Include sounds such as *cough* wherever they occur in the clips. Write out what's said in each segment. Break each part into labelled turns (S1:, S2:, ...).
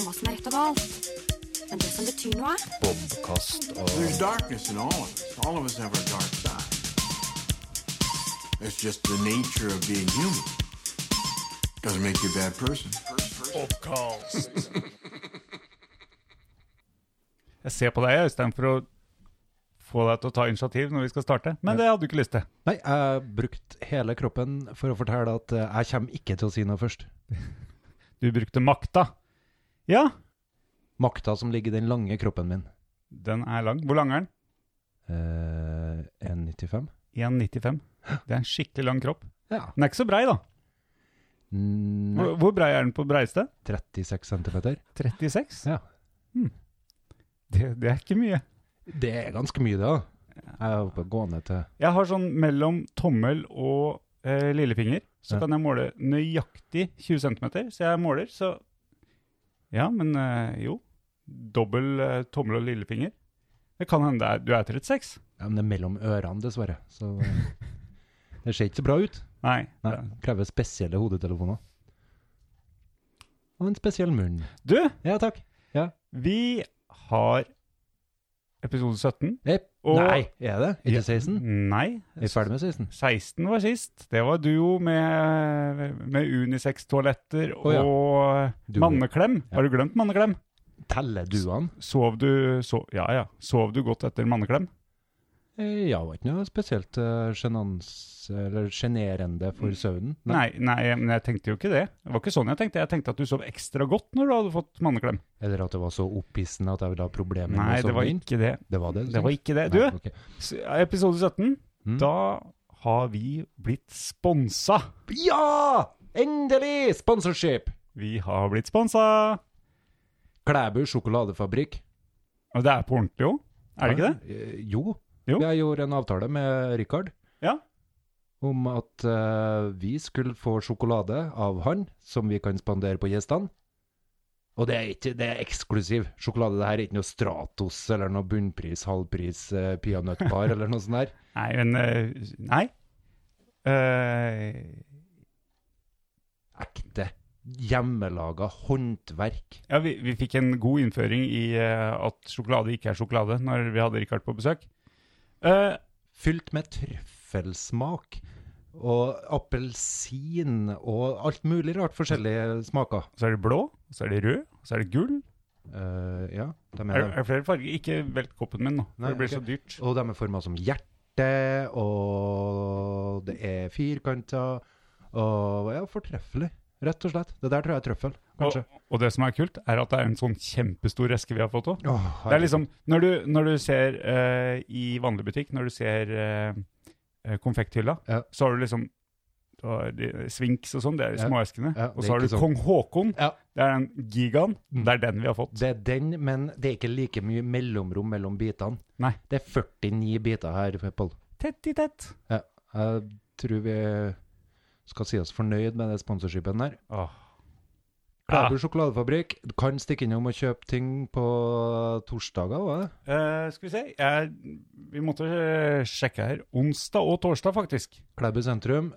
S1: festival. Men det som betyr noe,
S2: Bobkast og
S3: There's darkness in all of us. All of us have our dark side. It's just the nature of being human. Doesn't make you a bad person.
S4: Jeg ser på deg, Øystein, for å få deg til å ta initiativ når vi skal starte. Men det hadde du ikke lyst til.
S5: Nei, jeg har brukt hele kroppen for å fortelle at eh, jeg kommer ikke til å si noe først.
S4: Du brukte makta. Ja,
S5: Makta som ligger i den lange kroppen min.
S4: den er lang. Hvor lang er den?
S5: Eh, 1,95?
S4: 1,95. Det er en skikkelig lang kropp.
S5: Ja.
S4: Den er ikke så brei, da.
S5: Nei,
S4: Hvor, hvor brei er den på breiste?
S5: 36 centimeter.
S4: 36?
S5: Ja.
S4: Det, det er ikke mye.
S5: Det er ganske mye, det. da. Jeg er oppe å gå ned til
S4: Jeg har sånn mellom tommel og eh, lillefinger, så
S5: Ja.
S4: kan jeg måle nøyaktig 20 cm. Så jeg måler, så Ja, men eh, jo. Dobbel eh, tommel og lillefinger. Det kan hende det er, du er 36.
S5: ja, men Det er mellom ørene, dessverre. Så eh, det ser ikke så bra ut.
S4: Nei.
S5: Nei, Krever spesielle hodetelefoner. Og en spesiell munn.
S4: Du,
S5: Ja takk.
S4: vi har episode 17.
S5: Epp.
S4: Og-
S5: Nei, er det? Er
S4: Ja. Mm.
S5: det 16?
S4: Nei.
S5: Er vi ferdig med 16?
S4: 16 var sist. Det var duo med, med unisex-toaletter
S5: Å, ja.
S4: og
S5: Duo.
S4: manneklem.
S5: Ja.
S4: Har du glemt manneklem?
S5: Teller duene?
S4: Sov du, so- ja, ja. Sov du godt etter manneklem?
S5: Eh, Ja, det var ikke noe spesielt eh, sjenans- eller sjenerende for søvnen.
S4: Mm. Nei. Nei, men jeg tenkte jo ikke det. Det var ikke sånn jeg tenkte. Jeg tenkte at du sov ekstra godt når du hadde fått manneklem.
S5: Eller at det var så opphissende at jeg ville ha problemer
S4: Nei,
S5: med
S4: det var
S5: søvnen.
S4: ikke det.
S5: Det var det. du
S4: Det var
S5: tenkte?
S4: ikke det.
S5: Nei,
S4: Du,
S5: ok.
S4: s- episode 17,
S5: Mm.
S4: da har vi blitt sponsa.
S5: Ja! Endelig! Sponsorship!
S4: Vi har blitt sponsa!
S5: Klæbu sjokoladefabrikk.
S4: Og det er på ordentlig jo. Er det ikke det?
S5: Eh, Jo.
S4: Jo.
S5: Jeg gjorde en avtale med Richard
S4: Ja.
S5: om at eh, vi skulle få sjokolade av han, som vi kan spandere på gjestene. Og det er, ikke, det er eksklusiv sjokolade. Det her er ikke noe Stratos eller noe bunnpris, halvpris, eh, peanøttbar eller noe sånt der.
S4: Nei, men eh, Nei. Eh,
S5: Ekte, hjemmelaga håndverk.
S4: ja, vi, vi fikk en god innføring i eh, at sjokolade ikke er sjokolade, når vi hadde Richard på besøk. Eh,
S5: Fylt med trøffelsmak og appelsin og alt mulig rart forskjellige smaker.
S4: så er det blå, så er det rød, så er det gull.
S5: Eh, ja, de
S4: Er,
S5: er
S4: er det flere farger? Ikke velt koppen min nå, for
S5: Nei,
S4: det blir
S5: ok.
S4: så dyrt.
S5: Og de er forma som hjerte, og det er firkanter, og ja, fortreffelig. Rett og slett. Det der tror jeg er trøffel,
S4: Og,
S5: kanskje.
S4: og det som er kult, er at det er en sånn kjempestor eske vi har fått òg.
S5: Åh,
S4: Det er liksom, når du, når du ser eh, i vanlig butikk, når du ser eh, eh, konfekthylla,
S5: Ja.
S4: så har du liksom du har de, Svinks og sånn, det er de
S5: Ja.
S4: småeskene.
S5: Ja, det
S4: og
S5: er
S4: så har du
S5: ikke sånn.
S4: Kong Haakon,
S5: Ja.
S4: det er den gigaen.
S5: Mm.
S4: Det er den vi har fått.
S5: Det er den, men det er ikke like mye mellomrom mellom bitene.
S4: Nei.
S5: Det er 49 biter her, Pål.
S4: Tett i tett.
S5: Jeg tror vi skal si oss fornøyd med det sponsorskipen der.
S4: Åh.
S5: Klæbu sjokoladefabrikk. Du kan stikke innom og kjøpe ting på torsdager, hva?
S4: Eh, skal vi se jeg, Vi måtte eh, sjekke her. Onsdag og torsdag, faktisk.
S5: Klæbu sentrum.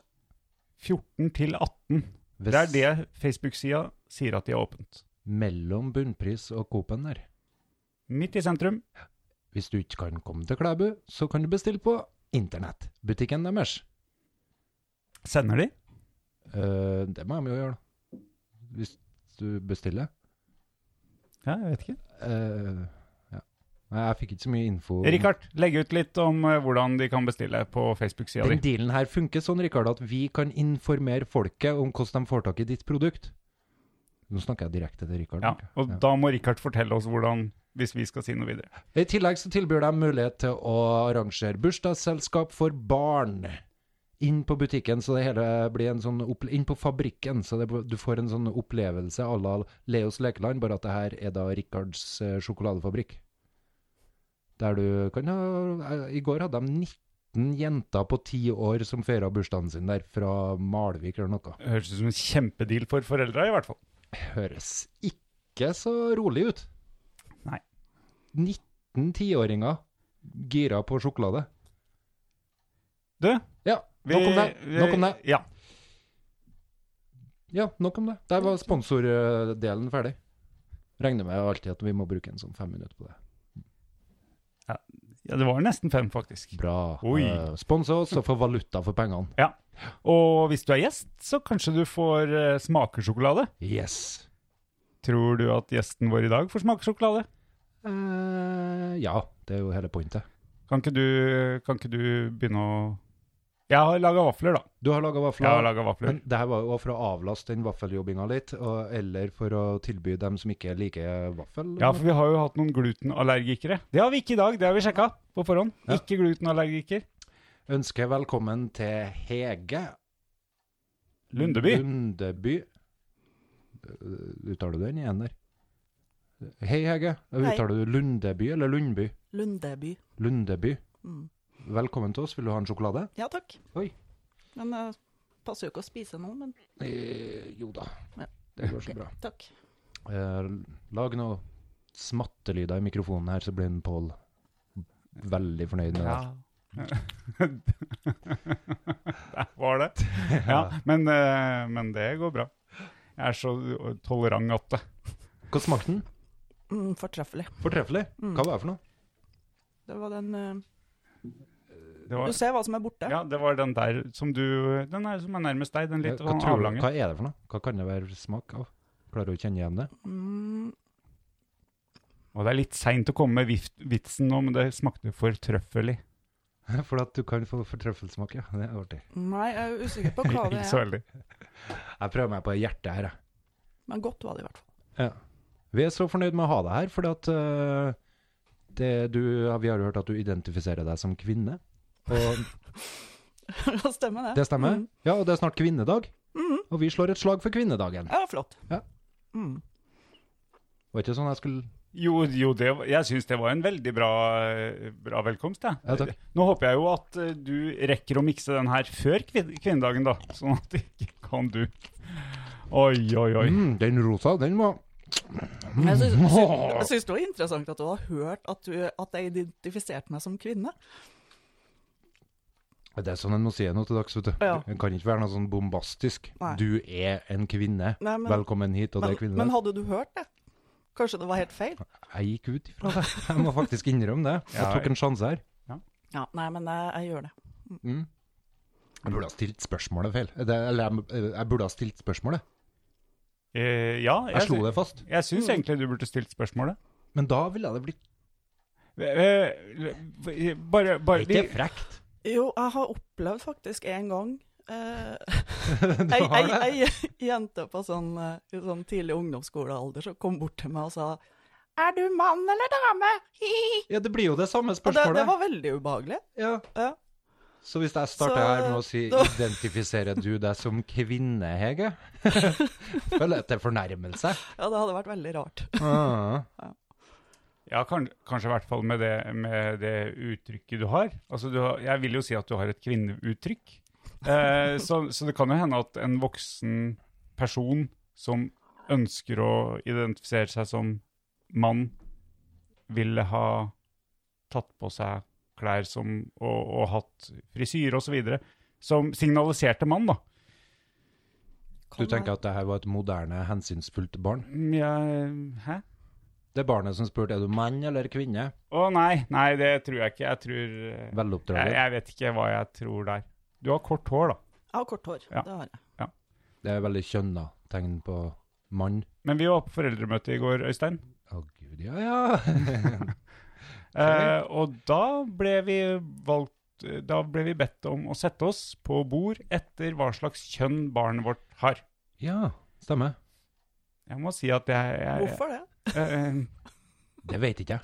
S4: 14 til 18.
S5: Hvis-
S4: Det er det Facebook-sida sier at de har åpent.
S5: Mellom bunnpris og Coop-en der.
S4: Midt i sentrum.
S5: Hvis du ikke kan komme til Klæbu, så kan du bestille på internett. Butikken deres.
S4: Sender de?
S5: Eh, det må de jo gjøre, da. Hvis du bestiller.
S4: Ja, jeg vet ikke.
S5: Eh, ja. Nei, jeg fikk ikke så mye info. om-
S4: Richard, legg ut litt om eh, hvordan de kan bestille på Facebook-sida
S5: Den
S4: di.
S5: dealen her funker sånn, Rikard, at vi kan informere folket om hvordan de får tak i ditt produkt. Nå snakker jeg direkte til Rikard.
S4: Ja, og da må Richard fortelle oss hvordan, hvis vi skal si noe videre.
S5: I tillegg så tilbyr de mulighet til å arrangere bursdagsselskap for barn. Inn på butikken, så det hele blir en sånn opple Inn på fabrikken, så det, du får en sånn opplevelse à la Leos lekeland, bare at det her er da Rikards eh, sjokoladefabrikk. Der du kan ha eh, I går hadde de 19 jenter på 10 år som feira bursdagen sin der, fra Malvik eller noe.
S4: Høres ut som en kjempedeal for foreldra, i hvert fall.
S5: Høres ikke så rolig ut.
S4: Nei.
S5: 19 tiåringer gira på sjokolade.
S4: Du,
S5: Ja,
S4: vi
S5: nok om det. Nok om det.
S4: vi- Ja.
S5: Ja, nok om det. Der var sponsordelen ferdig. Regner med alltid at vi må bruke en sånn fem minutter på det.
S4: Ja, det var nesten fem, faktisk.
S5: Bra.
S4: Oi.
S5: Eh, Sponsa oss og få valuta for pengene.
S4: Ja. Og hvis du er gjest, så kanskje du får eh, smakersjokolade.
S5: Yes.
S4: Tror du at gjesten vår i dag får smakersjokolade?
S5: Eh, ja, det er jo hele pointet.
S4: Kan ikke du, kan ikke du begynne å Jeg har laga vafler, da.
S5: Du har laga vafler.
S4: Jeg har laget vafler.
S5: Men det her var jo for å avlaste den vaffeljobbinga litt, og, eller for å tilby dem som ikke liker vaffel.
S4: Ja, for vi har jo hatt noen glutenallergikere. Det har vi ikke i dag, det har vi sjekka på forhånd.
S5: Ja.
S4: Ikke glutenallergiker.
S5: Ønsker velkommen til Hege
S4: Lundeby.
S5: Lundeby. Øh, Uttaler du den igjen der? Hei, Hege. Uttaler du Lundeby eller Lundby?
S2: Lundeby.
S5: Lundeby.
S2: Mm.
S5: Velkommen til oss. Vil du ha en sjokolade?
S2: Ja takk.
S5: Oi.
S2: Men det passer jo ikke å spise nå, men
S5: Eh, jo da.
S2: Ja.
S5: Det går så bra.
S2: takk.
S5: Eh, lag noe smattelyder i mikrofonen her, så blir en Pål veldig fornøyd med det.
S4: *laughs* Der var det. Ja, men, eh, men det går bra. Jeg er så tolerant at det
S5: Hva smakte den?
S2: Mm, fortreffelig.
S5: Fortreffelig. Hva var det for noe?
S2: Det var den eh,
S4: det var,
S2: Du ser hva som er borte.
S4: Ja, det var den der som du Den er, som er nærmest deg, den litt
S5: hva,
S4: sånn
S5: tror du-
S4: avlange.
S5: hva er det for noe? Hva kan det være smak av? Klarer du å kjenne igjen det?
S2: Mm,
S4: Og det er litt seint å komme med vif- vitsen nå, men det smakte fortrøffelig.
S5: *laughs* For at du kan få fortrøffelsmak, ja. Det er artig.
S2: nei, jeg er usikker på hva det
S4: Ikke så
S2: er.
S4: veldig.
S5: Jeg prøver meg på hjertet her, jeg.
S2: Men godt var det i hvert fall.
S5: Vi er så fornøyd med å ha deg her, fordi at øh, det du, ja, vi har jo hørt at du identifiserer deg som kvinne.
S2: *laughs*
S5: Og
S2: det stemmer, det.
S5: det stemmer?
S2: Mm.
S5: Ja, og det er snart kvinnedag. Og vi slår et slag for kvinnedagen.
S2: Ja, flott.
S5: Ja.
S2: Mm.
S5: Var ikke sånn jeg skulle
S4: Jo, jo det, var- jeg syns det var en veldig bra, eh, bra velkomst. jeg.
S5: Ja, takk.
S4: Nå håper jeg jo at eh, du rekker å mikse den her før kvin- kvinnedagen, da. *laughs* Sånn at ikke kan du Oi, oi, oi.
S5: mm, Den rosa, den var
S2: Jeg syns- syns- jeg syns det var interessant at du hadde hørt at, du, at jeg identifiserte meg som kvinne.
S5: Det er sånn en må si noe til dags, vet du.
S2: Ja.
S5: Det kan ikke være noe sånn bombastisk.
S2: Nei.
S5: Du er en kvinne.
S2: Nei, men-
S5: Velkommen hit, og det
S2: Men,
S5: er kvinnedag.
S2: men hadde du hørt det? Kanskje det var helt feil?
S5: Jeg gikk ut
S2: *laughs*
S5: ifra det. Jeg må faktisk innrømme det. Jeg
S4: Ja,
S5: tok en sjanse her.
S2: Ja, Nei, men jeg, jeg gjør det.
S5: Mm. Jeg burde ha stilt spørsmålet feil. Eh, Det, eller jeg, jeg burde ha stilt spørsmålet.
S4: Eh, ja,
S5: Jeg slo det Mm. fast.
S4: Jeg syns egentlig du burde stilt spørsmålet.
S5: Men da ville det blitt
S4: Eh, eh, Bare, bare
S5: Det er
S4: vi-
S5: ikke *laughs* frekt.
S2: Jo, jeg har opplevd faktisk en gang eh, *laughs* ei, ei, ei jente på sånn, eh, i sånn tidlig ungdomsskolealder som kom bort til meg og sa Er du mann eller dame? *laughs* Hihi.
S5: Ja, det blir jo det samme
S2: Og det, det
S5: spørsmålet.
S2: var veldig ubehagelig.
S5: Ja.
S2: Ja.
S5: Så hvis jeg starter
S2: Så-
S5: her med å si
S2: *laughs* da-
S5: 'identifiserer du deg som kvinne,
S2: *laughs*
S5: Hege'? Føler jeg at det fornærmer seg.
S2: ja, det hadde vært veldig rart. *laughs*
S5: Ah.
S4: Ja, kan, kanskje i hvert fall med det, med det uttrykket du har. Altså, du har. Jeg vil jo si at du har et kvinneuttrykk. Eh, så, så det kan jo hende at en voksen person som ønsker å identifisere seg som mann, ville ha tatt på seg klær som, og, og hatt frisyre osv. Som signaliserte mann, da.
S5: Du tenker at det her var et moderne, hensynsfullt barn?
S4: Mm, Jeg, hæ?
S5: Det barnet som spurte 'er du mann eller kvinne'?
S4: Å nei, nei, det tror jeg ikke. Jeg tror eh, jeg,
S5: Veloppdraget.
S4: jeg vet ikke hva jeg tror der. Du har kort hår, da.
S2: Jeg har kort hår.
S4: Ja.
S2: Det har jeg.
S5: Det er veldig kjønna tegn på mann.
S4: Men vi var på foreldremøte i går, Øystein.
S5: Å gud, ja *laughs* ja.
S4: Eh, og da ble vi valgt Da ble vi bedt om å sette oss på bord etter hva slags kjønn barnet vårt har.
S5: ja, stemmer.
S4: Jeg må si at jeg, jeg
S2: Hvorfor det?
S4: *laughs* Eh,
S5: Det vet ikke jeg.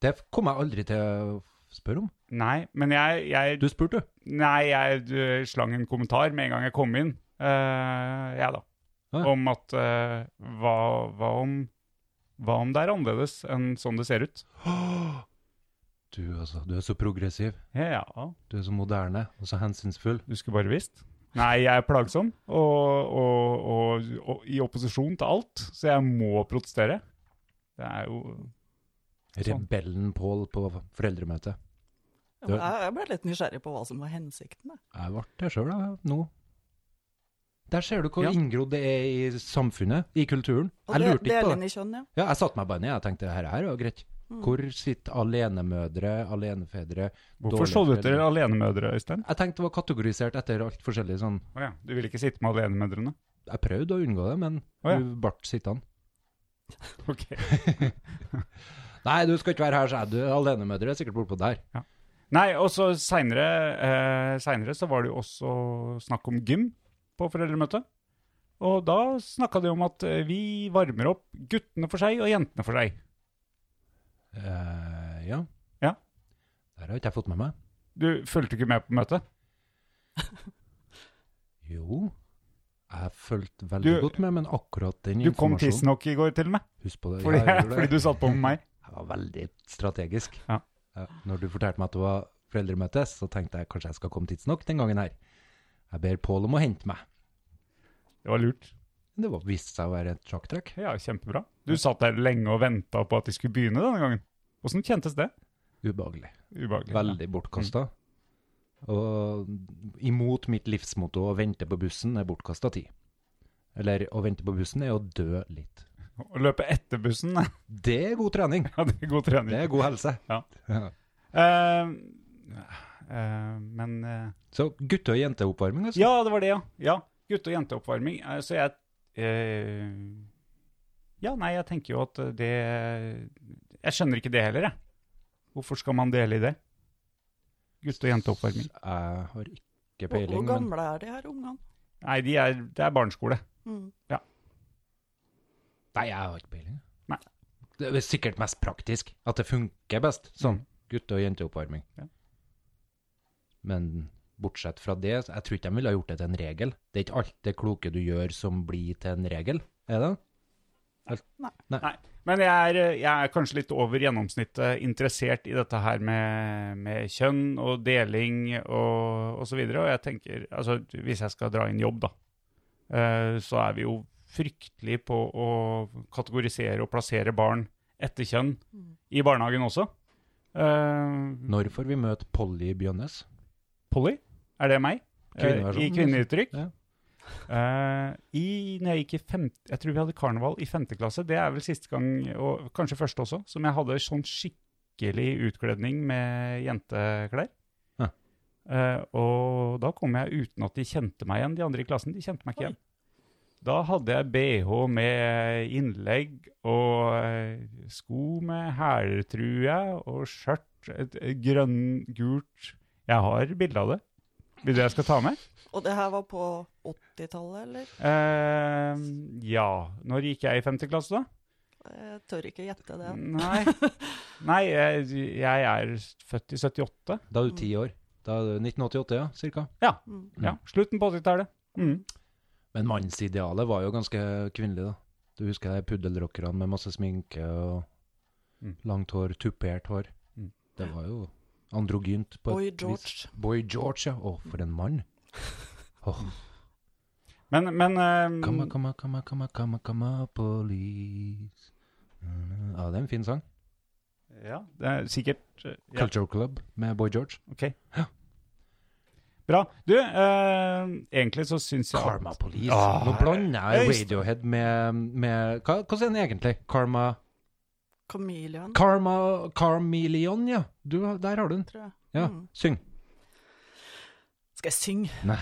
S5: Det kom jeg aldri til å spørre om.
S4: nei, men jeg, jeg
S5: Du spurte, du.
S4: Nei, jeg du, slang en kommentar med en gang jeg kom inn. eh, jeg, da.
S5: Ja.
S4: Om at eh, hva, hva om Hva om det er annerledes enn sånn det ser ut?
S5: Du, altså. Du er så progressiv.
S4: Ja, ja.
S5: Du er så moderne og så hensynsfull.
S4: Du skulle bare visst. Nei, jeg er plagsom og, og, og, og i opposisjon til alt, så jeg må protestere. Det er jo Sånn.
S5: Rebellen Pål på foreldremøtet.
S2: Ja, men Jeg, jeg ble litt nysgjerrig på hva som var hensikten. jeg.
S5: Jeg ble det sjøl, da. Nå. Der ser du hvor
S4: Ja.
S5: inngrodd det er i samfunnet, i kulturen.
S2: Og
S5: Jeg
S2: det,
S5: lurte ikke på
S2: delen
S5: det.
S2: i kjønn, ja. Mm.
S5: Ja, jeg satte meg bare ned og tenkte her, her er jo greit. Hvor sitter alenemødre, alenefedre
S4: Hvorfor
S5: dårlige
S4: så du etter
S5: foreldre?
S4: alenemødre, Øystein?
S5: Jeg tenkte det var kategorisert etter alt forskjellig sånn
S4: Å ja, du vil ikke sitte med alenemødrene?
S5: Jeg prøvde å unngå det, men
S4: Å ja.
S5: du ble sittende.
S4: Ok.
S5: Nei, du skal ikke være her, sa jeg. Du, Alenemødre er sikkert bortpå der.
S4: Nei, og så seinere eh, senere så var det jo også snakk om gym på foreldremøtet. Og da snakka de om at eh, vi varmer opp guttene for seg og jentene for seg.
S5: Eh, ja.
S4: Ja.
S5: Der har ikke jeg fått med meg.
S4: Du fulgte ikke med på møtet?
S5: Jo, jeg fulgte veldig
S4: Du-
S5: godt med, men akkurat den
S4: Du kom
S5: informasjonen
S4: tidsnok i går, til og med.
S5: Husk på det.
S4: Fordi,
S5: Ja, jeg gjorde
S4: *laughs* fordi
S5: det.
S4: du satt på med meg.
S5: Jeg var veldig strategisk.
S4: Ja.
S5: Ja, Når du fortalte meg at det var foreldremøte, så tenkte jeg kanskje jeg skal komme tidsnok den gangen her. Jeg ber Pål om å hente meg.
S4: Det var lurt.
S5: Det var- viste seg å være et sjakktrekk.
S4: Ja, kjempebra. Du satt der lenge og venta på at de skulle begynne denne gangen. Åssen kjentes det?
S5: Ubehagelig.
S4: Ubehagelig.
S5: Veldig bortkasta. Og imot mitt livsmotto å vente på bussen er bortkasta tid. Eller å vente på bussen er å dø litt.
S4: Å løpe etter bussen, *laughs* ja,
S5: Det er god trening.
S4: det er god trening.
S5: Det er god helse.
S4: *laughs* Ja.
S5: Ja.
S4: Eh, eh, men eh,
S5: Så gutte- og jenteoppvarming, altså?
S4: Ja, det var det, ja. ja. Gutte- og jenteoppvarming. Eh, Så jeg eh, Ja, nei, jeg tenker jo at det Jeg skjønner ikke det heller, jeg. Hvorfor skal man dele i det? Gutte- og jenteoppvarming.
S5: Jeg har ikke
S2: Hvor, hvor
S5: peiling, men
S2: gamle er de her ungene?
S4: Nei, de er, det er barneskole.
S2: Mm.
S5: Nei, jeg har ikke peiling.
S4: Nei.
S5: Det er sikkert mest praktisk at det funker best sånn. Gutte- og jenteoppvarming.
S4: Ja.
S5: Men bortsett fra det, så jeg tror ikke de ville ha gjort det til en regel. Det er ikke alt det kloke du gjør som blir til en regel, er det?
S4: Mm. Nei. Men jeg er, jeg er kanskje litt over gjennomsnittet interessert i dette her med, med kjønn og deling og, og så videre. Og jeg tenker, altså hvis jeg skal dra inn jobb, da, eh, så er vi jo fryktelig på å kategorisere og plassere barn etter kjønn
S2: Mm.
S4: i barnehagen også. Eh,
S5: Når får vi møte Polly Bjønnes?
S4: Polly, er det meg? Eh, I
S5: Kvinneversjonen,
S4: kvinneuttrykk.
S5: Ja.
S4: Eh, i, når jeg gikk i femte, jeg tror vi hadde karneval i femte klasse, det er vel siste gang, og kanskje første også, som jeg hadde sånn skikkelig utkledning med jenteklær.
S5: Ja.
S4: Eh, og da kom jeg uten at de kjente meg igjen, de andre i klassen, de kjente meg ikke igjen. Da hadde jeg BH med innlegg og eh, sko med hæler, tror jeg, og skjørt, et, et grønn, gult. Jeg har bilde av det. Vil du jeg skal ta med?
S2: Og det her var på 80-tallet, eller?
S4: Eh, ja. Når gikk jeg i femte klasse, da?
S2: Jeg tør ikke gjette det.
S4: Nei, Nei jeg, jeg er født i 78.
S5: Da er du
S4: Mm.
S5: ti år. Da er du 1988, ja, cirka.
S4: Ja.
S2: Mm.
S4: ja. Slutten på 80-tallet. Mm.
S5: Men mannsidealet var jo ganske kvinnelig, da. Du husker de puddelrockerne med masse sminke og
S4: Mm.
S5: langt hår, tupert hår.
S4: Mm.
S5: Det var jo androgynt på
S2: Boy
S5: et vis.
S2: George.
S5: Boy George, ja. Å, for en mann. Åh,
S2: *laughs*
S4: Men, men
S2: Mm.
S4: eh,
S5: Kamma, kamma, kamma, kamma, kamma, kamma, police. Mm, Ja, det er en fin sang.
S4: ja, det er sikkert eh, ja.
S5: Culture Club med Boy George.
S4: Ok. Bra. Du, eh, egentlig så syns jeg at-
S5: Karma Police.
S4: Ah,
S5: Nå blander jeg
S4: Øystein.
S5: Radiohead med, med hva, hva er den egentlig? Karma
S2: Chameleon,
S5: Karma Carmelion, ja. Du, der har du den.
S2: tror jeg.
S5: Ja,
S2: Mm.
S5: syng.
S2: Skal jeg synge?
S5: Nei,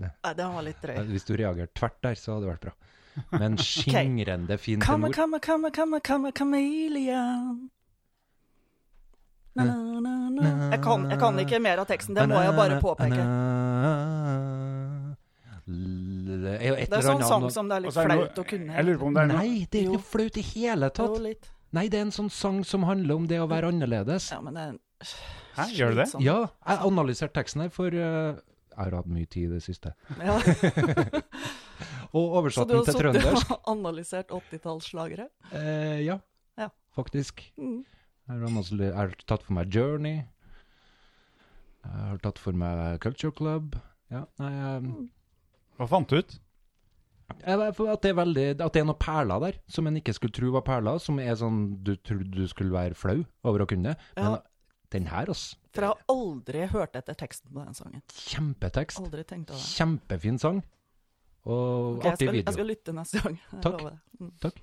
S2: Nei, den var litt drøy.
S5: hvis du reagerte tvert der, så hadde det vært bra. Men skingrende fin
S2: Come,
S5: tenor.
S2: come, come, come, come, chameleon. Na, na, na, na. Jeg kan, jeg kan ikke mer av teksten, det må jeg bare påpeke.
S5: Det er jo et
S2: Det er
S5: eller
S2: sånn sang
S5: annet
S2: som det er
S4: Og
S2: litt
S4: så er det noe-
S2: flaut å kunne.
S4: Jeg lurer på om det er noe
S5: Nei, det er ikke
S2: Jo.
S5: noe flaut i hele
S2: Jo,
S5: tatt.
S2: litt.
S5: Nei, det er en sånn sang som handler om det å være annerledes.
S2: Ja, men det er sånn. en
S4: Hæ, gjør det det?
S2: slitsom-
S5: Ja, jeg analyserte teksten her, for eh, jeg har hatt mye tid i det siste.
S2: Ja.
S5: Og
S2: Så
S5: oversatt
S2: du
S5: den
S2: har
S5: til
S2: sittet
S5: trøndersk.
S2: og analysert 80-tallsslagere?
S5: Eh, ja.
S2: Ja.
S5: faktisk.
S2: Mm.
S5: Jeg har, masse, jeg har tatt for meg Journey. Jeg har tatt for meg Culture Club. Ja, nei,
S2: Mm.
S5: jeg-
S4: Hva fant du ut?
S5: jeg, vet at, det er veldig, at det er noen perler der som en ikke skulle tro var perler, som er sånn du trodde du skulle være flau over å kunne. Men eh,
S2: Ja.
S5: den her, altså.
S2: For jeg har aldri hørt etter teksten på den sangen.
S5: Kjempetekst.
S2: Aldri tenkt over det.
S5: Kjempefin sang. Og
S2: Ok, jeg,
S5: artig
S2: skal, jeg
S5: video.
S2: skal lytte neste gang. jeg
S5: Takk.
S2: lover det. Mm.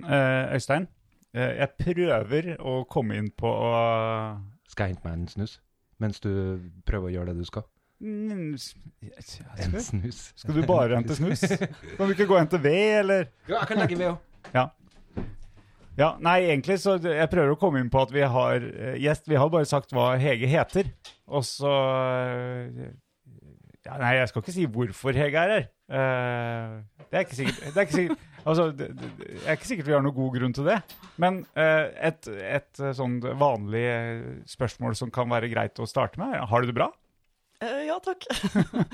S4: Men eh, Øystein, eh, jeg prøver å komme inn på eh, å-
S5: Skal jeg hente meg en snus? Mens du prøver å gjøre det du skal.
S4: Mm, s- jeg- jeg-
S5: En
S4: jeg-
S5: snus.
S4: Skal du bare hente snus? Kan du ikke gå og hente ved, eller?
S5: Jo, jeg kan legge ved òg.
S4: Ja, nei, egentlig så jeg prøver å komme inn på at vi har eh, gjest. Vi har bare sagt hva Hege heter. Og så eh, ja, Nei, jeg skal ikke si hvorfor Hege er her. Eh, det er ikke sikkert. Det er ikke sikkert altså, det, det, det er ikke sikkert vi har noen god grunn til det. Men eh, et, et eh, sånn vanlig eh, spørsmål som kan være greit å starte med, er har du det bra?
S2: Eh, ja, takk. *laughs*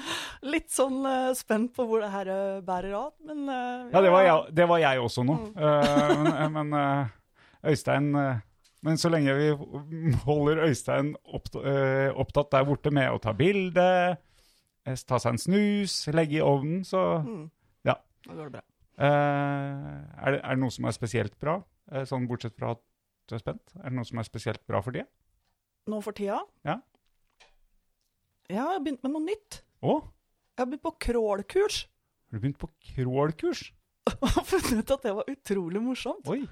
S2: Litt sånn eh, spent på hvor det her eh, bærer av, men eh,
S4: Ja, det var jeg, det var jeg også nå.
S2: Mm.
S4: Eh, men men eh, Øystein eh, Men så lenge vi holder Øystein oppt, eh, opptatt der borte med å ta bilde, eh, ta seg en snus, legge i ovnen, så
S2: Mm.
S4: Ja.
S2: Da går det bra.
S4: eh, er, det, er det noe som er spesielt bra? Eh, sånn bortsett fra at du er spent? Er det noe som er spesielt bra for det?
S2: Nå for tida?
S4: Ja.
S2: Ja, jeg har begynt med noe nytt.
S4: Å,
S2: Jeg har begynt på crawlkurs. *laughs*
S4: har du begynt på crawl-kurs?
S2: Og funnet ut at det var utrolig morsomt.
S4: Oi.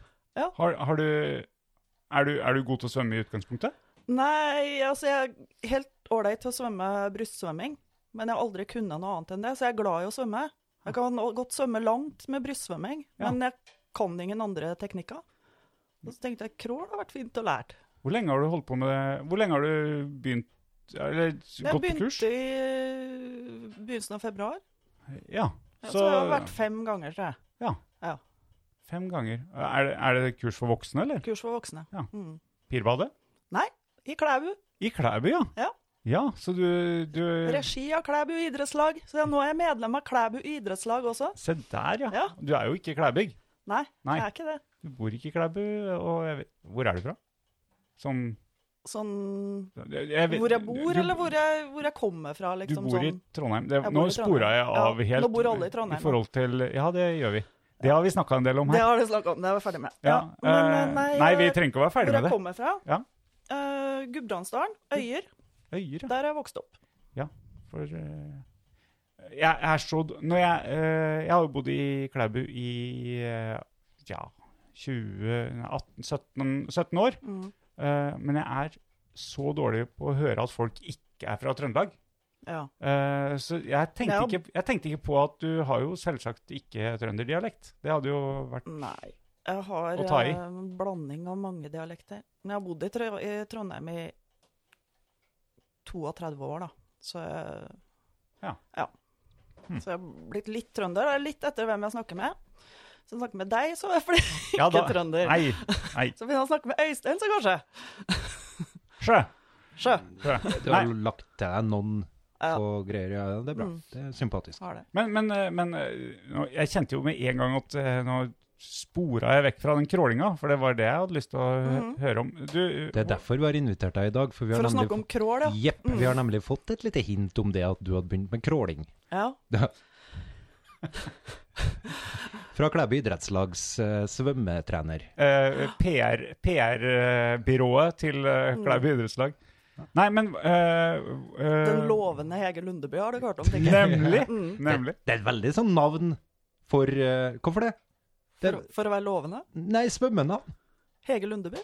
S2: Ja.
S4: Har, har du, er du Er du god til å svømme i utgangspunktet?
S2: Nei, altså jeg er helt ålreit til å svømme brystsvømming, men jeg har aldri kunnet noe annet enn det, så jeg er glad i å svømme. Jeg kan nå- godt svømme langt med brystsvømming,
S4: Ja.
S2: men jeg kan ingen andre teknikker. Og så tenkte jeg crawl har vært fint å lære.
S4: Hvor lenge har du holdt på med det? Hvor lenge har du begynt Eller
S2: Jeg
S4: gått på kurs?
S2: begynte i begynnelsen av februar,
S4: Ja.
S2: så,
S4: Så
S2: jeg har vært fem ganger, tror jeg.
S4: fem ganger. Er det, er det kurs for voksne, eller?
S2: Kurs for voksne.
S4: Ja.
S2: Mm.
S4: Pirbadet?
S2: I Klæbu.
S4: I Klæbu, ja.
S2: Ja.
S4: Ja, så du, du
S2: Regi av Klæbu idrettslag. Så jeg, nå er jeg medlem av Klæbu idrettslag også.
S4: Se der, ja.
S2: Ja.
S4: Du er jo ikke klæbygg.
S2: Nei,
S4: Nei.
S2: jeg er ikke det.
S4: Du bor ikke i Klæbu, og jeg vet Hvor er du fra? Sånn
S2: Sånn
S4: jeg vet,
S2: hvor jeg bor,
S4: du,
S2: eller hvor jeg, hvor jeg kommer fra,
S4: Du
S2: liksom.
S4: bor i
S2: sånn.
S4: Trondheim. Det,
S2: Jeg bor
S4: nå
S2: i Trondheim.
S4: spora jeg
S2: Ja,
S4: av helt
S2: nå bor alle i Trondheim,
S4: I forhold til Ja, det gjør vi. Det har vi snakka en del om
S2: Det
S4: her.
S2: har du snakka om, det er vi ferdig med.
S4: Ja, eh,
S2: eh,
S4: nei, vi trenger ikke å være ferdig med
S2: Hvor jeg
S4: det.
S2: kommer fra?
S4: Ja.
S2: Eh, Gudbrandsdalen, Øyer.
S4: Øyer, ja.
S2: Der er jeg vokst opp.
S4: For eh, jeg er så d- Når jeg eh, Jeg har jo bodd i Klæbu i eh, ja 20 18, 17, 17 år.
S2: Mm.
S4: Eh, men jeg er så dårlig på å høre at folk ikke er fra Trøndelag.
S2: Ja.
S4: Eh, så jeg tenkte,
S2: Ja.
S4: ikke, jeg tenkte ikke på at du har jo selvsagt ikke trønderdialekt. Det hadde jo vært
S2: Nei. Jeg har
S4: Å ta i.
S2: eh, en blanding av mange dialekter. Men jeg har bodd i, Trø i Trondheim i 32 år, da. Så jeg,
S4: Ja. Hm.
S2: Så jeg har blitt litt trønder. Det er litt etter hvem jeg snakker med. Så jeg snakker med deg, så er jeg fli-
S4: Ja,
S2: ikke trønder.
S4: Nei. nei.
S2: Så begynner jeg å snakke med Øystein, så kanskje.
S4: Sjø.
S2: Sjø.
S4: Sjø.
S5: Du
S4: Nei.
S5: har jo lagt til deg noen
S2: Ja.
S5: få greier. Ja, det er bra.
S2: Mm.
S5: Det er sympatisk.
S2: Har det.
S4: Men, men, eh, men eh, nå- jeg kjente jo med en gang at eh, nå spora jeg vekk fra den krålinga, for det var det jeg hadde lyst til å hø-
S2: Mhm.
S4: høre om. Du,
S5: Det er derfor vi har invitert deg i dag. For vi har,
S2: For å
S5: nemlig,
S2: snakke om crawl, ja. Mm.
S5: Jepp, vi har nemlig fått et lite hint om det at du hadde begynt med crawling.
S2: ja.
S5: Fra Klæbu idrettslags eh, svømmetrener.
S4: eh, PR, PR-byrået til eh,
S2: Mhm.
S4: Klæbu idrettslag. Nei, men eh, eh,
S2: Den lovende Hege Lundeby har du hørt om, tenker jeg.
S4: Nemlig.
S2: *laughs* Mm.
S4: Nemlig.
S5: Det er et veldig sånn navn for eh, Hvorfor det? det
S2: For,
S5: er,
S2: for å være lovende.
S5: nei, svømmenavn.
S2: Hege Lundeby.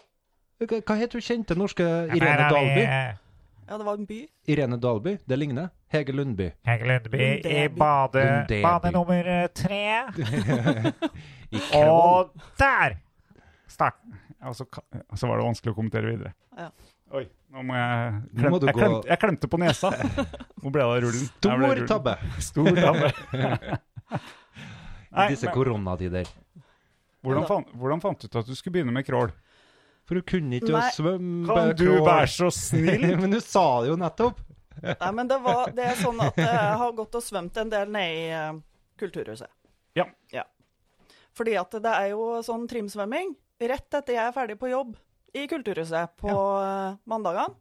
S5: Hva hva het hun kjente norske Irene Dalby?
S4: eh,
S2: Ja, det var en by.
S5: Irene Dalby, det ligner. Hege Lundby.
S4: Hege Lundby
S2: i
S4: bade,
S5: Lundeby. bade
S4: nummer tre. *laughs*
S5: I
S4: der! Start. Og så, Altså, ka- så var det vanskelig å kommentere videre.
S2: Ja.
S4: Oi, nå må jeg
S5: Nå
S4: klem,
S5: må du
S4: jeg,
S5: gå-
S4: klemte, jeg klemte på nesa. Hvor ble det av rullen? Her ble
S5: Stor
S4: rullen.
S5: tabbe
S4: Stor tabbe.
S5: i *laughs*
S4: Nei,
S5: disse
S4: men
S5: koronatider.
S4: hvordan, fant, hvordan fant du ut at du skulle begynne med crawl?
S5: For hun kunne ikke å
S2: Nei.
S5: svømme.
S4: Kan du
S5: crawl.
S4: være så snill?
S5: *laughs* Men du sa det jo nettopp.
S2: Nei, men det, var, det er sånn at jeg har gått og svømt en del ned i eh, Kulturhuset.
S4: Ja.
S2: Fordi at det er jo sånn trimsvømming rett etter jeg er ferdig på jobb i Kulturhuset på ja. mandagene.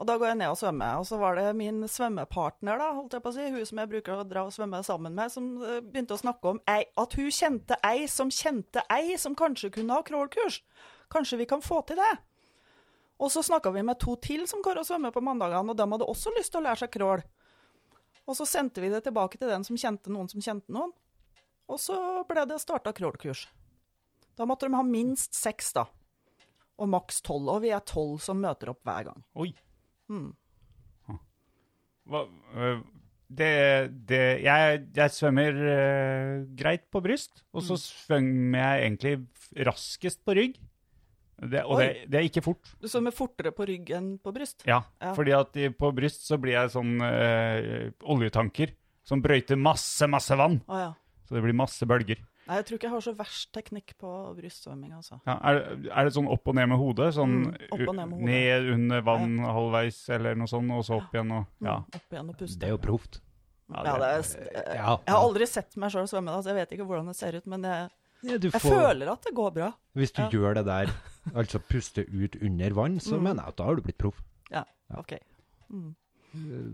S2: Og da går jeg ned og svømmer. Og så var det min svømmepartner, da, holdt jeg på å si, hun som jeg bruker å dra og svømme sammen med, som eh, begynte å snakke om ei, at hun kjente ei som kjente ei som kanskje kunne ha crawlkurs. Kanskje vi kan få til det? Og så snakka vi med to til som går og svømmer på mandagene, og de hadde også lyst til å lære seg crawl. Og så sendte vi det tilbake til den som kjente noen som kjente noen. Og så ble det starta crawlkurs. Da måtte de ha minst seks, da. Og maks tolv. Og vi er tolv som møter opp hver gang.
S4: Oi.
S2: Hmm.
S4: Hva, øh, det, det jeg, jeg svømmer øh, greit på bryst, og
S2: Hmm.
S4: så svømmer jeg egentlig f- raskest på rygg. Det, og
S2: Oi.
S4: det, det er ikke fort.
S2: Du svømmer fortere på rygg enn på bryst.
S4: Ja,
S2: Ja.
S4: fordi at i- på bryst så blir jeg sånn øh, oljetanker som brøyter masse, masse vann.
S2: Å ja.
S4: Så det blir masse bølger.
S2: Nei, jeg tror ikke jeg har så verst teknikk på brystsvømming, altså.
S4: Ja, er, det- er det sånn opp og ned med hodet? Sånn
S2: Mm, opp og ned med hodet.
S4: ned under vann halvveis eller noe sånt, og så opp igjen og
S2: Mm,
S4: Ja.
S2: Opp igjen og puste.
S5: Det er jo proft.
S2: ja, det er,
S5: Ja.
S2: jeg har aldri sett meg sjøl svømme, da, så jeg vet ikke hvordan det ser ut, men jeg,
S5: Ja, du
S2: jeg
S5: får-
S2: føler at det går bra.
S5: Hvis du
S2: Ja.
S5: gjør det *laughs* der, altså puste ut under vann, så mener jeg at da har du blitt proff.
S2: Ja, OK.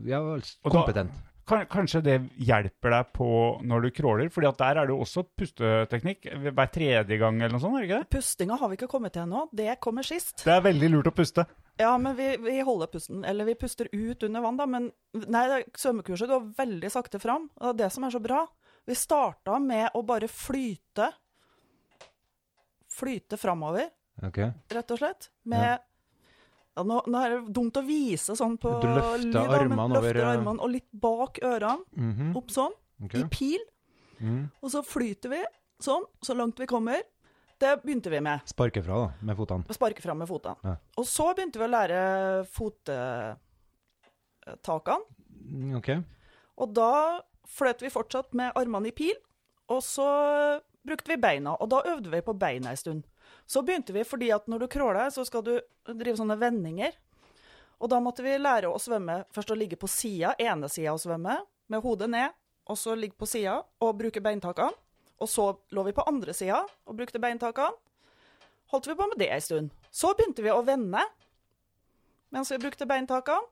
S5: Ja, altså,
S4: Og da-
S5: kompetent.
S4: Kan, kanskje det hjelper deg på når du crawler, fordi at der er det jo også pusteteknikk ved hver tredje gang eller noe sånt, er det ikke det?
S2: Pustinga har vi ikke kommet til ennå. Det kommer sist.
S4: Det er veldig lurt å puste.
S2: Ja, men vi, vi holder pusten, eller vi puster ut under vann, da. Men nei, det er svømmekurset går veldig sakte fram. og Det er det som er så bra. Vi starta med å bare flyte. Flyte framover,
S5: Ok.
S2: rett og slett. Med ja. nå, nå er det dumt å vise sånn på
S5: Du løfter
S2: lyd, da, men
S5: armene over,
S2: løfter
S5: eh,
S2: armene og litt bak ørene.
S5: Mhm,
S2: Opp sånn,
S5: ok. Mm.
S2: i pil. Og så flyter vi sånn, så langt vi kommer. Det begynte vi med.
S5: Sparke fra, da, med fotene.
S2: Og sparke fram med fotene.
S5: Ja.
S2: Og så begynte vi å lære fottakene.
S5: Mm, Ok.
S2: Og da fløt vi fortsatt med armene i pil, og så brukte vi beina. Og da øvde vi på beina en stund. Så begynte vi fordi at når du crawler, så skal du drive sånne vendinger. Og da måtte vi lære å svømme. Først å ligge på sida, ene sida å svømme, med hodet ned. Og så ligge på sida og bruke beintakene. Og så lå vi på andre sida og brukte beintakene. Holdt vi på med det en stund. Så begynte vi å vende mens vi brukte beintakene.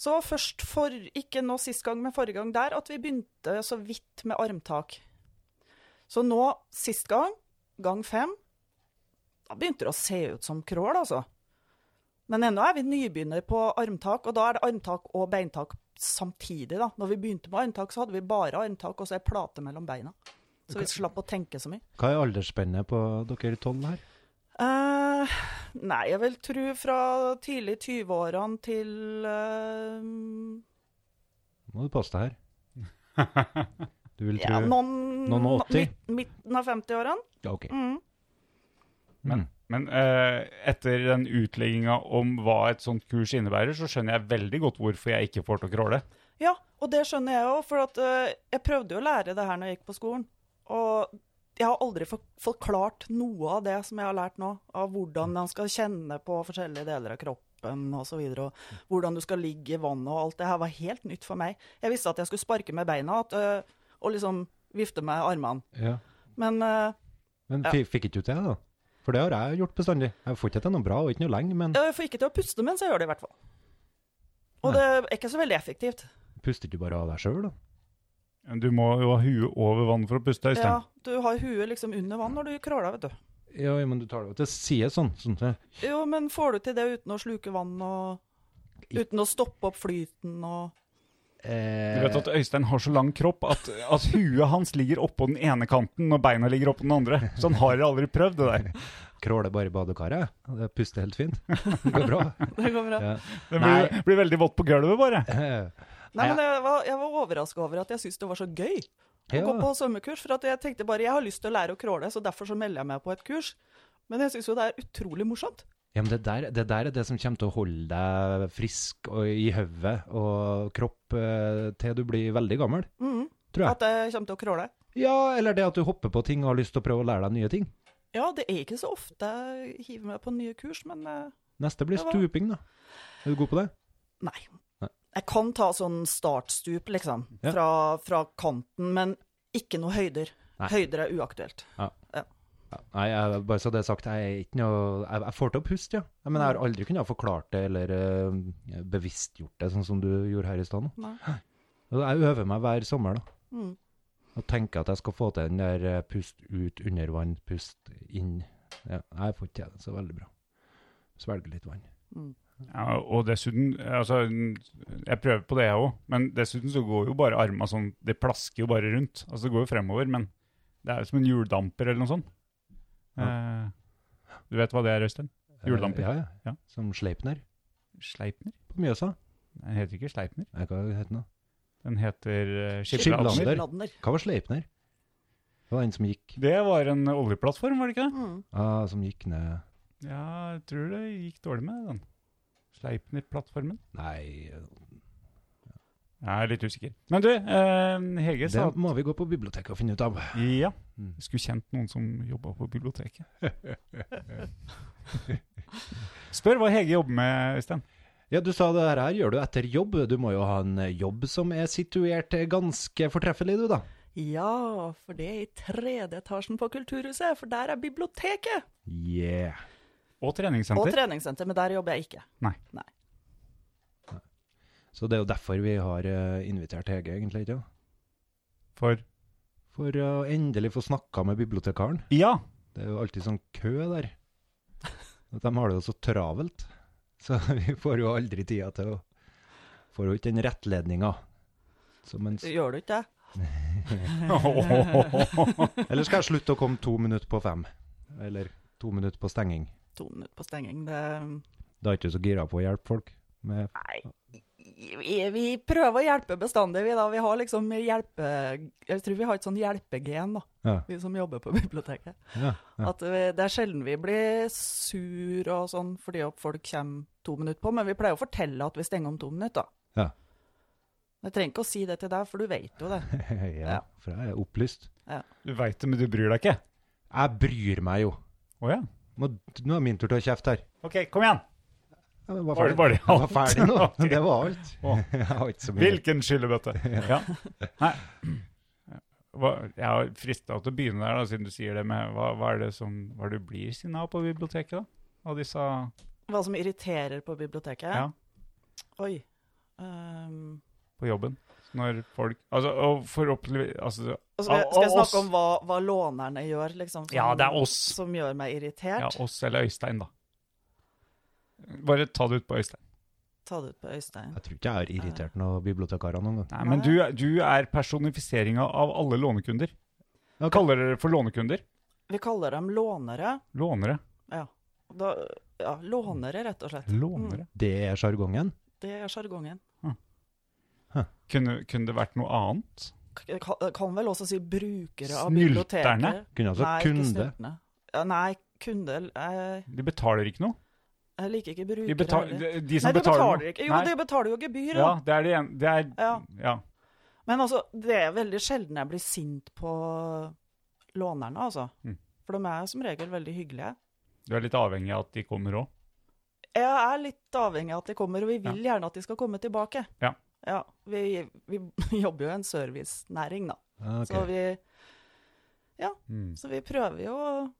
S2: Så først for, ikke nå sist gang, men forrige gang der, at vi begynte så vidt med armtak. Så nå, sist gang, gang fem, da begynte det å se ut som krål, altså. Men ennå er vi nybegynner på armtak, og da er det armtak og beintak samtidig, da. Når vi begynte med armtak, så hadde vi bare armtak, og så ei plate mellom beina. Så vi slapp å tenke så mye.
S5: Hva er aldersspennet på dere tolv her?
S2: Eh, nei, jeg vil tro fra tidlig 20-årene til eh,
S5: Må du passe *laughs* deg her. Du vil tro
S2: Ja, noen,
S5: noen og åtti?
S2: midt- Midten av 50-årene.
S5: Ja, ok.
S2: Mm.
S4: Men, men eh, etter den utlegginga om hva et sånt kurs innebærer, så skjønner jeg veldig godt hvorfor jeg ikke får til å crawle.
S2: Ja, og det skjønner jeg jo, for at, eh, jeg prøvde jo å lære det her når jeg gikk på skolen. Og jeg har aldri for- forklart noe av det som jeg har lært nå, av hvordan man skal kjenne på forskjellige deler av kroppen og så videre, og hvordan du skal ligge i vannet og alt det her var helt nytt for meg. Jeg visste at jeg skulle sparke med beina at, eh, og liksom vifte med armene.
S5: Ja.
S2: Men eh,
S5: Men fi- fikk ikke du til det, da? For det har jeg gjort bestandig. Jeg får ikke til noe bra, og ikke noe lenge, men
S2: jeg får ikke til å puste mens jeg gjør det, i hvert fall. Og det er ikke så veldig effektivt.
S5: puster du bare av deg sjøl, da?
S4: Du må jo ha huet over vann for å puste, Øystein.
S2: Ja, du har huet liksom under vann når du crawler, vet du.
S5: Ja, ja, men du tar det jo til side sånn. sånn at-
S2: Jo, men får du til det uten å sluke vann og Uten å stoppe opp flyten og
S5: eh,
S4: Du vet at Øystein har så lang kropp at, at huet hans ligger oppå den ene kanten og beina ligger oppå den andre. Så han har aldri prøvd det der.
S5: Kråler bare i badekaret, jeg. og det puster helt fint. Det går *laughs* bra.
S2: Det går bra.
S5: Ja.
S4: Det blir,
S5: Nei.
S4: blir veldig vått på gulvet, bare.
S5: Eh,
S2: Nei, men jeg var, jeg var overraska over at jeg syntes det var så gøy å
S5: Ja.
S2: gå på svømmekurs. For at jeg tenkte bare jeg har lyst til å lære å crawle, så derfor så melder jeg meg på et kurs. Men jeg syns jo det er utrolig morsomt.
S5: Ja, men det der, det der er det som kommer til å holde deg frisk og i hodet og kropp eh, til du blir veldig gammel,
S2: Mhm.
S5: tror jeg.
S2: At jeg kommer til å crawle.
S5: Ja, eller det at du hopper på ting og har lyst til å prøve å lære deg nye ting.
S2: Ja, det er ikke så ofte jeg hiver meg på nye kurs, men eh,
S5: Neste blir
S2: Det var-
S5: stuping, da. Er du god på det?
S2: Nei.
S5: Nei.
S2: Jeg kan ta sånn startstup, liksom,
S5: Ja.
S2: fra, fra kanten, men ikke noe høyder.
S5: Nei.
S2: Høyder er uaktuelt.
S5: Ja. Nei, jeg, bare så det er sagt, jeg er ikke noe Jeg, jeg får til å puste, ja. Men jeg har aldri kunnet ha forklart det eller eh, bevisstgjort det, sånn som du gjorde her i stad nå.
S2: Nei.
S5: Og Jeg øver meg hver sommer, da.
S2: Mm.
S5: Og tenker at jeg skal få til den der eh, pust ut under vann, pust inn. Ja, jeg får ikke til det så veldig bra. Svelge litt vann.
S2: Mm.
S4: Ja, og dessuten altså, Jeg prøver på det, jeg òg. Men dessuten så går jo bare arma sånn Det plasker jo bare rundt. Altså Det går jo fremover, men det er jo som en hjuldamper eller noe sånt. Eh, du vet hva det er, Øystein? Hjuldamper.
S5: Eh, Ja, ja.
S4: Ja.
S5: Som Sleipner
S4: Sleipner?
S5: på Mjøsa.
S4: Den heter ikke Sleipner.
S5: Nei, hva het den da?
S4: Den heter eh,
S5: Skibladner.
S4: Skibladner.
S2: Skibladner.
S5: Hva var Sleipner? Det var den som gikk,
S4: Det var en oljeplattform, var det ikke det?
S2: Mm.
S5: ah, som gikk ned
S4: Ja, jeg tror det gikk dårlig med den. Sleipner-plattformen.
S5: Nei,
S4: Jeg er litt usikker. Men du, eh, Hege
S5: det
S4: sa
S5: må vi gå på biblioteket og finne ut av.
S4: Ja.
S5: Mm.
S4: Jeg skulle kjent noen som jobba på biblioteket. Spør hva Hege jobber med, Øystein.
S5: Ja, du sa det her, her gjør du etter jobb. Du må jo ha en eh, jobb som er situert ganske fortreffelig, du da.
S2: Ja, for det er i tredje etasjen på Kulturhuset, for der er biblioteket.
S5: Yeah.
S4: Og
S2: Og
S4: treningssenter.
S2: treningssenter, men der jobber jeg ikke.
S5: Så det er jo derfor vi har eh, invitert Hege, egentlig, ikke? sant?
S4: For
S5: For å endelig få snakka med bibliotekaren.
S4: Ja! *laughs*
S5: Det er jo alltid sånn kø der. At de har det jo så travelt. Så *laughs* vi får jo aldri tida til å Får jo ikke den rettledninga. Så mens-
S2: Gjør du ikke det?
S5: *laughs* Eller skal jeg slutte å komme to minutter på fem? Eller to minutter på stenging?
S2: To minutter på stenging, det
S5: Da er ikke du så gira på å hjelpe folk. Med
S2: vi, vi prøver å hjelpe bestandig, vi da. Vi har liksom hjelpe... Jeg tror vi har et sånn hjelpegen, da,
S5: Ja.
S2: vi som jobber på biblioteket.
S5: ja, ja.
S2: At vi, det er sjelden vi blir sur og sånn fordi at folk kommer to minutter på, men vi pleier å fortelle at vi stenger om to minutter. da.
S5: Ja.
S2: Jeg trenger ikke å si det til deg, for du vet jo det.
S5: *laughs* ja, for jeg er opplyst.
S4: Du veit det, men du bryr deg ikke.
S5: Jeg bryr meg jo.
S4: Å ja.
S5: Nå, nå er min tur til å kjefte her.
S4: OK, kom igjen!
S5: Jeg
S4: Var det bare
S5: Jeg var
S4: alt?
S5: ferdig nå.
S4: *laughs* Ok.
S5: Det var alt.
S4: Å.
S5: Jeg har ikke så mye.
S4: Hvilken skyllebøtte! Ja. Nei. Hva, jeg har frista til å begynne der, da, siden du sier det med Hva, hva er det som Hva er det du blir sinna av på biblioteket, da? Av disse
S2: Hva som irriterer på biblioteket?
S4: Ja.
S2: Oi. Ehm,
S4: på jobben? Når folk Altså, og forhåpentlig altså,
S2: og skal,
S4: Av-
S2: skal jeg
S4: av oss.
S2: snakke om hva, hva lånerne gjør, liksom? Som,
S4: Ja, det er oss.
S2: Som gjør meg irritert?
S4: Ja, oss eller Øystein, da. Bare ta det ut på Øystein.
S2: Ta det ut på Øystein.
S5: Jeg tror ikke jeg har irritert noen bibliotekarer noen gang.
S4: Nei, men du, du er personifiseringa av alle lånekunder.
S5: Ok.
S4: Kaller dere det for lånekunder?
S2: Vi kaller dem lånere.
S4: Lånere.
S2: Ja. Og Da, ja, lånere, rett og slett.
S4: Lånere.
S5: Det er sjargongen.
S2: Det er sjargongen.
S4: Kunne, kunne det vært noe annet?
S2: K- ka- Kan vel også si brukere av
S4: Snylterne?
S2: biblioteket.
S5: Kunne altså
S2: Nei, ikke
S5: kunde.
S2: snyltende. Ja, nei, kunde jeg,
S4: De betaler ikke noe.
S2: jeg liker ikke brukere
S4: De, betal,
S2: heller.
S4: de, de
S2: Nei,
S4: som
S2: de
S4: betaler,
S2: betaler ikke. Jo,
S4: Nei.
S2: de betaler jo gebyr, da.
S4: Ja, det er det ene. Det er Ja.
S2: Ja. Men altså, det er veldig sjelden jeg blir sint på lånerne, altså.
S4: Mm.
S2: For de er som regel veldig hyggelige.
S4: Du er litt avhengig av at de kommer òg.
S2: Jeg er litt avhengig av at de kommer, og vi vil gjerne at de skal komme tilbake.
S4: Ja.
S2: Ja, vi, *laughs* vi jobber jo i en servicenæring, da.
S5: Ah, ok.
S2: Så, vi,
S4: Mm.
S2: så vi prøver jo å altså,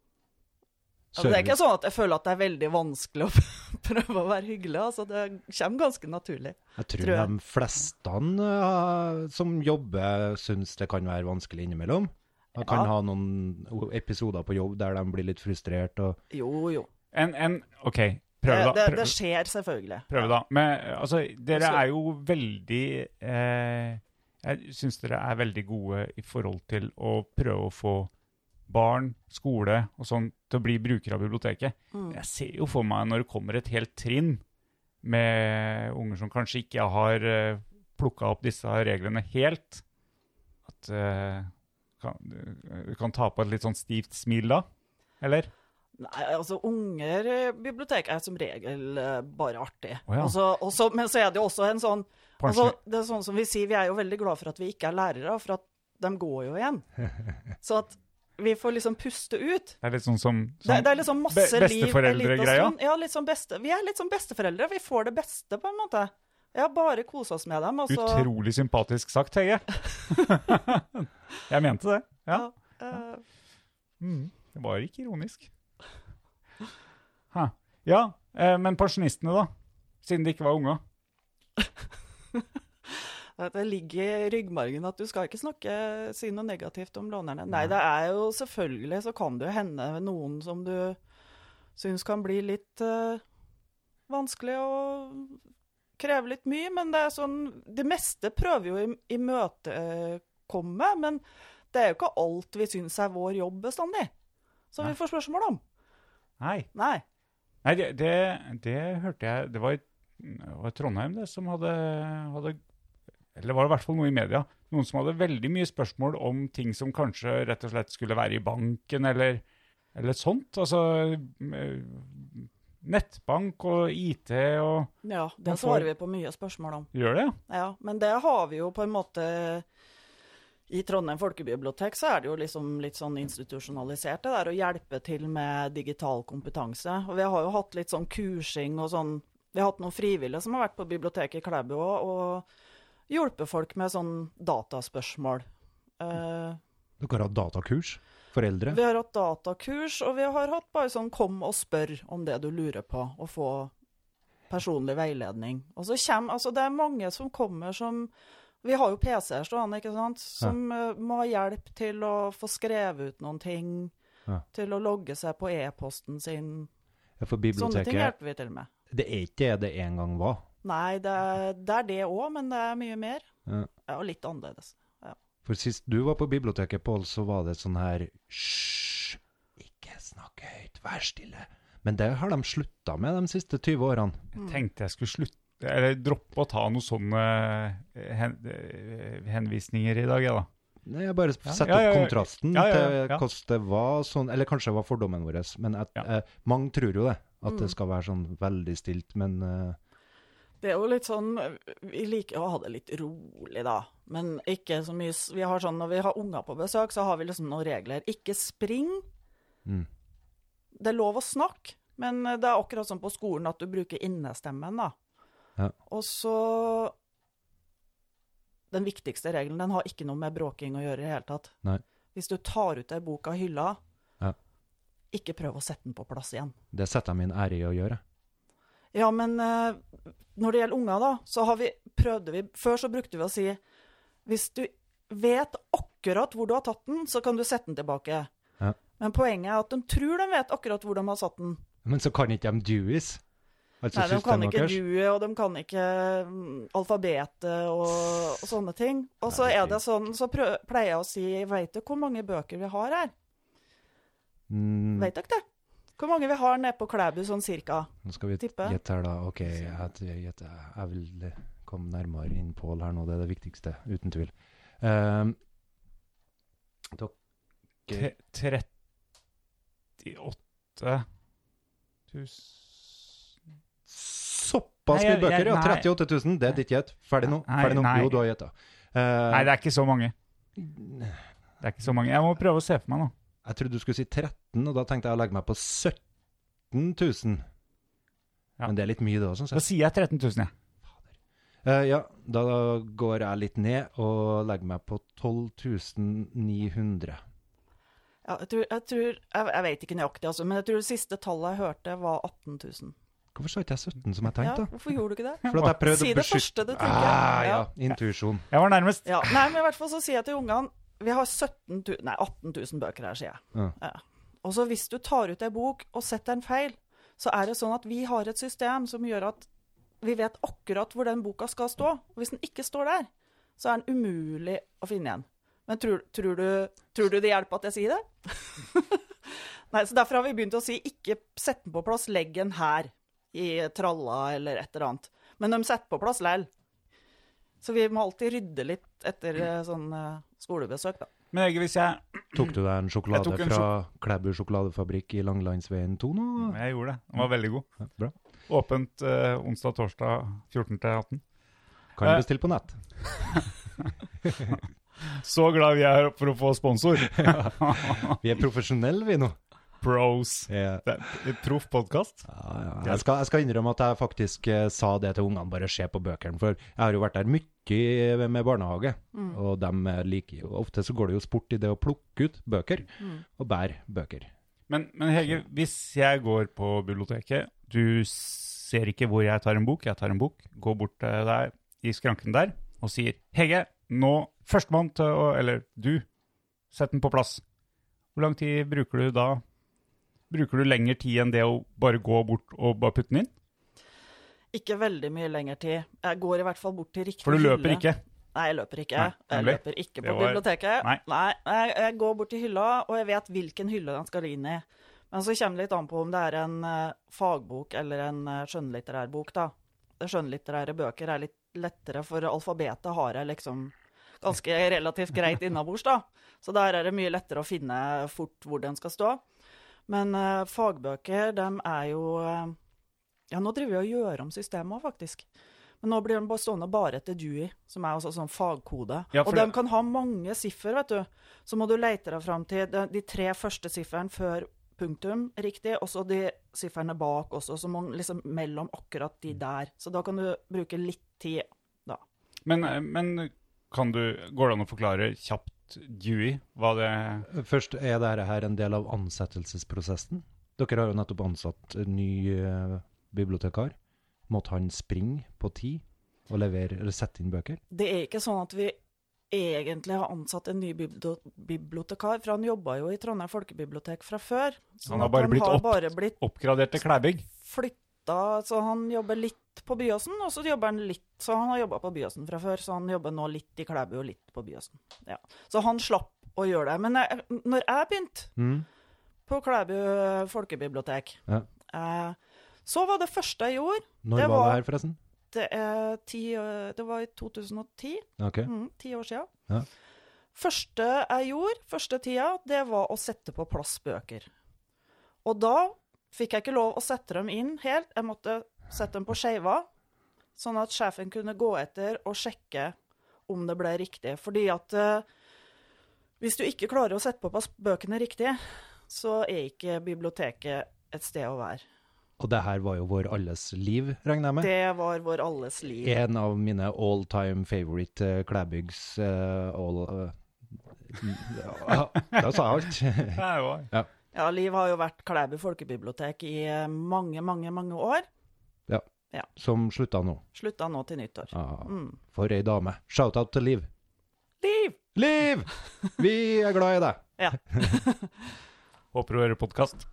S2: Det er
S5: Service.
S2: ikke sånn at jeg føler at det er veldig vanskelig å *laughs* prøve å være hyggelig. Altså, det kommer ganske naturlig.
S5: Jeg tror,
S2: tror jeg.
S5: de fleste eh, som jobber, syns det kan være vanskelig innimellom. Man kan
S2: Ja.
S5: ha noen o- episoder på jobb der de blir litt frustrert. Og,
S2: Jo, jo.
S4: En, en OK,
S2: Det,
S4: prøv, da.
S2: det, det
S4: Prøv,
S2: skjer selvfølgelig.
S4: prøv da. Men altså, dere
S2: Også-
S4: er jo veldig eh, Jeg syns dere er veldig gode i forhold til å prøve å få barn, skole og sånn til å bli brukere av biblioteket.
S2: Mm.
S4: Jeg ser jo for meg når det kommer et helt trinn med unger som kanskje ikke har uh, plukka opp disse reglene helt, at eh, kan, du kan ta på et litt sånn stivt smil da, eller?
S2: Nei, altså unger i bibliotek er som regel eh, bare artig.
S4: Å ja.
S2: Og så- og så- men så er det jo også en sånn
S4: Kanskje.
S2: altså, Det er sånn som vi sier, vi er jo veldig glad for at vi ikke er lærere, for at de går jo
S4: *laughs*
S2: igjen. Så at vi får liksom puste ut.
S4: Det er litt sånn som... som
S2: Det, det er liksom masse
S4: be-
S2: liv. en liten
S4: Besteforeldre-greia?
S2: stund. Ja, litt sånn beste, vi er litt som besteforeldre. Vi får det beste, på en måte. Ja, bare kose oss med dem. Og så,
S4: Utrolig sympatisk sagt, Hege. jeg mente det. Ja.
S2: eh,
S4: Mm. Det var ikke ironisk. Hæ. Ja, eh, men pensjonistene da, siden de ikke var unga.
S2: At Det ligger i ryggmargen at du skal ikke snakke, si noe negativt om lånerne. Nei, det er jo selvfølgelig så kan det jo hende noen som du syns kan bli litt eh, vanskelig og krever litt mye, men det er sånn Det meste prøver jo å im- imøtekomme, eh, men det er jo ikke alt vi syns er vår jobb bestandig. Som
S4: Nei.
S2: vi får spørsmål om.
S4: Nei.
S2: Nei.
S4: Nei, det, det, det hørte jeg Det var, i- det var i Trondheim det som hadde, hadde Eller var det i hvert fall noe i media. Noen som hadde veldig mye spørsmål om ting som kanskje rett og slett skulle være i banken, eller, eller sånt. Altså eh, nettbank og IT og
S2: Ja, det
S4: Man får-
S2: svarer vi på mye spørsmål om.
S4: Gjør det, ja?
S2: Ja, men det har vi jo på en måte I Trondheim folkebibliotek så er det jo liksom litt sånn institusjonalisert det der å hjelpe til med digital kompetanse. Og vi har jo hatt litt sånn kursing og sånn Vi har hatt noen frivillige som har vært på biblioteket i Klæbu òg, og hjulpet folk med sånn dataspørsmål. Eh,
S5: Dere har datakurs for eldre?
S2: vi har hatt datakurs, og vi har hatt bare sånn kom og spør om det du lurer på, og få personlig veiledning. Og så kommer, altså det er mange som kommer som Vi har jo PC-er stående, ikke sant, som eh, må ha hjelp til å få skrevet ut noen ting.
S5: Ja.
S2: Til å logge seg på e-posten sin.
S5: Ja, For
S2: Sånne ting
S5: biblioteket
S2: hjelper vi til med.
S5: Det er ikke det det en gang var.
S2: Nei, det er det, er det òg, men det er mye mer.
S5: Ja.
S2: Ja, og litt annerledes.
S5: For sist du var på biblioteket, Pål, så var det sånn her Hysj, ikke snakk høyt, vær stille. Men det har de slutta med de siste 20 årene.
S4: Jeg tenkte jeg skulle slutte eller droppe å ta noen sånne eh, hen, eh, henvisninger i dag, jeg, da.
S5: Nei, Jeg bare setter
S4: ja, ja,
S5: opp
S4: ja.
S5: kontrasten
S4: Ja, ja, ja,
S5: til
S4: ja.
S5: hvordan det var sånn Eller kanskje det var fordommen vår, men at,
S4: Ja.
S5: eh, mange tror jo det. At
S2: Mm.
S5: det skal være sånn veldig stilt, men eh,
S2: Det er jo litt sånn Vi liker å ha det litt rolig, da. Men ikke så mye s- Vi har sånn når vi har unger på besøk, så har vi liksom noen regler. Ikke spring.
S5: Mm.
S2: Det er lov å snakke, men det er akkurat sånn på skolen at du bruker innestemmen, da.
S5: Ja.
S2: Og så Den viktigste regelen, den har ikke noe med bråking å gjøre i det hele tatt.
S5: Nei.
S2: Hvis du tar ut ei bok av hylla,
S5: Ja.
S2: ikke prøv å sette den på plass igjen.
S5: det setter jeg min ære i å gjøre.
S2: Ja, men eh, når det gjelder unger, da, så har vi, prøvde vi Før så brukte vi å si Hvis du vet akkurat hvor du har tatt den, så kan du sette den tilbake.
S5: Ja.
S2: Men poenget er at de tror de vet akkurat hvor de har satt den.
S5: Men så kan ikke de duis. Altså
S2: Nei, de kan
S5: systemet
S2: ikke
S5: deres.
S2: duet, og de kan ikke mm, alfabetet og, og sånne ting. Og så
S5: Nei,
S2: er det sånn, så prø pleier jeg å si Veit du hvor mange bøker vi har her?
S5: Mm,
S2: Veit dere det? Hvor mange vi har nede på Klæbu sånn cirka?
S5: nå skal vi
S2: tippe.
S5: gjette her, da. OK, jeg, jeg, jeg, jeg vil eh, komme nærmere inn Pål her nå. Det er det viktigste, uten tvil. Ehm,
S4: Tre- 38 000 Nei,
S5: Såpass mye
S4: jeg- jeg-
S5: bøker, ja.
S4: nei.
S5: 38 000. Det er ditt gjett. Ferdig nå.
S4: Nei,
S5: Ferdig nå.
S4: nei.
S5: Jo, du har Ehm, gjetta.
S4: Nei, det er ikke så mange. Det er ikke så mange. Jeg må prøve å se for meg, da.
S5: Jeg trodde du skulle si 13, og da tenkte jeg å legge meg på 17 000.
S4: Ja.
S5: Men det er litt mye, det òg, syns
S4: Da
S5: jeg.
S4: sier jeg 13 000, jeg.
S5: Eh, ja, da går jeg litt ned og legger meg på 12 900.
S2: Ja, jeg tror, jeg, tror jeg, jeg vet ikke nøyaktig, altså, men jeg tror det siste tallet jeg hørte, var 18 000.
S5: Hvorfor sa ikke jeg 17 som jeg
S2: Ja,
S5: tenkte? da?
S2: hvorfor gjorde du ikke det?
S5: For at jeg prøvde
S2: Si
S5: å
S2: det
S5: beskytte
S2: første du tenker.
S5: ah, ja.
S2: Ja.
S5: Intuisjon.
S4: Jeg var nærmest.
S2: Ja. Nei, men i hvert fall så sier jeg til ungene Vi har 17 000, nei, 18 000 bøker her, sier jeg.
S5: Ja.
S2: Og så hvis du tar ut ei bok og setter en feil, så er det sånn at vi har et system som gjør at vi vet akkurat hvor den boka skal stå. Og hvis den ikke står der, så er den umulig å finne igjen. Men tror, tror, du, tror du det hjelper at jeg sier det? *laughs* Nei, så derfor har vi begynt å si ikke sett den på plass, legg den her i tralla eller et eller annet. Men de setter på plass lell. Så vi må alltid rydde litt etter eh, sånn eh, skolebesøk, da.
S4: Men Egil, hvis jeg
S5: Tok du deg en sjokolade
S4: Jeg tok en
S5: fra Klæbu sjokoladefabrikk i Langlandsveien 2 nå?
S4: Jeg gjorde det. Den var veldig god.
S5: Ja, bra.
S4: Åpent eh, onsdag, torsdag 14 til 18.
S5: Kan
S4: Eh,
S5: bestille på nett.
S4: Så glad vi er for å få sponsor.
S5: Vi er profesjonelle, vi nå.
S4: Pros.
S5: Ja.
S4: Det er et Proff podkast.
S5: Ja, ja. Jeg, skal, jeg skal innrømme at jeg faktisk eh, sa det til ungene, bare se på bøkene. For jeg har jo vært der mye med barnehage,
S2: Mm.
S5: og de liker jo Ofte så går det jo sport i det å plukke ut bøker,
S2: Mm.
S5: og bære bøker.
S4: Men, men Hege, hvis jeg går på biblioteket, du ser ikke hvor jeg tar en bok, jeg tar en bok, går bort til deg i skranken der og sier Hege, nå førstemann til å Eller du, sett den på plass. Hvor lang tid bruker du da? Bruker du lengre tid enn det å bare gå bort og bare putte den inn?
S2: Ikke veldig mye lenger tid. Jeg går i hvert fall bort til riktig
S4: For du løper
S2: hylle.
S4: ikke.
S2: Nei, jeg løper ikke.
S4: Nei,
S2: jeg
S4: nemlig.
S2: løper ikke
S4: Det
S2: på
S4: var-
S2: biblioteket.
S4: Nei.
S2: jeg, jeg går bort til hylla, og jeg vet hvilken hylle den skal inn i. Men så kommer det litt an på om det er en eh, fagbok eller en eh, skjønnlitterær bok, da. Skjønnlitterære bøker er litt lettere, for alfabetet har jeg liksom ganske relativt greit innabords, da. Så der er det mye lettere å finne fort hvor den skal stå. Men eh, fagbøker, dem er jo eh, Ja, nå driver vi og gjør om systemet òg, faktisk. Men nå blir de bare stående bare etter Dewey, som er også sånn fagkode.
S4: Ja, for
S2: og de
S4: det-
S2: kan ha mange siffer, vet du. Så må du leite deg fram til de, de tre første sifferne før punktum, riktig, og så de sifferne bak også, så må man liksom mellom akkurat
S4: Mm.
S2: de der. Så da kan du bruke litt tid, da.
S4: Men, men kan du, går det an å forklare kjapt Dewey hva det
S5: Først, er dette her en del av ansettelsesprosessen? Dere har jo nettopp ansatt en ny eh, bibliotekar. Måtte han springe på tid og levere, eller sette inn bøker?
S2: Det er ikke sånn at vi egentlig har ansatt en ny bibli- bibliotekar, for han jobba jo i Trondheim folkebibliotek fra før. Sånn
S4: Han har
S2: at
S4: bare blitt
S2: har
S4: opp-
S2: bare blitt
S4: Oppgraderte Klæbygg?
S2: flytta, så han jobber litt på Byåsen, og så jobber han litt Så han har jobba på Byåsen fra før, så han jobber nå litt i Klæbu og litt på Byåsen. Ja. Så han slapp å gjøre det. Men jeg, når jeg begynte
S5: Mm.
S2: på Klæbu folkebibliotek,
S5: Ja.
S2: eh, så var det første jeg gjorde
S5: Når var
S2: Det
S5: det
S2: var-
S5: her, forresten?
S2: det, er ti, eh, det var i 2010.
S5: Ok.
S2: Mm, ti år siden.
S5: Ja.
S2: Første jeg gjorde, første tida, det var å sette på plass bøker. Og da fikk jeg ikke lov å sette dem inn helt. Jeg måtte sette dem på skeiva, sånn at sjefen kunne gå etter og sjekke om det ble riktig. Fordi at eh, hvis du ikke klarer å sette på plass bøkene riktig, så er ikke biblioteket et sted å være.
S5: Og det her var jo vår alles liv, regner jeg med?
S2: Det var vår alles liv.
S5: En av mine all time favorite eh, Klæbyggs eh, all... eh, ja, da sa jeg alt. *laughs*
S4: Det er jo-
S2: Ja, Liv har jo vært Klæbu folkebibliotek i eh, mange, mange, mange år.
S5: Som slutta nå.
S2: Slutta nå til nyttår.
S5: Ah,
S2: Mm.
S5: for ei dame. Shout-out til Liv.
S2: Liv!
S5: Liv! Vi er glad i deg.
S2: Ja.
S4: Håper du hører podkast.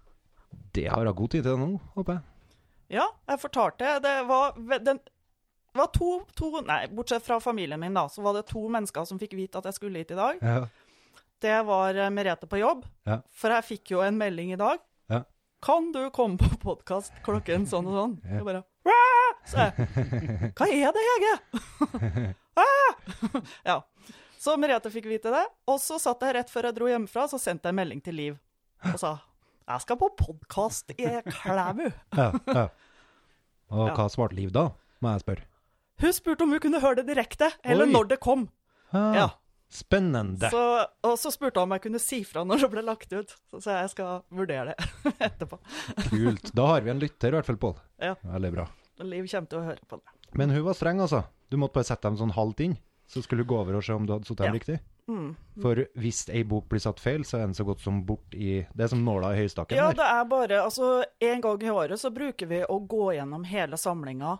S5: Det har hun god tid til nå, håper jeg.
S2: ja, jeg fortalte. Det var, ve- den, det var to, to Nei, bortsett fra familien min, da, så var det to mennesker som fikk vite at jeg skulle hit i dag.
S5: Ja.
S2: Det var eh, Merete på jobb,
S5: Ja.
S2: for jeg fikk jo en melding i dag.
S5: Ja.
S2: Kan du komme på podkast klokken sånn og sånn? Jeg bare «Hva?» Så jeg, Hva er det, Hege? *laughs* «Hva?» ja. Så Merete fikk vite det. Og så satt jeg rett før jeg dro hjemmefra, så sendte jeg en melding til Liv og sa jeg skal på podkast i Klæbu.
S5: Ja, ja. Og
S2: Ja.
S5: hva svarte Liv da, må jeg spørre.
S2: Hun spurte om hun kunne høre det direkte, eller
S5: Oi.
S2: når det kom.
S5: Ah,
S2: Ja.
S5: Spennende.
S2: Så, og så spurte hun om jeg kunne si fra når det ble lagt ut. Så sa jeg jeg skal vurdere det *laughs* etterpå.
S5: Kult. Da har vi en lytter, i hvert fall, Pål.
S2: Ja.
S5: Veldig bra.
S2: Liv kommer til å høre på det.
S5: Men hun var streng, altså. Du måtte bare sette dem sånn halvt inn, så skulle du gå over og se om du hadde satt dem
S2: Ja. Mm.
S5: riktig. For hvis ei bok blir satt feil, så er den så godt som bort i Det er som nåla i høystakken
S2: Ja,
S5: der.
S2: det er bare Altså, en gang i året så bruker vi å gå gjennom hele samlinga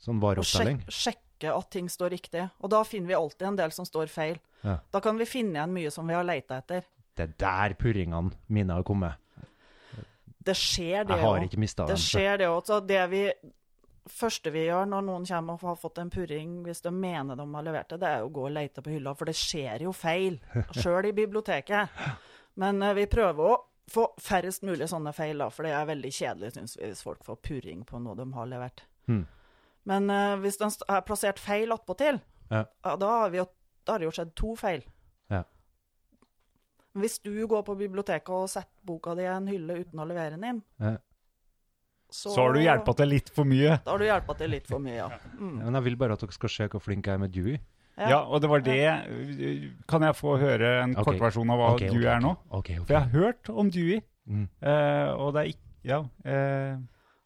S5: Sånn
S2: og
S5: vareopptelling.
S2: sjek sjekke at ting står riktig. Og da finner vi alltid en del som står feil.
S5: Ja.
S2: Da kan vi finne igjen mye som vi har leita etter.
S5: Det er der purringene mine har kommet.
S2: Det skjer, det
S5: Jeg har
S2: også.
S5: ikke mista
S2: Det
S5: dem.
S2: skjer, det òg. Så det vi første vi gjør når noen kommer og har fått en purring, hvis de mener de har levert det, det er jo å gå og lete på hylla, for det skjer jo
S5: *laughs*
S2: feil. Sjøl i biblioteket. Men eh, vi prøver å få færrest mulig sånne feil, da, for det er veldig kjedelig, syns vi, hvis folk får purring på noe de har levert.
S5: Mm.
S2: Men eh, hvis den st- er plassert feil attpåtil,
S5: Ja.
S2: ja, da, har vi jo, da har det jo skjedd to feil.
S5: Ja.
S2: Hvis du går på biblioteket og setter boka di i en hylle uten å levere den inn,
S5: Ja.
S4: Så har du hjelpa til litt for mye.
S2: da har du hjelpa til litt for mye, ja.
S5: Men jeg vil bare at dere skal se hvor flink jeg er med Dewey.
S2: Ja.
S4: Ja, og det var det Kan jeg få høre en
S5: Ok.
S4: kortversjon av hva
S5: Ok,
S4: Dewey
S5: ok,
S4: er nå?
S5: Ok, ok.
S4: For jeg har hørt om Dewey,
S5: Mm.
S4: eh, og det er ikke Ja. eh,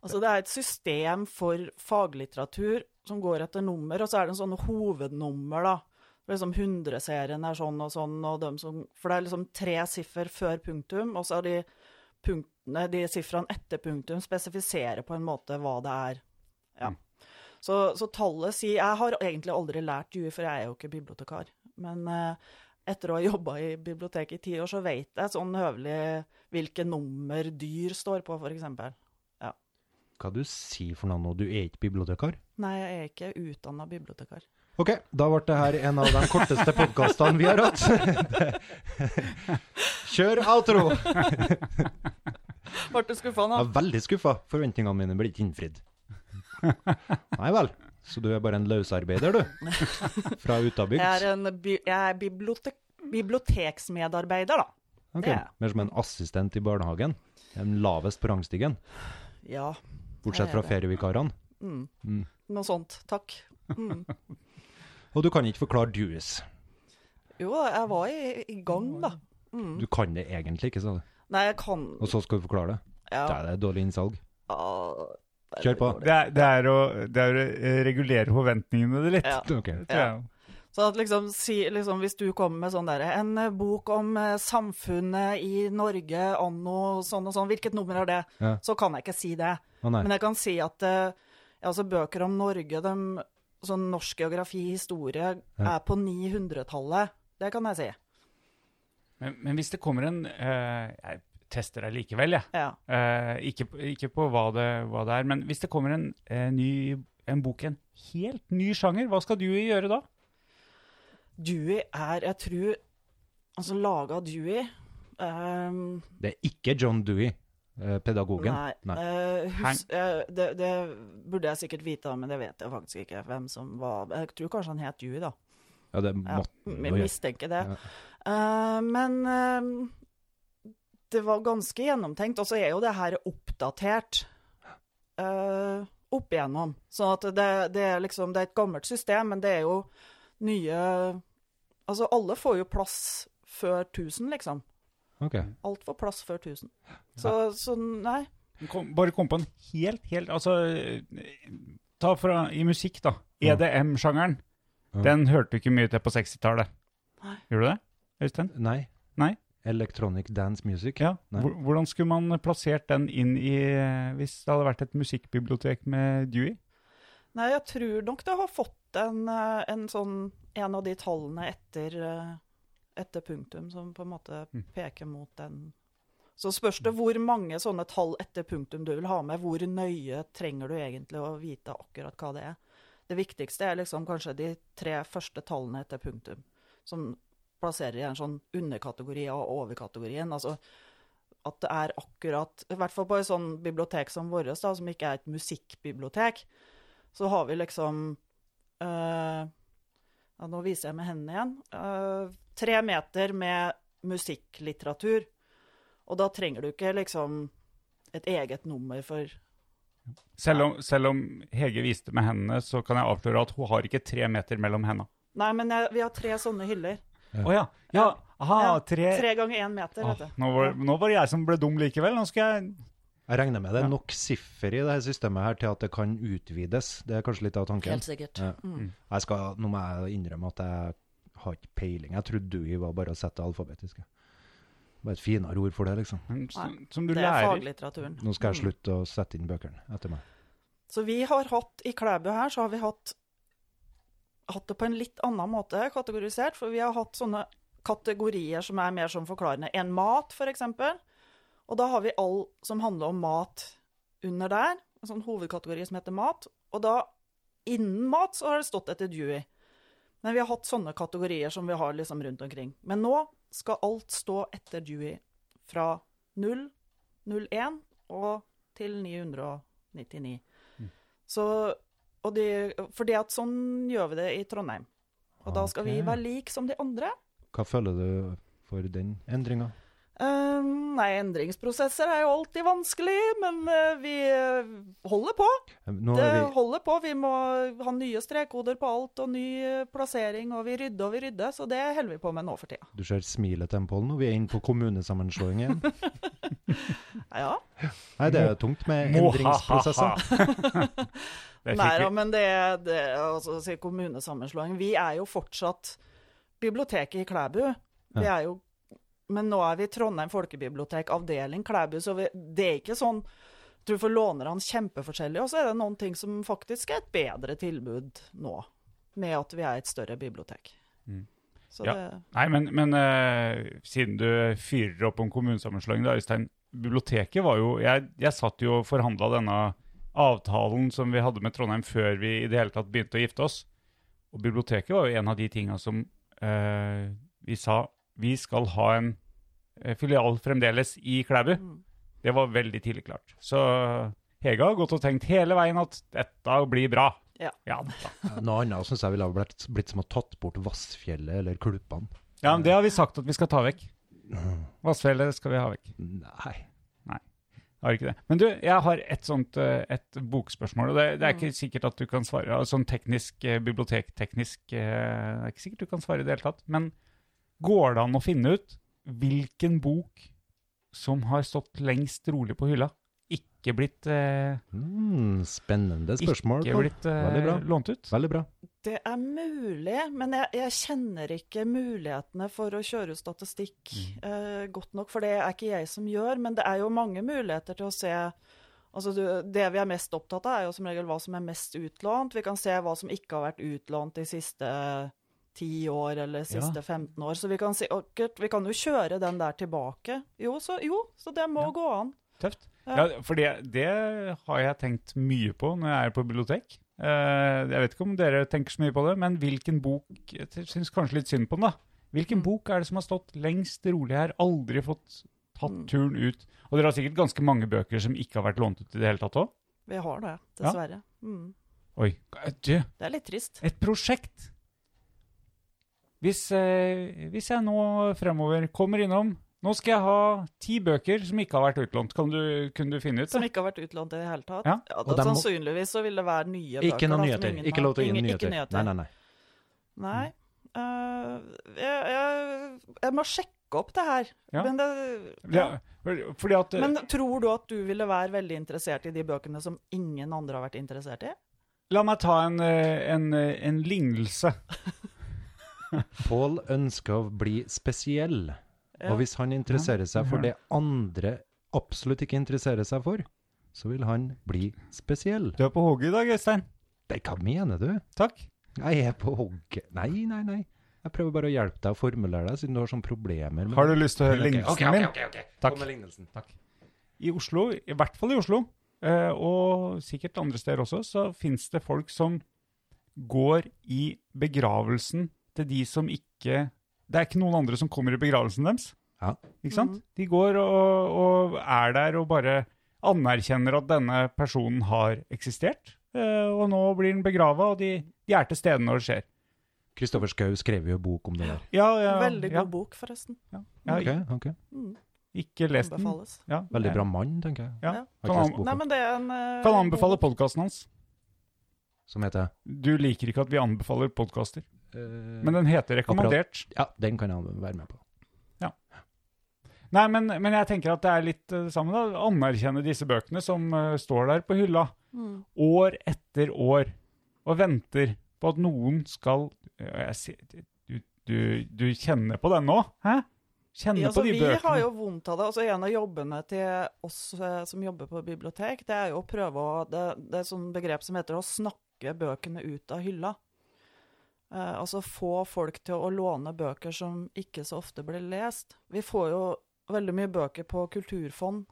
S2: Altså, det er et system for faglitteratur som går etter nummer, og så er det en sånn hovednummer, da. Det er Liksom 100-serien er sånn og sånn, og dem som For det er liksom tre siffer før punktum, og så er de punktene, de sifrene etter punktum, spesifiserer på en måte hva det er. Ja. Så, så tallet sier Jeg har egentlig aldri lært Dewey, for jeg er jo ikke bibliotekar. Men eh, etter å ha jobba i biblioteket i ti år, så vet jeg sånn høvelig hvilke nummer dyr står på, f.eks.
S5: hva du sier for noe nå? Du er ikke bibliotekar?
S2: Nei, jeg er ikke utdanna bibliotekar.
S5: Ok, da ble det her en av de korteste podkastene vi har hatt. Kjør outro! Jeg
S2: Ble du skuffa nå?
S5: er veldig skuffa. Forventningene mine blir ikke innfridd. Nei vel. Så du er bare en løsarbeider, du? Fra
S2: Jeg er,
S5: utabygd?
S2: en bi jeg er bibliotek biblioteksmedarbeider, da.
S5: Ok,
S2: det er jeg.
S5: Mer som en assistent i barnehagen. Den lavest på rangstigen.
S2: Ja,
S5: Bortsett fra ferievikarene.
S2: noe sånt. Takk. Mm.
S5: Og du kan ikke forklare juice.
S2: Jo, jeg var i, i gang, da.
S5: Du kan det egentlig ikke, sa du.
S2: Nei, jeg kan
S5: Og så skal du forklare det. Det
S2: ja.
S5: er det dårlig innsalg.
S2: ah,
S5: Kjør på.
S4: Det er, det, er å, det er å eh, regulere forventningene det litt.
S2: ja.
S5: Ok.
S4: Det tror jeg.
S2: Så at liksom, si, liksom, hvis du kommer med sånn der, en eh, bok om eh, samfunnet i Norge anno sånn og sånn, hvilket nummer er det?
S5: Ja.
S2: Så kan jeg ikke si det.
S5: Å nei.
S2: Men jeg kan si at eh, altså, bøker om Norge, dem- sånn norsk geografi, historie, er på 900-tallet. Det kan jeg si.
S4: Men, men hvis det kommer en eh, Jeg tester deg likevel, jeg.
S2: Ja.
S4: Eh, ikke, ikke på hva det, hva det er, men hvis det kommer en, eh, ny en bok i en helt ny sjanger, hva skal du gjøre da?
S2: Dewey er, jeg tror, altså laga Dewey ehm,
S5: Det er ikke John Dewey, eh, pedagogen.
S2: Nei.
S5: Nei.
S2: eh, hus, eh, det, det burde jeg sikkert vite, men det vet jeg faktisk ikke hvem som var Jeg tror kanskje han het Dewey, da.
S5: Ja, det
S2: Ja,
S5: måtte han jo
S2: jeg
S5: gjøre.
S2: mistenker det. Eh, men eh, det var ganske gjennomtenkt. Og så er jo det her oppdatert eh, opp igjennom. Så at det, det er liksom Det er et gammelt system, men det er jo nye Altså, alle får jo plass før 1000, liksom.
S5: Ok.
S2: Alt får plass før 1000. Så, så nei.
S4: Kom, bare kom på en helt, helt Altså, eh, ta fra i musikk, da. EDM-sjangeren.
S5: Ja.
S4: Den hørte du ikke mye til på 60-tallet. Gjorde du det, Øystein?
S5: Nei.
S4: Nei?
S5: Electronic dance music.
S4: Ja.
S5: Nei.
S4: Hvor- Hvordan skulle man plassert den inn i eh, Hvis det hadde vært et musikkbibliotek med Dewey?
S2: Nei, jeg tror nok det har fått en, eh, en sånn En av de tallene etter, eh, etter punktum som på en måte peker mot den. Så spørs det hvor mange sånne tall etter punktum du vil ha med. Hvor nøye trenger du egentlig å vite akkurat hva det er? Det viktigste er liksom kanskje de tre første tallene etter punktum, som plasserer i en sånn underkategori av overkategorien. Altså at det er akkurat I hvert fall på et sånn bibliotek som vårt, da, som ikke er et musikkbibliotek, så har vi liksom eh, ja, Nå viser jeg med hendene igjen. eh, tre meter med musikklitteratur. Og da trenger du ikke liksom et eget nummer for
S4: Selv om, selv om Hege viste med hendene, så kan jeg avsløre at hun har ikke tre meter mellom hendene.
S2: Nei, men jeg, vi har tre sånne hyller.
S4: Å ja. ja. Aha,
S5: Ah,
S2: Ja,
S4: tre,
S2: Tre ganger én meter,
S4: Ah,
S2: vet du.
S4: nå, var, nå var det jeg som ble dum likevel. Nå skal jeg
S5: Jeg regner med det
S4: Ja.
S5: er nok siffer i det her systemet her til at det kan utvides. Det er kanskje litt av tanken.
S2: Helt sikkert.
S5: Ja.
S2: Mm.
S5: Jeg skal, nå må jeg innrømme at jeg har ikke peiling. Jeg trodde Dewey var bare å sette det alfabetisk. jeg. Bare et finere ord for det, liksom.
S4: Men som,
S2: Nei,
S4: som du
S2: Det er
S4: lærer
S2: faglitteraturen. Mm.
S5: Nå skal jeg slutte å sette inn bøkene etter meg.
S2: Så vi har hatt, i Klæbu her, så har vi hatt, hatt det på en litt annen måte kategorisert, for vi har hatt sånne kategorier som er mer som forklarende. En mat, for eksempel, og da har vi all som handler om mat under der, en sånn hovedkategori som heter mat, og da innen mat så har det stått etter Dewey. Men vi har hatt sånne kategorier som vi har liksom rundt omkring. Men nå skal alt stå etter Dewey fra 0, 01 og til 999. Så, og de, fordi at sånn gjør vi det i Trondheim. Og da skal vi
S5: Ok.
S2: være lik som de andre.
S5: Hva føler du for den endringa?
S2: Ehm, nei, endringsprosesser er jo alltid vanskelig, men eh, vi eh, holder på.
S5: Nå
S2: Det
S5: er vi
S2: holder på. Vi må ha nye strekkoder på alt, og ny eh, plassering, og vi rydder og vi rydder. Så det holder vi på med nå for tida.
S5: Du ser smilet til Pollen, og vi er inne på kommunesammenslåing
S2: *laughs*
S5: igjen.
S2: Ja.
S5: Nei, det er tungt med endringsprosesser.
S4: det
S2: Nei
S4: fikk
S2: da,
S4: vi.
S2: men det, det altså, si kommunesammenslåing Vi er jo fortsatt biblioteket i Klæbu. Vi er jo Men nå er vi Trondheim folkebibliotek, avdeling Klæbu, så vi, det er ikke sånn jeg tror for lånerne kjempeforskjellige, og så er det noen ting som faktisk er et bedre tilbud nå, med at vi er et større bibliotek. Så
S4: Mm. Ja.
S2: det
S4: Nei, men, men eh, siden du fyrer opp om kommunesammenslåing, da, Øystein. Biblioteket var jo Jeg, jeg satt jo og forhandla denne avtalen som vi hadde med Trondheim før vi i det hele tatt begynte å gifte oss. Og biblioteket var jo en av de tinga som eh, vi sa vi skal ha en eh, filial fremdeles i Klæbu. Det var veldig tidlig klart. Så Hege har gått og tenkt hele veien at dette blir bra.
S2: Ja.
S4: da.
S5: Noe annet syns jeg ville ha blitt, blitt som å tatt bort Vassfjellet eller Kluppene.
S4: ja, men det har vi sagt at vi skal ta vekk. Vassfjellet skal vi ha vekk.
S5: Nei.
S4: Har ikke det. Men du, jeg har et sånt eh, et bokspørsmål, og det, det er ikke sikkert at du kan svare. ja, Sånn teknisk, eh, bibliotekteknisk eh, Det er ikke sikkert du kan svare i det hele tatt. Men går det an å finne ut hvilken bok som har stått lengst rolig på hylla? Ikke blitt, eh,
S5: Mm, spennende spørsmål.
S4: ikke
S5: Pål.
S4: blitt eh,
S5: Veldig bra.
S4: lånt ut?
S5: Veldig bra.
S2: Det er mulig, men jeg, jeg kjenner ikke mulighetene for å kjøre statistikk eh, godt nok, for det er ikke jeg som gjør. Men det er jo mange muligheter til å se altså du, Det vi er mest opptatt av, er jo som regel hva som er mest utlånt. Vi kan se hva som ikke har vært utlånt de siste ti år eller siste 15 år. Så vi kan, si, og, Kurt, vi kan jo kjøre den der tilbake. Jo, så, jo, så det må gå an.
S4: Tøft. Ja,
S2: Ja.
S4: for det, det har jeg tenkt mye på når jeg er på bibliotek. Eh, jeg vet ikke om dere tenker så mye på det, men hvilken bok Jeg syns kanskje litt synd på den, da.
S2: Mm.
S4: Hvilken bok er det som har stått lengst rolig her, aldri fått tatt
S2: Mm.
S4: turen ut? Og dere har sikkert ganske mange bøker som ikke har vært lånt ut i det hele tatt òg?
S2: Vi har det,
S4: Ja.
S2: dessverre. Mm.
S4: Oi. Du,
S2: Det er litt trist.
S4: et prosjekt! Hvis, eh, hvis jeg nå fremover kommer innom Nå skal jeg ha ti bøker som ikke har vært utlånt. Kan du, kunne du finne ut
S2: Som
S4: det?
S2: ikke har vært utlånt i det hele tatt?
S4: Ja.
S2: Ja.
S5: Og
S2: da,
S5: dem må-
S2: sannsynligvis så vil det være nye bøker.
S5: Ikke noen
S2: da, som
S5: nyheter.
S2: ingen
S5: Ikke
S2: har-
S5: lov til å gi
S2: ingen-
S5: nyheter.
S2: Ikke nyheter.
S5: Nei, nei, nei.
S2: Nei. Eh, jeg, jeg, jeg må sjekke opp det her.
S4: Ja.
S2: Men, det,
S4: Ja, for- fordi at eh,
S2: men tror du at du ville være veldig interessert i de bøkene som ingen andre har vært interessert i?
S4: La meg ta en, eh, en, eh, en lignelse.
S5: Pål ønsker å bli spesiell. Og hvis han interesserer seg for det andre absolutt ikke interesserer seg for, så vil han bli spesiell.
S4: Du er på hogget i dag, Øystein.
S5: Nei, hva mener du?
S4: Takk.
S5: Jeg er på hogget. Nei, nei, nei. Jeg prøver bare å hjelpe deg å formulere deg, siden du har sånne problemer med
S4: Har du lyst til å høre lignelsen min? Takk.
S5: Kom med lignelsen.
S4: I Oslo, i hvert fall i Oslo, eh, og sikkert andre steder også, så fins det folk som går i begravelsen til de som ikke Det er ikke noen andre som kommer i begravelsen deres.
S5: Ja.
S4: Ikke sant? De går og, og er der og bare anerkjenner at denne personen har eksistert. eh, Og nå blir den begrava, og de, de er til stede når det skjer.
S5: Kristoffer Schou skrev jo bok om det der.
S4: Ja, ja,
S2: Veldig
S4: ja.
S2: god bok, forresten.
S4: Ja. Jeg har
S5: Ok, ok.
S4: ikke lest den.
S2: Anbefales.
S4: Ja,
S5: Veldig
S4: jeg-
S5: bra mann, tenker jeg,
S4: Ja.
S5: Har
S2: Ja.
S5: ikke
S4: Kan,
S5: lest
S4: an
S5: boka.
S2: Nei, men det er en eh,
S4: kan
S2: god
S4: anbefale
S2: bok.
S4: podkasten hans.
S5: som heter
S4: Du liker ikke at vi anbefaler podkaster,
S5: eh,
S4: men den heter Rekommandert.
S5: Ja, den kan han være med på.
S4: Nei, men, men jeg tenker at det er litt eh, det samme, da. Anerkjenne disse bøkene som eh, står der på hylla
S2: Mm.
S4: år etter år og venter på at noen skal Ja, jeg, sier- du, du, du kjenner på den nå? Hæ? Kjenner
S2: Ja, altså,
S4: på de
S2: vi
S4: bøkene.
S2: har jo vondt av det. Altså, en av jobbene til oss eh, som jobber på bibliotek, det er jo å prøve å Det, det er et sånt begrep som heter å snakke bøkene ut av hylla. Eh, altså få folk til å låne bøker som ikke så ofte blir lest. Vi får jo veldig mye bøker på kulturfond,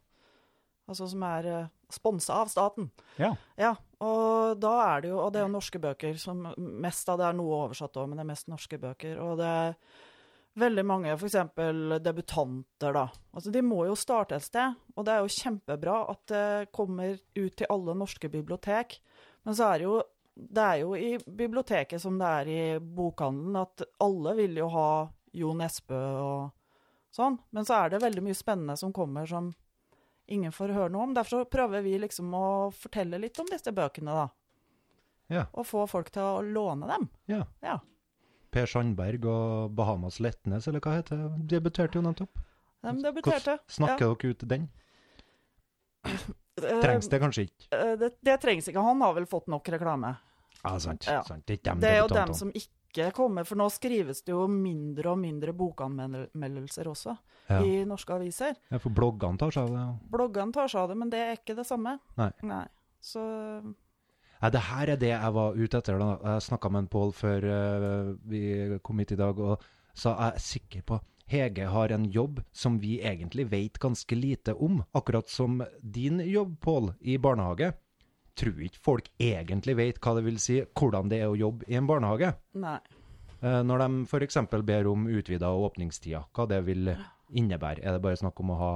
S2: altså som er eh, sponsa av staten.
S4: Ja.
S2: Ja, og da er det jo Og det er jo norske bøker som mest av det er noe oversatt òg, men det er mest norske bøker. Og det er veldig mange f.eks. debutanter, da. Altså de må jo starte et sted, og det er jo kjempebra at det kommer ut til alle norske bibliotek. Men så er det jo det er jo i biblioteket som det er i bokhandelen, at alle vil jo ha Jo Nesbø og sånn. Men så er det veldig mye spennende som kommer som ingen får høre noe om. Derfor så prøver vi liksom å fortelle litt om disse bøkene, da.
S5: Ja.
S2: Og få folk til å låne dem.
S5: Ja.
S2: Ja.
S5: Per Sandberg og Bahamas Letnes, eller hva heter det? Debuterte jo nettopp.
S2: De debuterte.
S5: Hvordan Snakker dere ut den? Trengs det kanskje ikke?
S2: Eh, Det, det trengs ikke. Han har vel fått nok reklame.
S5: Ja, sant.
S2: Ja.
S5: sant. Det er ikke dem
S2: Det er jo dem
S5: debutantene.
S2: som ikke kommer, for nå skrives det jo mindre og mindre bokanmeldelser også
S5: Ja.
S2: i norske aviser.
S5: Ja, for bloggene tar seg av det.
S2: Bloggene tar seg av det, men det er ikke det samme.
S5: Nei.
S2: Så
S5: Nei, det her er det jeg var ute etter. Da. Jeg snakka med en Pål før eh, vi kom hit i dag, og sa jeg er sikker på Hege har en jobb som vi egentlig vet ganske lite om, akkurat som din jobb, Pål, i barnehage. tror ikke folk egentlig vet hva det vil si hvordan det er å jobbe i en barnehage.
S2: Nei.
S5: Eh, Når de f.eks. ber om utvida åpningstida, hva det vil innebære? Er det bare snakk om å ha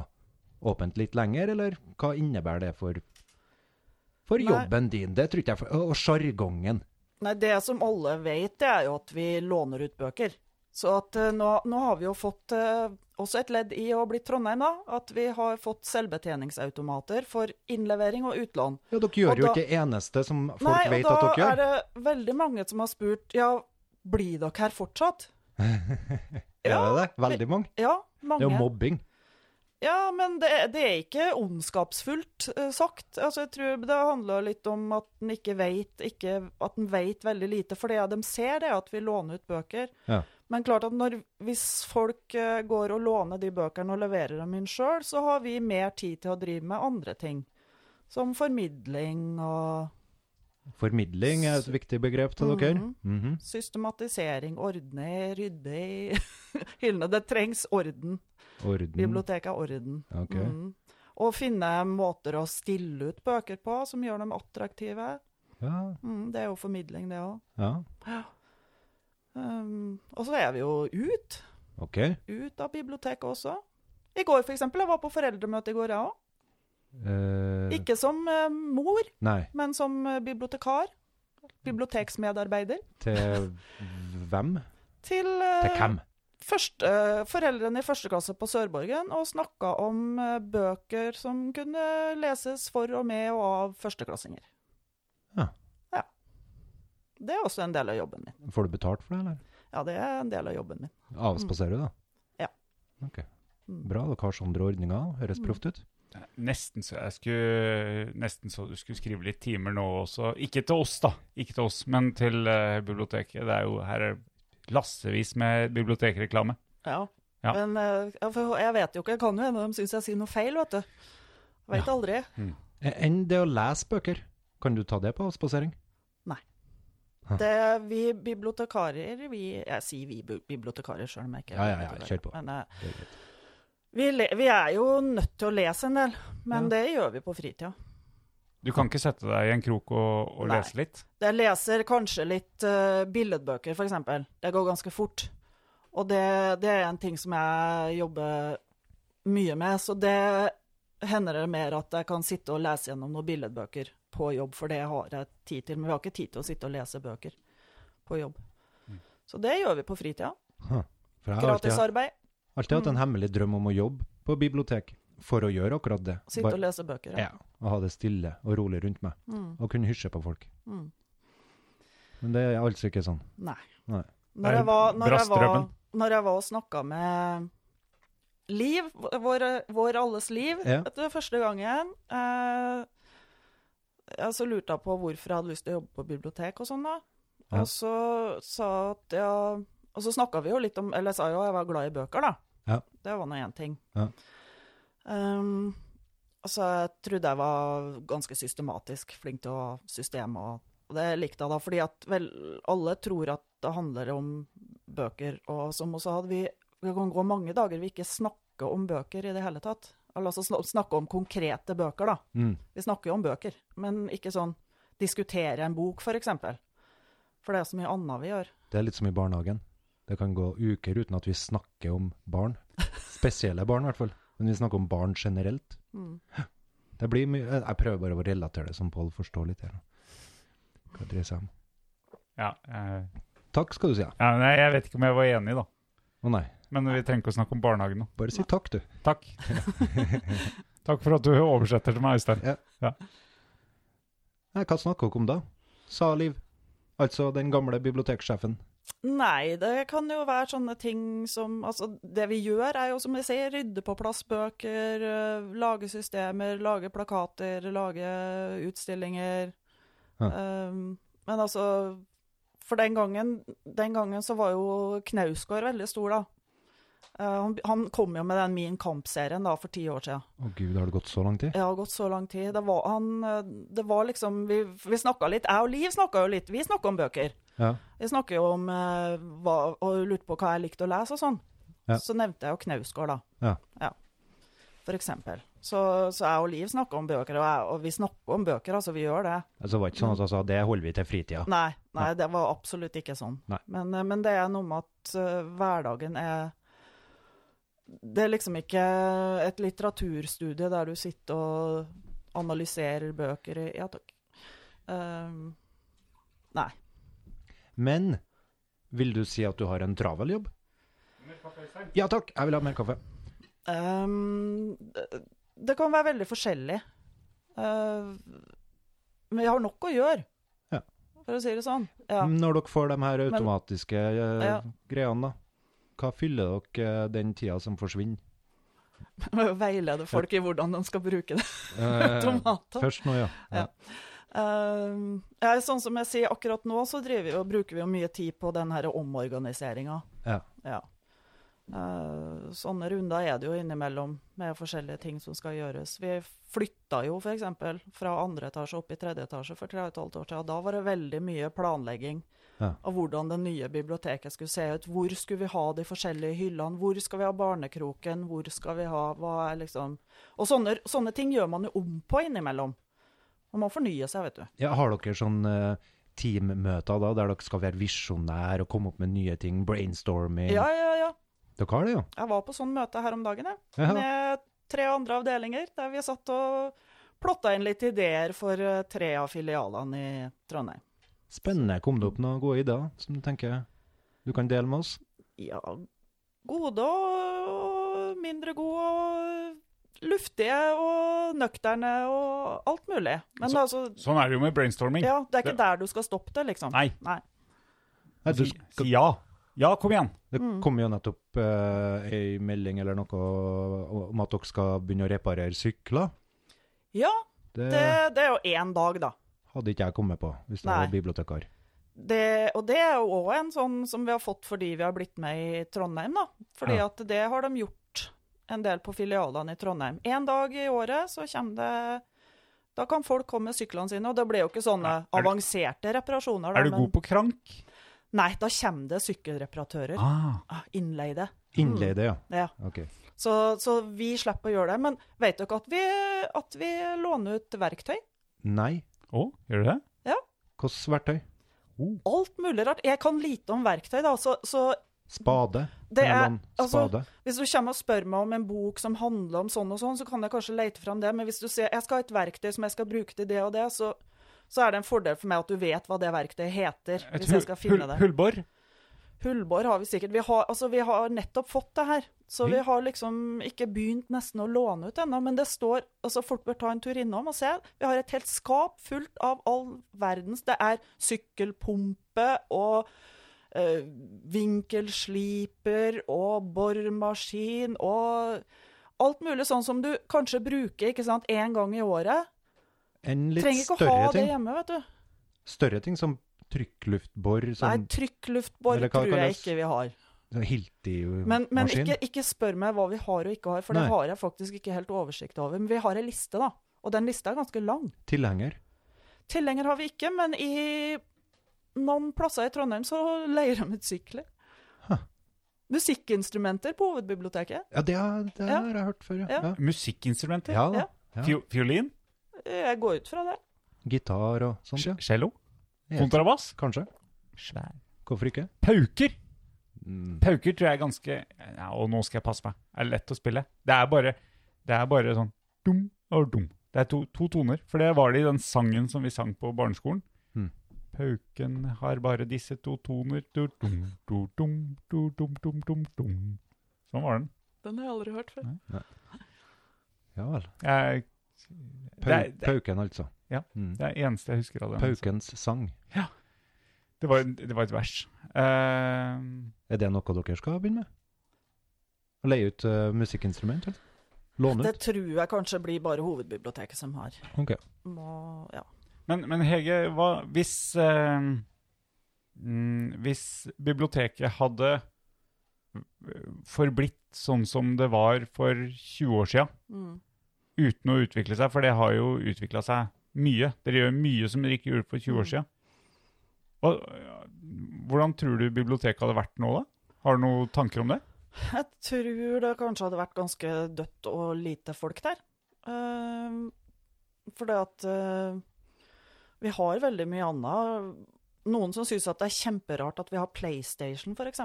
S5: åpent litt lenger, eller hva innebærer det for, for
S2: Nei.
S5: jobben din? Det tror ikke jeg for- Og sjargongen.
S2: Nei, det som alle vet, det er jo at vi låner ut bøker. Så at eh, nå, nå har vi jo fått eh, også et ledd i å bli Trondheim, da. At vi har fått selvbetjeningsautomater for innlevering og utlån.
S5: Ja, dere gjør
S2: Og
S5: jo
S2: da-
S5: ikke det eneste som folk
S2: Nei,
S5: vet
S2: og
S5: at
S2: da
S5: dere gjør.
S2: er det veldig mange som har spurt ja, blir dere her
S5: *laughs*
S2: fortsatt?
S5: Er det det? Veldig mange.
S2: Ja,
S5: Det
S2: mange.
S5: er jo mobbing.
S2: Ja, men det, det er ikke ondskapsfullt eh, sagt. Altså, jeg tror det handler litt om at en ikke vet, ikke, at en vet veldig lite. For det de ser, det er at vi låner ut bøker.
S5: Ja.
S2: Men klart at når, hvis folk eh, går og låner de bøkene og leverer dem inn sjøl, så har vi mer tid til å drive med andre ting. Som formidling og
S5: Formidling er et viktig begrep til dere. Mhm.
S2: systematisering, ordne, rydde i *laughs* hyllene. Det trengs orden.
S5: Orden.
S2: Biblioteket er orden.
S5: Mm. Ok.
S2: Mm. Og finne måter å stille ut bøker på som gjør dem attraktive.
S5: Ja,
S2: Mm, det er jo formidling, det òg.
S5: ja.
S2: Um, og så er vi jo ut.
S5: OK. Eh,
S2: Ut av biblioteket også. I går, for eksempel. Jeg var på foreldremøte i går, jeg òg.
S5: Eh,
S2: Ikke som eh, mor,
S5: Nei,
S2: men som eh, bibliotekar. Biblioteksmedarbeider.
S5: til hvem?
S2: Til,
S5: Til
S2: eh,
S5: hvem?
S2: første, eh, foreldrene i første klasse på Sørborgen og snakka om eh, bøker som kunne leses for og med og av førsteklassinger.
S5: Ja.
S2: ja. Det er også en del av jobben min.
S5: Får du betalt for det, eller?
S2: Ja, det er en del av jobben min.
S5: Avspaserer du, da?
S2: Ja. Mm.
S5: Ok. Bra, dere har sånne ordninger. Høres proft ut.
S4: Nesten så jeg skulle Nesten så du skulle skrive litt timer nå også. Ikke til oss, da. Ikke til oss, men til eh, biblioteket. Det er jo her er lassevis med bibliotekreklame.
S2: Ja.
S4: Ja.
S2: Men eh, ja, for jeg vet jo ikke, jeg kan jo hende de syns jeg sier noe feil, vet du. Veit aldri.
S5: E- Enn det å lese bøker. Kan du ta det på avspasering?
S2: Det vi bibliotekarer vi, Jeg sier vi bi- bibliotekarer, sjøl om jeg ikke er
S5: Ja, ja, ja,
S2: bibliotekar.
S5: kjør på.
S2: Men, eh,
S5: Det er greit.
S2: vi, le, vi er jo nødt til å lese en del, men
S5: Ja.
S2: det gjør vi på fritida.
S4: Du kan ikke sette deg i en krok og, og
S2: Nei.
S4: lese litt?
S2: Jeg leser kanskje litt eh, billedbøker, f.eks. Det går ganske fort. Og det, det er en ting som jeg jobber mye med, så det hender det mer at jeg kan sitte og lese gjennom noen billedbøker på jobb, for det har jeg tid til. Men vi har ikke tid til å sitte og lese bøker på jobb. Så det gjør vi på fritida.
S5: For Mm. jeg har alltid,
S2: Gratisarbeid.
S5: alltid
S2: Mm.
S5: hatt en hemmelig drøm om å jobbe på bibliotek for å gjøre akkurat det.
S2: Sitte og lese bøker.
S5: ja, og ha det stille og rolig rundt meg. Og kunne hysje på folk.
S2: Mm.
S5: Men det er altså ikke sånn.
S2: Nei.
S5: Nei.
S4: Det
S2: Når
S4: er
S2: jeg var, når jeg var,
S4: Brassdrømmen.
S2: når jeg var og snakka med Liv, vår, vår alles liv,
S5: Ja.
S2: etter første gangen eh, jeg Så lurte jeg på hvorfor jeg hadde lyst til å jobbe på bibliotek og sånn, da.
S5: Ja.
S2: Og så sa jeg at ja Og så snakka vi jo litt om Eller jeg sa jo jeg var glad i bøker, da.
S5: Ja.
S2: Det var nå én ting.
S5: Ja.
S2: Ehm, og så jeg trodde jeg var ganske systematisk, flink til å ha system og og det likte jeg da, fordi at vel, alle tror at det handler om bøker, og som også hadde vi Det kan gå mange dager vi ikke snakker om bøker i det hele tatt. Eller altså snak- snakke om konkrete bøker, da.
S5: Mm.
S2: Vi snakker jo om bøker, men ikke sånn diskutere en bok, for eksempel. For det er så mye annet vi gjør.
S5: Det er litt som i barnehagen. Det kan gå uker uten at vi snakker om barn. Spesielle barn, i hvert fall. Men vi snakker om barn generelt. Det blir mye Jeg prøver bare å relatere det, som Pål forstår litt her. Hva det dreier seg om.
S4: Ja, eh,
S5: Takk skal du si. ja.
S4: ja, nei, jeg vet ikke om jeg var enig, da.
S5: Å nei,
S4: Men vi trenger ikke å snakke om barnehagen nå.
S5: bare si takk, du.
S2: *laughs*
S4: Takk. Takk for at du oversetter til meg, Øystein.
S5: Nei, hva snakker dere om da? Sa Liv. Altså den gamle biblioteksjefen.
S2: Nei, det kan jo være sånne ting som Altså, det vi gjør, er jo som jeg sier, rydde på plass bøker, øh, lage systemer, lage plakater, lage utstillinger. Um, men altså For den gangen, den gangen så var jo Knausgård veldig stor, da. Eh, han, han kom jo med den Min kamp-serien da for ti år siden.
S5: Å gud, har det gått så lang tid?
S2: Ja, det har gått så lang tid. Det var, han, eh, det var liksom Vi, vi snakka litt. Jeg og Liv snakka jo litt. Vi snakka om bøker.
S5: Ja.
S2: Vi snakker jo om eh, hva, og lurte på hva jeg likte å lese og sånn.
S5: Ja.
S2: Så nevnte jeg jo Knausgård, da.
S5: Ja.
S2: For eksempel. Så, så jeg og Liv snakker om bøker, og, jeg, og vi snakker om bøker, altså vi gjør det.
S6: Altså, det var ikke sånn at jeg sa det holder vi til fritida.
S2: Nei, nei, det var absolutt ikke sånn.
S6: Nei.
S2: Men, eh, men det er noe med at eh, hverdagen er Det er liksom ikke et litteraturstudie der du sitter og analyserer bøker i Ja takk. Eh,
S5: Men vil du si at du har en travel jobb? Ja takk, jeg vil ha mer kaffe.
S2: Ehm, det- det kan være veldig forskjellig. Eh, men jeg har nok å gjøre,
S5: Ja. Mm.
S2: for å si det sånn. Ja.
S5: Når dere får de her automatiske eh,
S2: Ja. *laughs*
S5: greiene, da, hva fyller dere eh, den tida som
S2: *laughs*
S5: forsvinner?
S2: Veilede folk i hvordan de skal bruke det.
S5: Eh,
S2: Tomater.
S5: Først nå, ja. ja.
S2: Ja. Ehm, ja, sånn som jeg sier, akkurat nå så driver vi og bruker vi jo mye tid på den her omorganiseringa.
S5: Ja.
S2: Eh, sånne runder er det jo innimellom med forskjellige ting som skal gjøres. Vi flytta jo f.eks. fra andre etasje opp i tredje etasje for tre og et halvt år siden. Da var det veldig mye planlegging
S5: Ja.
S2: av hvordan det nye biblioteket skulle se ut. Hvor skulle vi ha de forskjellige hyllene? Hvor skal vi ha barnekroken? Hvor skal vi ha Hva er liksom Og sånne, sånne ting gjør man jo om på innimellom. Man må fornye seg, vet du.
S5: ja. Har dere sånn eh, teammøter da, der dere skal være visjonær og komme opp med nye ting, brainstorming?
S2: Ja, ja, ja.
S5: Dere har det, jo.
S2: Jeg var på sånn møte her om dagen, jeg.
S5: Ja.
S2: Med tre andre avdelinger, der vi satt og plotta inn litt ideer for eh, tre av filialene i Trondheim.
S5: Spennende. Kom det opp noen gode ideer som du tenker du kan dele med oss?
S2: Ja, gode og mindre gode og luftige og nøkterne og alt mulig. Men altså,
S4: Sånn er det jo med brainstorming.
S2: ja, det er ikke der du skal stoppe det, liksom.
S4: Nei,
S2: Nei.
S5: Nei, du,
S4: si, si ja. Ja, kom igjen.
S5: det
S2: Mm.
S5: kom jo nettopp uh, ei melding eller noe om at dere skal begynne å reparere sykler.
S2: Ja,
S5: Det,
S2: det, det er jo én dag, da.
S5: hadde ikke jeg kommet på hvis jeg
S2: Nei.
S5: var bibliotekar.
S2: det, og det er jo òg en sånn som vi har fått fordi vi har blitt med i Trondheim, da. Fordi
S5: Ja.
S2: at det har de gjort en del på filialene i Trondheim. En dag i året så kommer det Da kan folk komme med syklene sine, og det blir jo ikke
S4: Er
S2: sånne
S4: du-
S2: avanserte reparasjoner. Da,
S4: Er du god på krank?
S2: Nei, da kommer det sykkelreparatører.
S4: Ah,
S2: Ah, Innleide.
S5: Innleide, ja.
S2: Ja.
S5: Ok.
S2: Så, så vi slipper å gjøre det. Men vet dere at vi, at vi låner ut verktøy?
S5: Nei.
S4: å, gjør du det?
S5: Hvilket verktøy?
S2: Alt mulig rart. Jeg kan lite om verktøy, da, så, så
S5: Spade.
S2: Det er-
S5: Mellom
S2: altså-
S5: spade.
S2: Hvis du kommer og spør meg om en bok som handler om sånn og sånn, så kan jeg kanskje lete fram det, men hvis du sier jeg skal ha et verktøy som jeg skal bruke til det og det, så, så er det en fordel for meg at du vet hva det verktøyet heter,
S4: Et
S2: hvis jeg skal finne det.
S4: Hullbor?
S2: Hullbår har vi sikkert. Vi har, altså, vi har nettopp fått det her, så
S4: Vi-
S5: Mm.
S2: vi har liksom ikke begynt nesten å låne ut ennå, men det står altså Folk bør ta en tur innom og se. Vi har et helt skap fullt av all verdens Det er sykkelpumpe og eh, vinkelsliper og boremaskin og alt mulig sånn som du kanskje bruker ikke sant, én gang i året.
S5: En litt
S2: Trenger ikke å
S5: større
S2: ha det
S5: ting.
S2: hjemme, vet du.
S5: Større ting som trykkluftbor,
S2: Nei,
S5: sånn,
S2: trykkluftbår
S5: Eller hva
S2: tror jeg
S5: kalles-
S2: ikke vi har.
S5: sånn
S2: Men, men
S5: Hilti-maskin.
S2: ikke, ikke spør meg hva vi har og ikke har, for
S5: Nei.
S2: det har jeg faktisk ikke helt oversikt over. Men vi har ei liste, da. Og den lista er ganske lang.
S5: Tilhenger.
S2: Tilhenger har vi ikke, men i noen plasser i Trondheim så leier de ut sykler. Musikkinstrumenter på hovedbiblioteket.
S5: Ja, det, har- det
S2: Ja.
S5: har jeg hørt før, ja.
S2: Ja.
S5: ja.
S4: Musikkinstrumenter?
S5: Ja da.
S2: Ja.
S5: Ja.
S4: Fio- Fiolin?
S2: Jeg går ut fra det.
S5: Gitar og sånt, ja.
S4: Cello?
S5: Ja.
S4: Kontrabass?
S5: Kanskje.
S4: Svær.
S5: Hvorfor ikke? Mm.
S4: Pauker! Pauker tror jeg er ganske ja, Og nå skal jeg passe meg. Det er lett å spille. Det er bare, det er bare sånn dum og dum. Det er to, to toner. For det var det i den sangen som vi sang på barneskolen.
S5: Mm.
S4: Pauken har bare disse to toner du, dum, du, dum, du, dum, dum, dum, dum. Sånn var den.
S2: Den har jeg aldri hørt før.
S5: Ja vel.
S4: Jeg,
S5: Pau,
S4: det, er, det,
S5: Pauken, altså.
S4: Ja.
S5: Mm.
S4: det er eneste jeg husker av den.
S5: Paukens sang.
S4: Det var, det var et vers. Eh,
S5: Er det noe dere skal begynne med? Å leie ut uh, musikkinstrument? eller? Låne
S2: Det
S5: ut?
S2: tror jeg kanskje blir bare hovedbiblioteket som har.
S5: Ok.
S2: Må, ja.
S4: men, men Hege, hva, hvis, eh, mm, hvis biblioteket hadde forblitt sånn som det var for 20 år siden,
S2: Mm.
S4: uten å utvikle seg, for det har jo utvikla seg mye. Dere gjør mye som dere ikke gjorde for 20 år
S2: Mm.
S4: siden. Hva, hvordan tror du biblioteket hadde vært nå, da? Har du noen tanker om det?
S2: Jeg tror det kanskje hadde vært ganske dødt og lite folk der. for det at eh, vi har veldig mye annet. Noen som syns at det er kjemperart at vi har PlayStation, f.eks.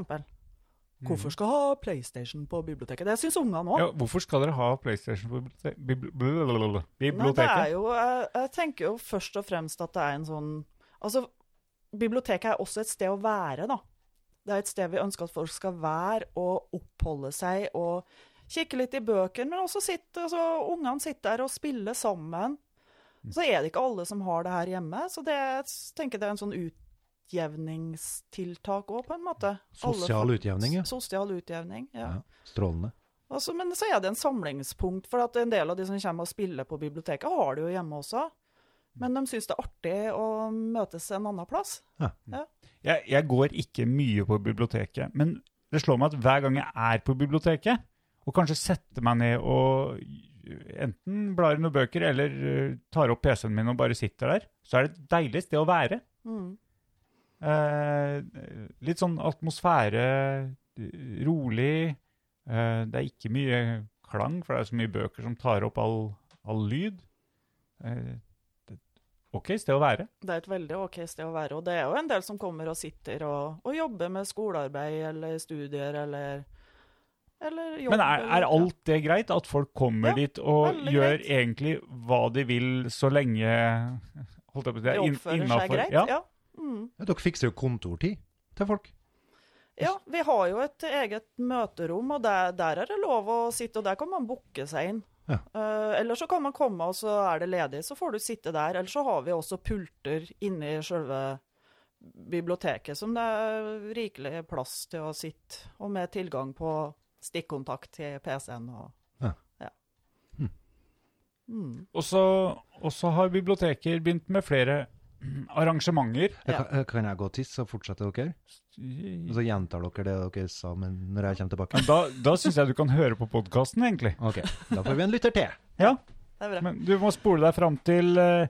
S2: Hvorfor skal ha PlayStation på biblioteket? Det syns ungene òg.
S4: Ja, hvorfor skal dere ha PlayStation på bibliote- bibli- blablabla-
S2: Nei, det er
S4: biblioteket?
S2: jo, jeg, jeg tenker jo først og fremst at det er en sånn Altså, biblioteket er også et sted å være, da. Det er et sted vi ønsker at folk skal være og oppholde seg og kikke litt i bøker, men også sitte altså, Ungene sitter der og spiller sammen.
S6: Mm.
S2: Så er det ikke alle som har det her hjemme, så det, jeg tenker det er en sånn utjevningstiltak òg, på en måte. Alle
S6: Sosial
S2: får-
S6: utjevning, ja.
S2: Sosial utjevning, ja.
S6: ja. Strålende.
S2: Altså, men så er det en samlingspunkt, for at en del av de som kommer og spiller på biblioteket, har det jo hjemme også. Men de syns det er artig å møtes en annen plass.
S4: Jeg, jeg går ikke mye på biblioteket, men det slår meg at hver gang jeg er på biblioteket, og kanskje setter meg ned og enten blar i noen bøker eller eh, tar opp PC-en min og bare sitter der, så er det et deilig sted å være.
S2: Mm.
S4: Eh, litt sånn atmosfære, rolig. Eh, det er ikke mye klang, for det er så mye bøker som tar opp all, all lyd. Eh, det, OK sted å være.
S2: Det er et veldig ok sted å være, og det er jo en del som kommer og sitter og, og jobber med skolearbeid eller studier eller, eller jobb.
S4: Men er, er
S2: eller-
S4: alt det greit? At folk kommer
S2: Ja,
S4: dit og
S2: veldig
S4: gjør
S2: greit.
S4: egentlig hva de vil, så lenge holdt jeg på, å si, det
S2: ja, de
S4: er inn-
S2: oppfører seg
S4: innenfor-
S2: greit?
S4: Ja.
S2: Ja. Ja. Mm.
S5: Ja, dere fikser jo kontortid til folk.
S2: ja. Vi har jo et eget møterom, og der, der er det lov å sitte, og der kan man booke seg inn.
S5: Ja.
S2: Eh, eller så kan man komme, og så er det ledig. Så får du sitte der. Eller så har vi også pulter inne i selve biblioteket som det er rikelig plass til å sitte, og med tilgang på stikkontakt til PC-en og
S5: Ja.
S2: Mm.
S4: Og så- Og så har biblioteker begynt med flere *clears throat* arrangementer.
S5: Jeg
S2: Ja.
S5: kan, jeg- kan jeg gå og tisse, så fortsetter dere? Og så gjentar dere det dere sa men når jeg kommer tilbake?
S4: Men da, da syns jeg du kan høre på podkasten, egentlig.
S5: OK, da får vi en lytter til.
S4: Ja,
S2: Det er bra.
S4: men du må spole deg fram til eh,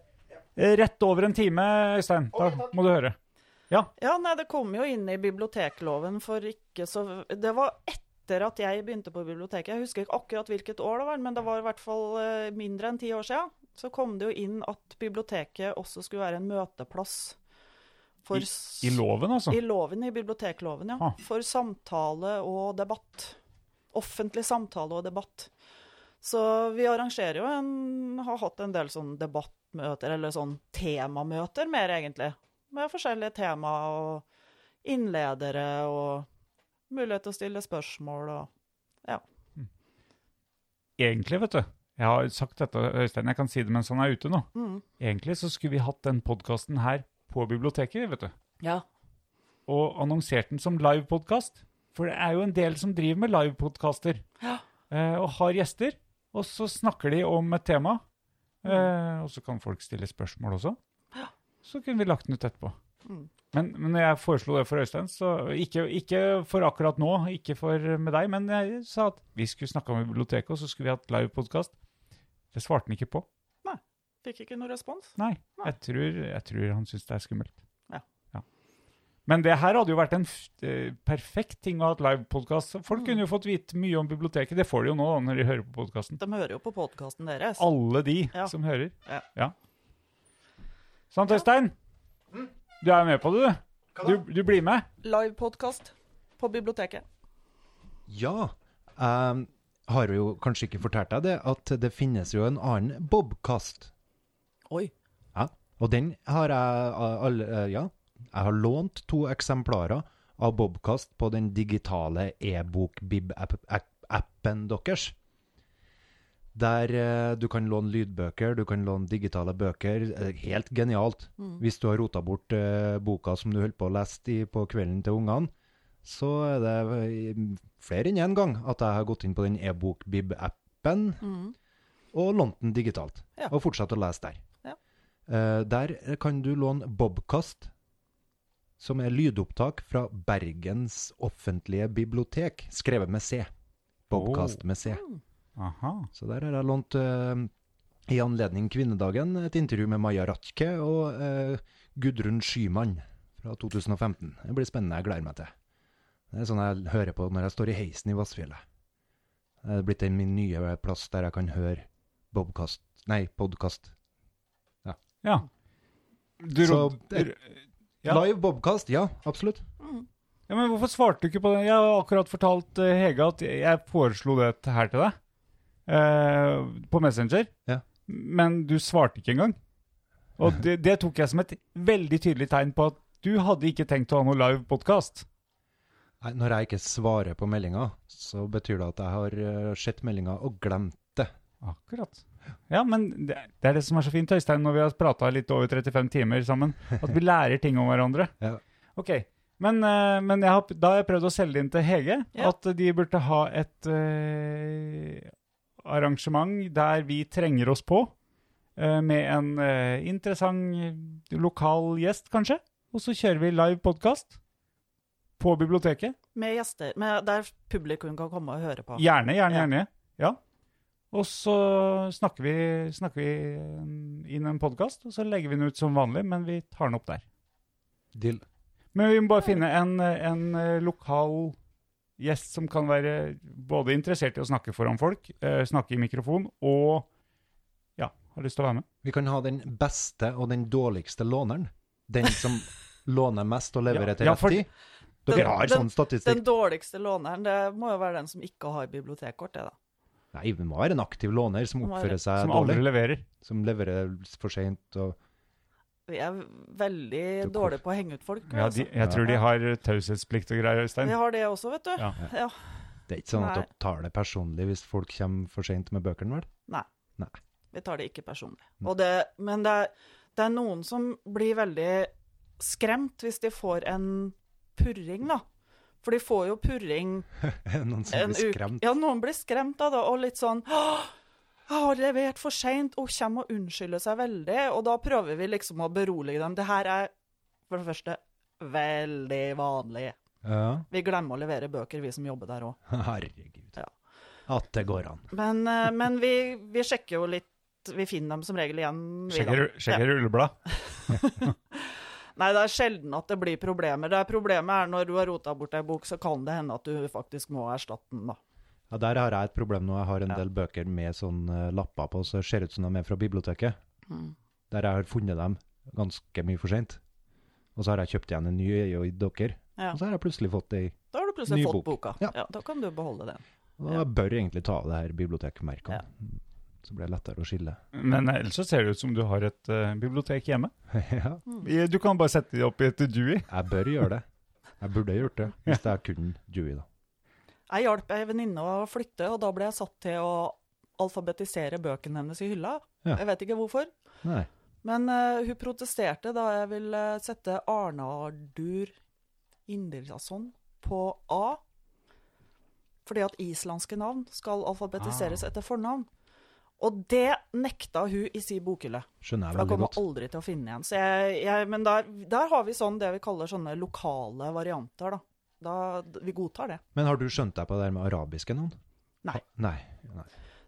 S4: rett over en time, Øystein. Da må du høre.
S2: Ja, nei, det kom jo inn i bibliotekloven for ikke så Det var etter at jeg begynte på biblioteket. Jeg husker ikke akkurat hvilket år det var, men det var i hvert fall eh, mindre enn ti år siden. Så kom det jo inn at biblioteket også skulle være en møteplass for s-
S4: I loven, altså.
S2: I loven, i bibliotekloven, ja.
S4: Ah.
S2: For samtale og debatt. Offentlig samtale og debatt. Så vi arrangerer jo en Har hatt en del sånn debattmøter, eller sånn temamøter mer, egentlig. Med forskjellige tema og innledere og mulighet til å stille spørsmål og
S4: Egentlig, vet du. Jeg har sagt dette, Øystein, jeg kan si det mens han er ute nå.
S2: mm.
S4: Egentlig så skulle vi hatt den podkasten her på biblioteket, vet du.
S2: Ja.
S4: Og annonsert den som livepodkast. For det er jo en del som driver med livepodkaster.
S2: Ja.
S4: Eh, og har gjester. Og så snakker de om et tema.
S2: Mm.
S4: Eh, og så kan folk stille spørsmål også. Så kunne vi lagt den ut etterpå.
S2: Mm.
S4: Men, men når jeg foreslo det for Øystein, så ikke, ikke for akkurat nå, ikke for med deg, men jeg sa at vi skulle snakke om biblioteket, og så skulle vi hatt livepodkast. Det svarte han ikke på.
S2: Fikk ikke noe respons.
S4: Nei,
S2: Nei.
S4: jeg tror, jeg tror han syns det er skummelt.
S2: Ja.
S4: Men det her hadde jo vært en f eh, perfekt ting å ha et livepodkast. Folk
S2: Mm.
S4: kunne jo fått vite mye om biblioteket. Det får de jo nå da, når de hører på podkasten.
S2: De hører jo på podkasten deres.
S4: Alle de
S2: Ja.
S4: som hører.
S2: Ja.
S4: Sant, Øystein?
S2: Mm.
S4: Du er med på det, du. Du, du blir med.
S2: Livepodkast på biblioteket.
S5: Ja. ehm, har vi jo kanskje ikke fortalt deg det, at det finnes jo en annen bobkast.
S2: Oi.
S5: Ja. Og den har jeg eh, all, eh, Ja. Jeg har lånt to eksemplarer av bobkast på den digitale e-bok-bib-appen deres. Der eh, du kan låne lydbøker, du kan låne digitale bøker. Eh, Helt genialt.
S2: Mm.
S5: Hvis du har rota bort eh, boka som du holdt på å lese i på kvelden til ungene, så er det eh, flere enn én gang at jeg har gått inn på den e-bok-bib-appen og lånt den digitalt.
S2: Mm. Ja.
S5: Og fortsatt å lese der.
S2: Ja.
S5: Eh, der kan du låne Bobkast, som er lydopptak fra Bergens offentlige bibliotek, skrevet med C. Bobkast med C.
S4: Aha.
S5: Så der har jeg lånt eh, i anledning kvinnedagen et intervju med Maja Ratke og eh, Gudrun Skymann fra 2015. Det blir spennende, jeg gleder meg til. Det er sånn jeg hører på når jeg står i heisen i Vassfjellet. Det er blitt den min nye plass der jeg kan høre bobcast. Nei, podkast.
S4: Ja. Du,
S5: Så-
S4: råd- du, Ja.
S5: Live bobkast, ja, absolutt.
S4: ja, men hvorfor svarte du ikke på det? Jeg har akkurat fortalt eh, Hege at jeg foreslo det t- her til deg. eh, på Messenger.
S5: Ja.
S4: Men du svarte ikke engang. Og det, det tok jeg som et veldig tydelig tegn på at du hadde ikke tenkt å ha noe live podkast.
S5: Nei, når jeg ikke svarer på meldinga, så betyr det at jeg har eh, sett meldinga og glemt det.
S4: Akkurat. Ja, men det, det er det som er så fint, Øystein, når vi har prata litt over 35 timer sammen, at vi lærer ting om hverandre.
S5: Ja.
S4: Ok, men, eh, men jeg har, da har jeg prøvd å selge inn til Hege
S2: Ja.
S4: at de burde ha et eh, arrangement der vi trenger oss på, eh, med en eh, interessant lokal gjest, kanskje, og så kjører vi live podkast på biblioteket.
S2: Med gjester med, der publikum kan komme og høre på.
S4: Gjerne, gjerne,
S2: Ja.
S4: gjerne. Ja. Og så snakker vi, snakker vi eh, inn en podkast, og så legger vi den ut som vanlig, men vi tar den opp der.
S5: Deal.
S4: Men vi må bare finne en, en eh, lokal gjest som kan være både interessert i å snakke foran folk, eh, snakke i mikrofon, og ja, har lyst til å være med.
S5: Vi kan ha den beste og den dårligste låneren. Den som låner mest og leverer
S4: Ja,
S5: til
S4: ja,
S5: rett
S4: for-
S5: tid. Dere
S2: Den-
S5: har
S2: den-
S5: sånn statistikk.
S2: Den dårligste låneren, det må jo være den som ikke har bibliotekkort, det da.
S5: Nei, det må være en aktiv låner som
S2: Det må være-
S5: oppfører seg
S4: Som
S5: Eh, dårlig.
S4: aldri leverer.
S5: Som leverer for seint og
S2: Vi er veldig
S5: Det er
S2: dårlige på å henge ut folk.
S4: Ja, de,
S2: altså.
S4: jeg tror de har taushetsplikt og greier, Øystein.
S2: Vi har det også, vet du.
S4: Ja.
S2: Ja.
S5: Det er ikke sånn at
S2: Nei.
S5: dere tar det personlig hvis folk kommer for seint med bøkene, vel? *laughs*
S2: Vi tar det ikke personlig.
S4: Mm.
S2: Og det, men det er, det er noen som blir veldig skremt hvis de får en purring, da. For de får jo purring
S5: Noen som
S2: en
S5: blir
S2: uke.
S5: skremt.
S2: Ja, noen blir skremt av det, og litt sånn «Åh, jeg har levert for seint, og kommer og unnskylder seg veldig. Og da prøver vi liksom å berolige dem. Det her er for det første veldig vanlig.
S5: Ja.
S2: Vi glemmer å levere bøker, vi som jobber der òg.
S5: *laughs* Herregud.
S2: Ja.
S5: At det går an.
S2: Men, eh, men vi, vi sjekker jo litt Vi finner dem som regel igjen. vi da.
S4: Sjekker, sjekker rulleblad.
S2: Nei, det er sjelden at det blir problemer. Det er problemet er når du har rota bort ei bok, så kan det hende at du faktisk må erstatte den, da.
S5: Ja, Der har jeg et problem nå. Jeg har en del bøker med sånn eh, lapper på, så det ser ut som de er fra biblioteket.
S2: Mm.
S5: Der jeg har funnet dem ganske mye for seint. Og så har jeg kjøpt igjen en ny i i dere.
S2: Ja.
S5: Og så har jeg plutselig fått ei.
S2: Da har du plutselig
S5: Ny
S2: fått
S5: bok.
S2: boka.
S5: Ja.
S2: da kan du beholde den.
S5: Og da
S2: Ja.
S5: bør jeg egentlig ta av det her bibliotekmerkene. Så blir det lettere å skille. *laughs*
S4: Men ellers så ser det ut som du har et eh, bibliotek hjemme.
S5: ja,
S4: I- Du kan bare sette de opp i et Dewey.
S5: jeg bør gjøre det. Jeg burde gjort det, hvis jeg kunne Dewey, da.
S2: Jeg hjalp ei venninne å flytte, og da ble jeg satt til å alfabetisere bøkene hennes i hylla.
S5: Ja.
S2: Jeg vet ikke hvorfor.
S5: Nei.
S2: Men eh, hun protesterte da jeg ville sette Arnardur Indridason på A. Fordi at islandske navn skal alfabetiseres
S5: Ah.
S2: etter fornavn. Og det nekta hun i si bokhylle.
S5: Skjønner
S2: For da
S5: jeg veldig
S2: kommer
S5: godt.
S2: jeg aldri til å finne igjen. Så jeg, jeg, men der, der har vi sånn det vi kaller sånne lokale varianter, da. da vi godtar det.
S5: Men har du skjønt deg på det der med arabiske navn?
S2: Nei.
S5: Nei. Nei.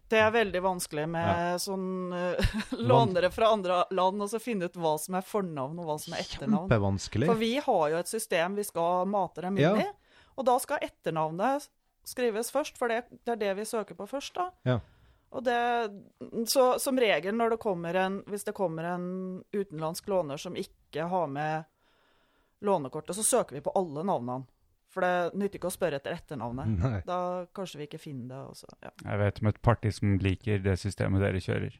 S2: Det er veldig vanskelig med sånn eh, *laughs* lånere fra andre land, og så finne ut hva som er fornavn og hva som er etternavn.
S5: Kjempevanskelig.
S2: For vi har jo et system vi skal mate dem
S5: Ja.
S2: inn i. Og da skal etternavnet skrives først, for det, det er det vi søker på først, da.
S5: Ja.
S2: Og det, så som regel når det kommer en, hvis det kommer en utenlandsk låner som ikke har med lånekortet, så søker vi på alle navnene. For det nytter ikke å spørre etter etternavnet.
S5: Nei.
S2: Da kanskje vi ikke finner det. Og så, ja.
S4: Jeg vet om et parti som liker det systemet dere kjører.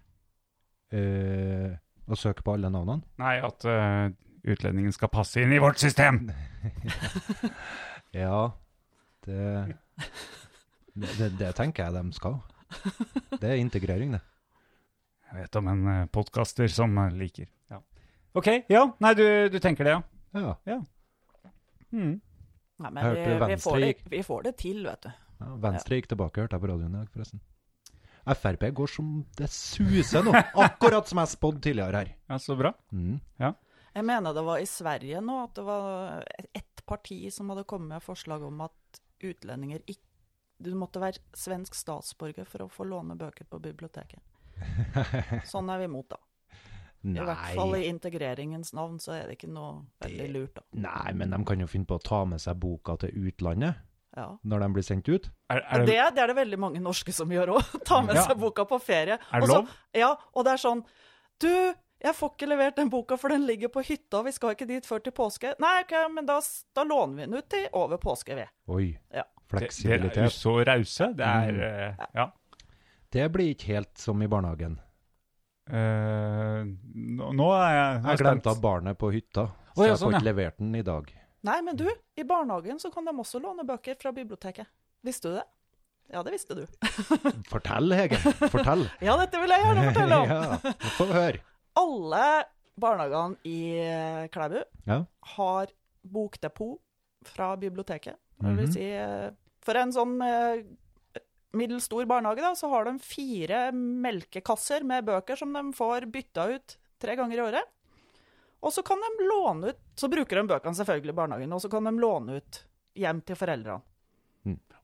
S5: Eh, å søke på alle navnene?
S4: Nei, at eh, utlendingen skal passe inn i vårt system!
S5: Ja, det det, det, det tenker jeg de skal. Det er integrering, det.
S4: Jeg vet om en eh, podcaster som eh, liker. Ja. Ok, ja. Nei, du, du tenker det, ja.
S5: Ja.
S4: Mm.
S2: Nei,
S5: Jeg
S2: men vi,
S5: hørte
S2: vi,
S5: Venstre
S2: får det,
S5: gikk-
S2: vi får det til, vet du.
S5: ja Venstre gikk tilbake, hørte jeg på radioen i dag, forresten. Frp går som det suser nå, akkurat som jeg spådde tidligere her.
S4: ja. Så bra.
S5: Mm.
S2: Jeg mener det var i Sverige nå at det var ett parti som hadde kommet med forslag om at utlendinger ikke Du måtte være svensk statsborger for å få låne bøker på
S5: *laughs*
S2: biblioteket. Sånn er vi imot, da. I hvert fall
S5: Nei.
S2: i integreringens navn så er det ikke noe veldig lurt, da.
S5: Nei, men de kan jo finne på å ta med seg boka til utlandet.
S2: Ja.
S5: når de blir sendt ut.
S4: Er,
S2: Det,
S4: er det,
S2: det er det veldig mange norske som gjør òg. *laughs* Ta med
S4: Ja.
S2: seg boka på ferie.
S4: Er det
S2: Og så-
S4: lov?
S2: Ja, og det er sånn Du, jeg får ikke levert den boka, for den ligger på hytta, vi skal ikke dit før til påske. Nei, ok, men da, da låner vi den ut til over påske, vi.
S5: Oi,
S4: det, dere er
S2: Ja.
S4: jo
S5: fleksibilitet.
S4: så rause. Det er eh, Ja.
S5: Det blir ikke helt som i barnehagen.
S4: Eh, nå, nå er jeg, nå er
S5: Jeg
S4: jeg
S5: glemte av
S4: spent.
S5: barnet på hytta,
S4: Å,
S5: så
S4: ja,
S5: jeg får
S4: sånn,
S5: ikke levert den i dag.
S2: Nei, men du, i barnehagen så kan de også låne bøker fra biblioteket. Visste du det? Ja, det visste du.
S5: Fortell, Hege.
S4: *laughs*
S5: Fortell.
S2: Ja, dette vil jeg gjerne fortelle om.
S5: ja, få høre.
S2: Alle barnehagene i eh, Klæbu
S5: Ja.
S2: har bokdepot fra biblioteket. Det
S4: Mhm.
S2: vil si, eh, for en sånn eh, middels stor barnehage, da, så har de fire melkekasser med bøker som de får bytta ut tre ganger i året. Og så kan de låne ut Så bruker de bøkene selvfølgelig i barnehagen, og så kan de låne ut hjem til foreldrene.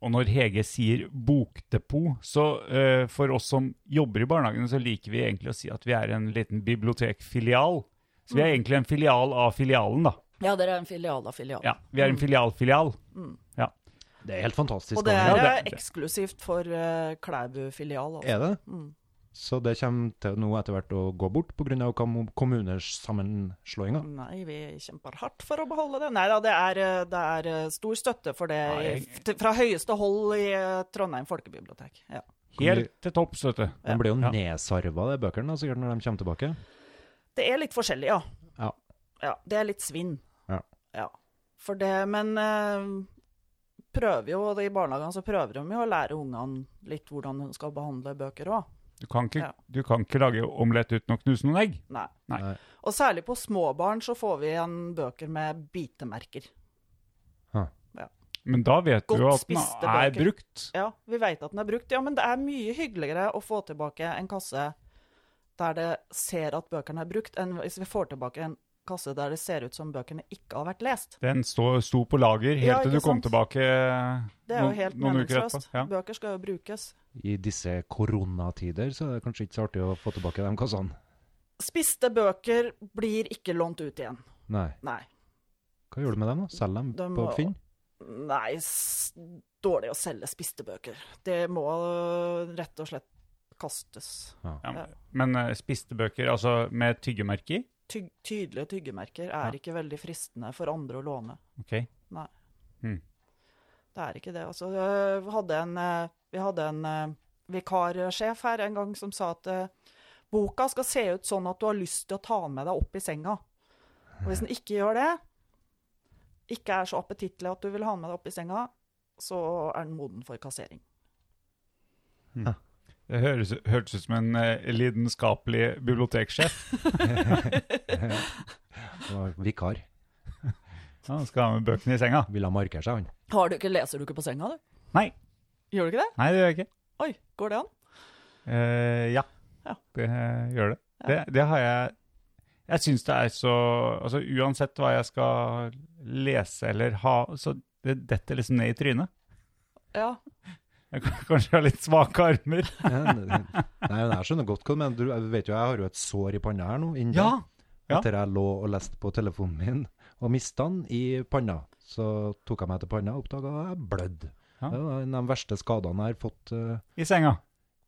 S4: Og når Hege sier bokdepot, så eh, for oss som jobber i barnehagen, så liker vi egentlig å si at vi er en liten bibliotekfilial. Så vi er egentlig en filial av filialen, da.
S2: Ja, dere er en filial av filial.
S4: Ja, vi er en filialfilial. Ja.
S5: Det er helt fantastisk.
S2: Og det
S5: Anne.
S2: er
S4: Ja,
S2: eh,
S4: det- det-
S2: eksklusivt for eh, Klæbu-filial. altså.
S5: Er det? Så det kommer til nå etter hvert å gå bort pga. kommuners sammenslåinger.
S2: Nei, vi kjemper hardt for å beholde det. Nei da, det er, eh, det er eh, stor støtte for det
S4: Ja,
S2: i-
S4: jeg-
S2: f- til- fra høyeste hold i eh, Trondheim folkebibliotek. Ja.
S4: Helt til topps, vet du.
S5: De blir jo
S4: Ja.
S5: nedsarva, de bøkene, da, sikkert når de kommer tilbake.
S2: Det er litt forskjellig, ja.
S5: Ja.
S2: ja det er litt svinn.
S5: Ja.
S2: For det, men eh, prøver jo, i barnehagen så prøver de jo å lære ungene litt hvordan hun skal behandle bøker òg.
S4: Du kan ikke,
S2: Ja.
S4: du kan ikke lage omelett uten å knuse noen egg.
S2: Nei.
S4: Nei.
S5: Nei.
S2: Og særlig på småbarn så får vi igjen bøker med bitemerker.
S4: Men da vet du
S2: Godt
S4: jo at den
S2: spiste
S4: er
S2: bøker.
S4: brukt.
S2: Ja, vi veit at den er brukt. Ja, men det er mye hyggeligere å få tilbake en kasse der det ser at bøkene er brukt, enn hvis vi får tilbake en kasse der det ser ut som bøkene ikke har vært lest.
S4: Den stå, sto på lager helt
S2: Ja,
S4: til
S2: ikke
S4: du kom
S2: sant?
S4: tilbake eh,
S2: Det er jo
S4: noen-
S2: helt
S4: noen uker
S2: meningsløst.
S4: etterpå. Ja.
S2: Bøker skal jo brukes.
S5: I disse koronatider så er det kanskje ikke så artig å få tilbake de kassene.
S2: Spiste bøker blir ikke lånt ut igjen.
S5: Nei.
S2: Nei.
S5: Hva gjør du med dem, da? Selger dem
S2: De
S5: på
S2: må-
S5: Finn?
S2: Nei, s dårlig å selge spiste bøker. Det må øh, rett og slett kastes.
S4: Ja, men- men eh, spiste bøker, altså med tyggemerke i?
S2: Tyg tydelige tyggemerker
S4: Ja.
S2: er ikke veldig fristende for andre å låne.
S4: Ok.
S2: Nei.
S4: Hmm.
S2: Det er ikke det. Altså, øh, vi hadde en, øh, vi hadde en øh, vikarsjef her en gang som sa at øh, boka skal se ut sånn at du har lyst til å ta den med deg opp i senga. Og hvis den ikke gjør det, ikke er så appetittlig at du vil ha den med deg opp i senga, så er den moden for kassering.
S4: Det høres, hørtes ut som en eh, lidenskapelig biblioteksjef.
S5: Og vikar.
S4: Ja, han skal ha med bøkene i senga.
S5: Ville ha markere seg, han.
S2: Har du ikke, leser du ikke på senga, du?
S4: Nei,
S2: Gjør du ikke det?
S4: nei det gjør jeg ikke.
S2: Oi, går det an?
S4: Eh, ja,
S2: Ja.
S4: det eh, gjør det. det. Det har jeg Jeg syns det er så Altså uansett hva jeg skal lese eller ha, så det detter liksom ned i trynet.
S2: Ja.
S4: Jeg kan- *laughs* kanskje har litt svake armer.
S5: Nei, men jeg skjønner godt hva du mener. Du jeg vet jo, jeg har jo et sår i panna her nå. Inni,
S4: ja.
S5: Etter jeg lå og leste på telefonen min og mista den i panna. Så tok jeg meg til panna og oppdaga at jeg blødde.
S4: Ja.
S5: Det var en av de verste skadene jeg har fått eh,
S4: I senga.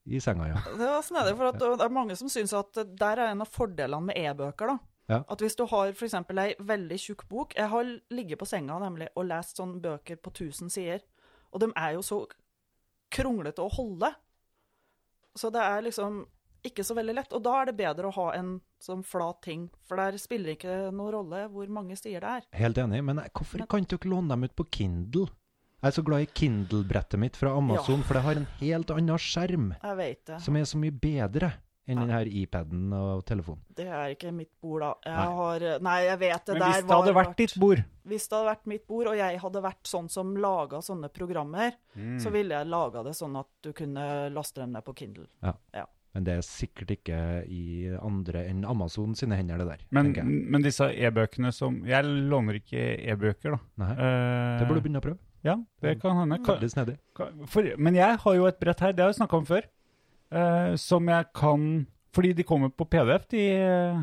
S5: i senga, ja.
S2: Det var snedig, for at det er mange som syns at der er en av fordelene med e-bøker. da.
S5: Ja.
S2: At hvis du har f.eks. ei veldig tjukk bok Jeg har ligget på senga nemlig og lest sånne bøker på 1000 sider, og de er jo så kronglete å holde. Så det er liksom ikke så veldig lett. Og da er det bedre å ha en sånn flat ting, for der spiller det ikke noen rolle hvor mange sider det er.
S5: Helt enig. Men jeg- hvorfor kan ikke dere låne dem ut på Kindle? Jeg er så glad i Kindle-brettet mitt fra Amazon, for det har en helt annen skjerm
S2: Jeg vet det.
S5: som er så mye bedre enn den her iPaden og telefonen.
S2: Det er ikke mitt bord, da. Jeg
S5: Nei.
S2: har Nei, jeg vet det.
S4: Men
S2: der
S4: hvis det
S2: var
S4: hadde vært ditt bord
S2: Hvis det hadde vært mitt bord, og jeg hadde vært sånn som laga sånne programmer,
S4: Mm.
S2: så ville jeg laga det sånn at du kunne laste dem ned på Kindle.
S5: Ja.
S2: Ja.
S5: Men det er sikkert ikke i andre enn Amazon sine hender, det der.
S4: men,
S5: tenker jeg.
S4: men disse e-bøkene som Jeg låner ikke e-bøker, da.
S5: Nei,
S4: Eh,
S5: det burde du begynne å prøve.
S4: Ja, det kan hende. Ka-
S5: Veldig snedig.
S4: Ka- For, men jeg har jo et brett her, det har jeg snakka om før, eh, som jeg kan Fordi de kommer på PDF, de, eh,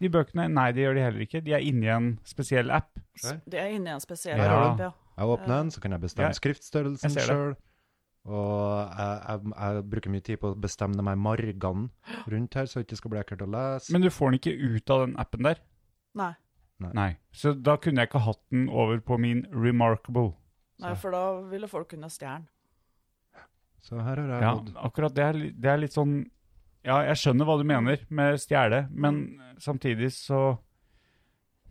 S4: de bøkene. Nei, det gjør de heller ikke. De er inni en spesiell app.
S2: Det er inni en spesiell
S4: Ja.
S2: app, ja.
S5: Jeg åpner den, så kan jeg
S4: Ja,
S5: bestemme skriftstørrelsen
S4: jeg ser det.
S5: sjøl. Og jeg, jeg, jeg bruker mye tid på å bestemme de her margene rundt her, så det ikke skal bli ekkelt å lese.
S4: Men du får den ikke ut av den appen der.
S2: Nei.
S4: Nei. Så da kunne jeg ikke hatt den over på min Remarkable.
S2: Nei, for da ville folk kunne stjerne.
S5: Så her har jeg
S4: Ja,
S5: gått.
S4: akkurat det er, li- det er litt sånn Ja, jeg skjønner hva du mener med stjele, men samtidig så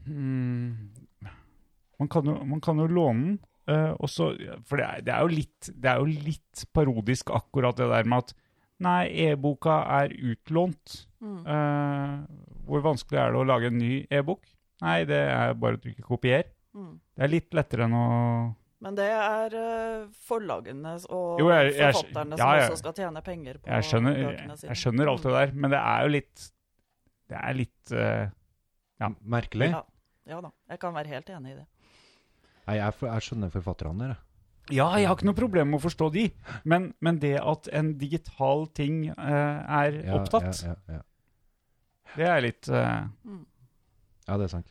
S4: hmm, man, kan jo, man kan jo låne den. eh, og så, for det er, det, er jo litt, det er jo litt parodisk akkurat det der med at Nei, e-boka er utlånt. Eh, hvor vanskelig er det å lage en ny e-bok? Nei, det er bare å trykke 'kopier'.
S2: Mm.
S4: Det er litt lettere enn å
S2: Men det er eh, forlagene og
S4: Jo, jeg- jeg-
S2: forfatterne
S4: ja, ja.
S2: som også skal tjene penger på
S4: Jeg skjønner,
S2: bøkene sine.
S4: jeg skjønner alt det der, men det er jo litt Det er litt eh, Ja.
S5: Merkelig.
S2: Ja. Ja da, jeg kan være helt enig i det.
S5: Nei, jeg, for- jeg skjønner forfatterne der, jeg.
S4: Ja, jeg har ikke noe problem med å forstå de, men, men det at en digital ting eh, er
S5: Ja,
S4: opptatt,
S5: Ja, ja, ja.
S4: det er litt eh,
S5: ja, det er sant.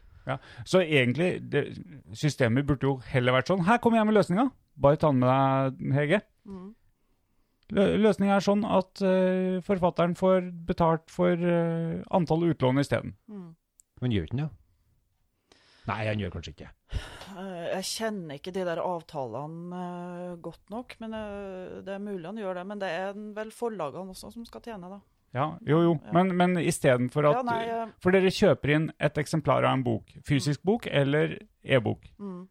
S4: Så egentlig, det, systemet burde jo heller vært sånn Her kommer jeg med løsninga! Bare ta den med deg, Hege.
S2: Mm.
S4: Løsninga er sånn at eh, forfatteren får betalt for eh, antall utlån isteden.
S2: Mm.
S5: Men gjør ikke han det? Nei, han gjør kanskje ikke det.
S2: Eh, Jeg kjenner ikke de der avtalene eh, godt nok, men eh, det er mulig han gjør det. Men det er vel forlagene også som skal tjene, da.
S4: Ja, jo, jo.
S2: Ja.
S4: Men, men istedenfor at
S2: Ja, nei, eh,
S4: For dere kjøper inn et eksemplar av en bok. Fysisk bok eller e-bok.
S2: mm,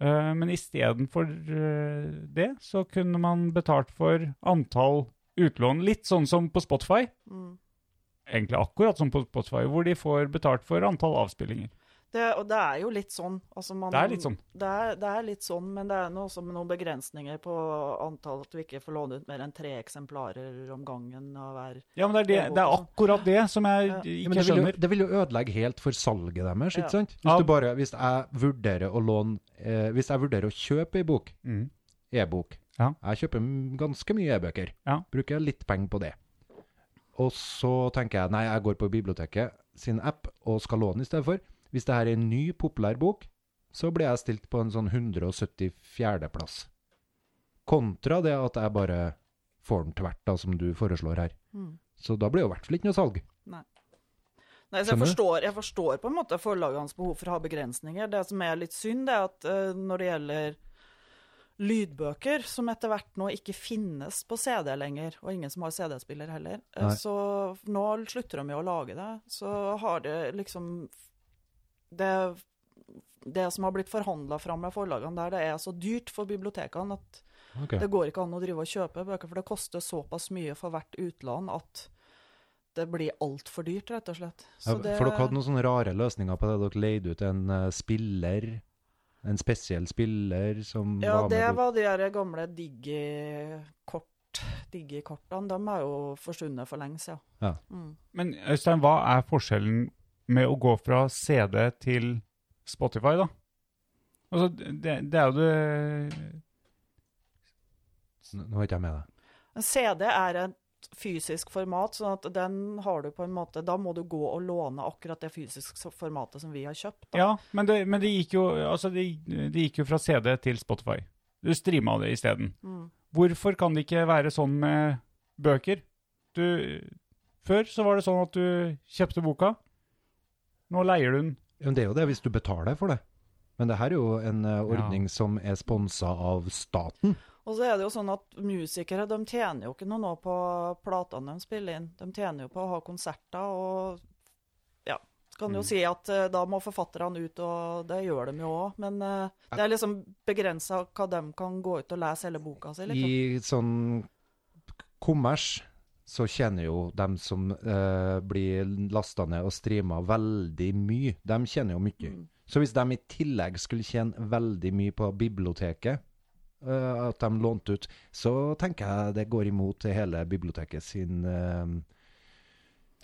S4: Eh, men istedenfor uh, det, så kunne man betalt for antall utlån. Litt sånn som på Spotify.
S2: mm.
S4: Egentlig akkurat som på Spotify, hvor de får betalt for antall avspillinger.
S2: Det, og det er jo litt sånn. Altså man,
S4: Det er litt sånn.
S2: Det er, det er litt sånn, men det er noe også med noen begrensninger på antall at du ikke får låne ut mer enn tre eksemplarer om gangen av hver.
S4: Ja, men det er, Eh, det, det er akkurat det som jeg
S2: Ja.
S5: Ja,
S4: ikke
S5: men det, vil jo,
S4: skjønner.
S5: det vil jo ødelegge helt for salget deres,
S2: Ja.
S5: ikke sant? Hvis,
S4: Ja.
S5: du bare, hvis jeg vurderer å låne eh, Hvis jeg vurderer å kjøpe ei bok,
S4: Mm.
S5: e-bok
S4: Ja.
S5: Jeg kjøper m- ganske mye e-bøker.
S4: Ja.
S5: Bruker jeg litt penger på det. Og så tenker jeg nei, jeg går på biblioteket sin app og skal låne i stedet for. Hvis det her er en ny, populær bok, så blir jeg stilt på en sånn 174.-plass. Kontra det at jeg bare får den tvert, da, som du foreslår her.
S2: Mm.
S5: Så da blir det i hvert fall ikke noe salg.
S2: Nei, så jeg,
S5: Skjønner du?
S2: forstår, jeg forstår på en måte forlagenes behov for å ha begrensninger. Det som er litt synd, det er at eh, når det gjelder lydbøker, som etter hvert nå ikke finnes på CD lenger, og ingen som har CD-spiller heller, eh,
S5: Nei.
S2: så nå slutter de jo å lage det. Så har det liksom Det, det som har blitt forhandla fram med forlagene der, det er så dyrt for bibliotekene at det går ikke an å drive og kjøpe bøker, for det koster såpass mye for hvert utlån at det blir altfor dyrt, rett og slett.
S5: Ja,
S2: Så det,
S5: For dere hadde noen sånne rare løsninger på det. Dere leide ut en eh, spiller, en spesiell spiller som
S2: ja,
S5: var med
S2: det
S5: på-
S2: var de der gamle digikort, digikortene. De er jo forsvunnet for lenge siden.
S5: Ja.
S2: Mm.
S4: Men Øystein, hva er forskjellen med å gå fra CD til Spotify, da? Altså, det, det er jo det
S5: Nå nå er ikke jeg med deg.
S2: En CD er et fysisk format, sånn at den har du på en måte Da må du gå og låne akkurat det fysiske formatet som vi har kjøpt. Da.
S4: Ja, men det, men det, gikk, jo, altså det, det gikk jo fra CD til Spotify. Du streama det isteden.
S2: Mm.
S4: Hvorfor kan det ikke være sånn med bøker? Du, før så var det sånn at du kjøpte boka, nå leier du den.
S5: Ja, Men det er jo det, hvis du betaler for det. Men det her er jo en eh, ordning som er sponsa av staten.
S2: Og så er det jo sånn at musikere de tjener jo ikke noe nå på platene de spiller inn. De tjener jo på å ha konserter og ja, kan
S5: Mm.
S2: jo si at eh, da må forfatterne ut, og det gjør de jo òg. Men eh, det er liksom begrensa hva de kan gå ut og lese hele boka si. Liksom.
S5: I sånn kommers så tjener jo dem som eh, blir lasta ned og streama veldig mye. De tjener jo mye. Så hvis de i tillegg skulle tjene veldig mye på biblioteket, eh, at de lånte ut, så tenker jeg det går imot hele biblioteket sin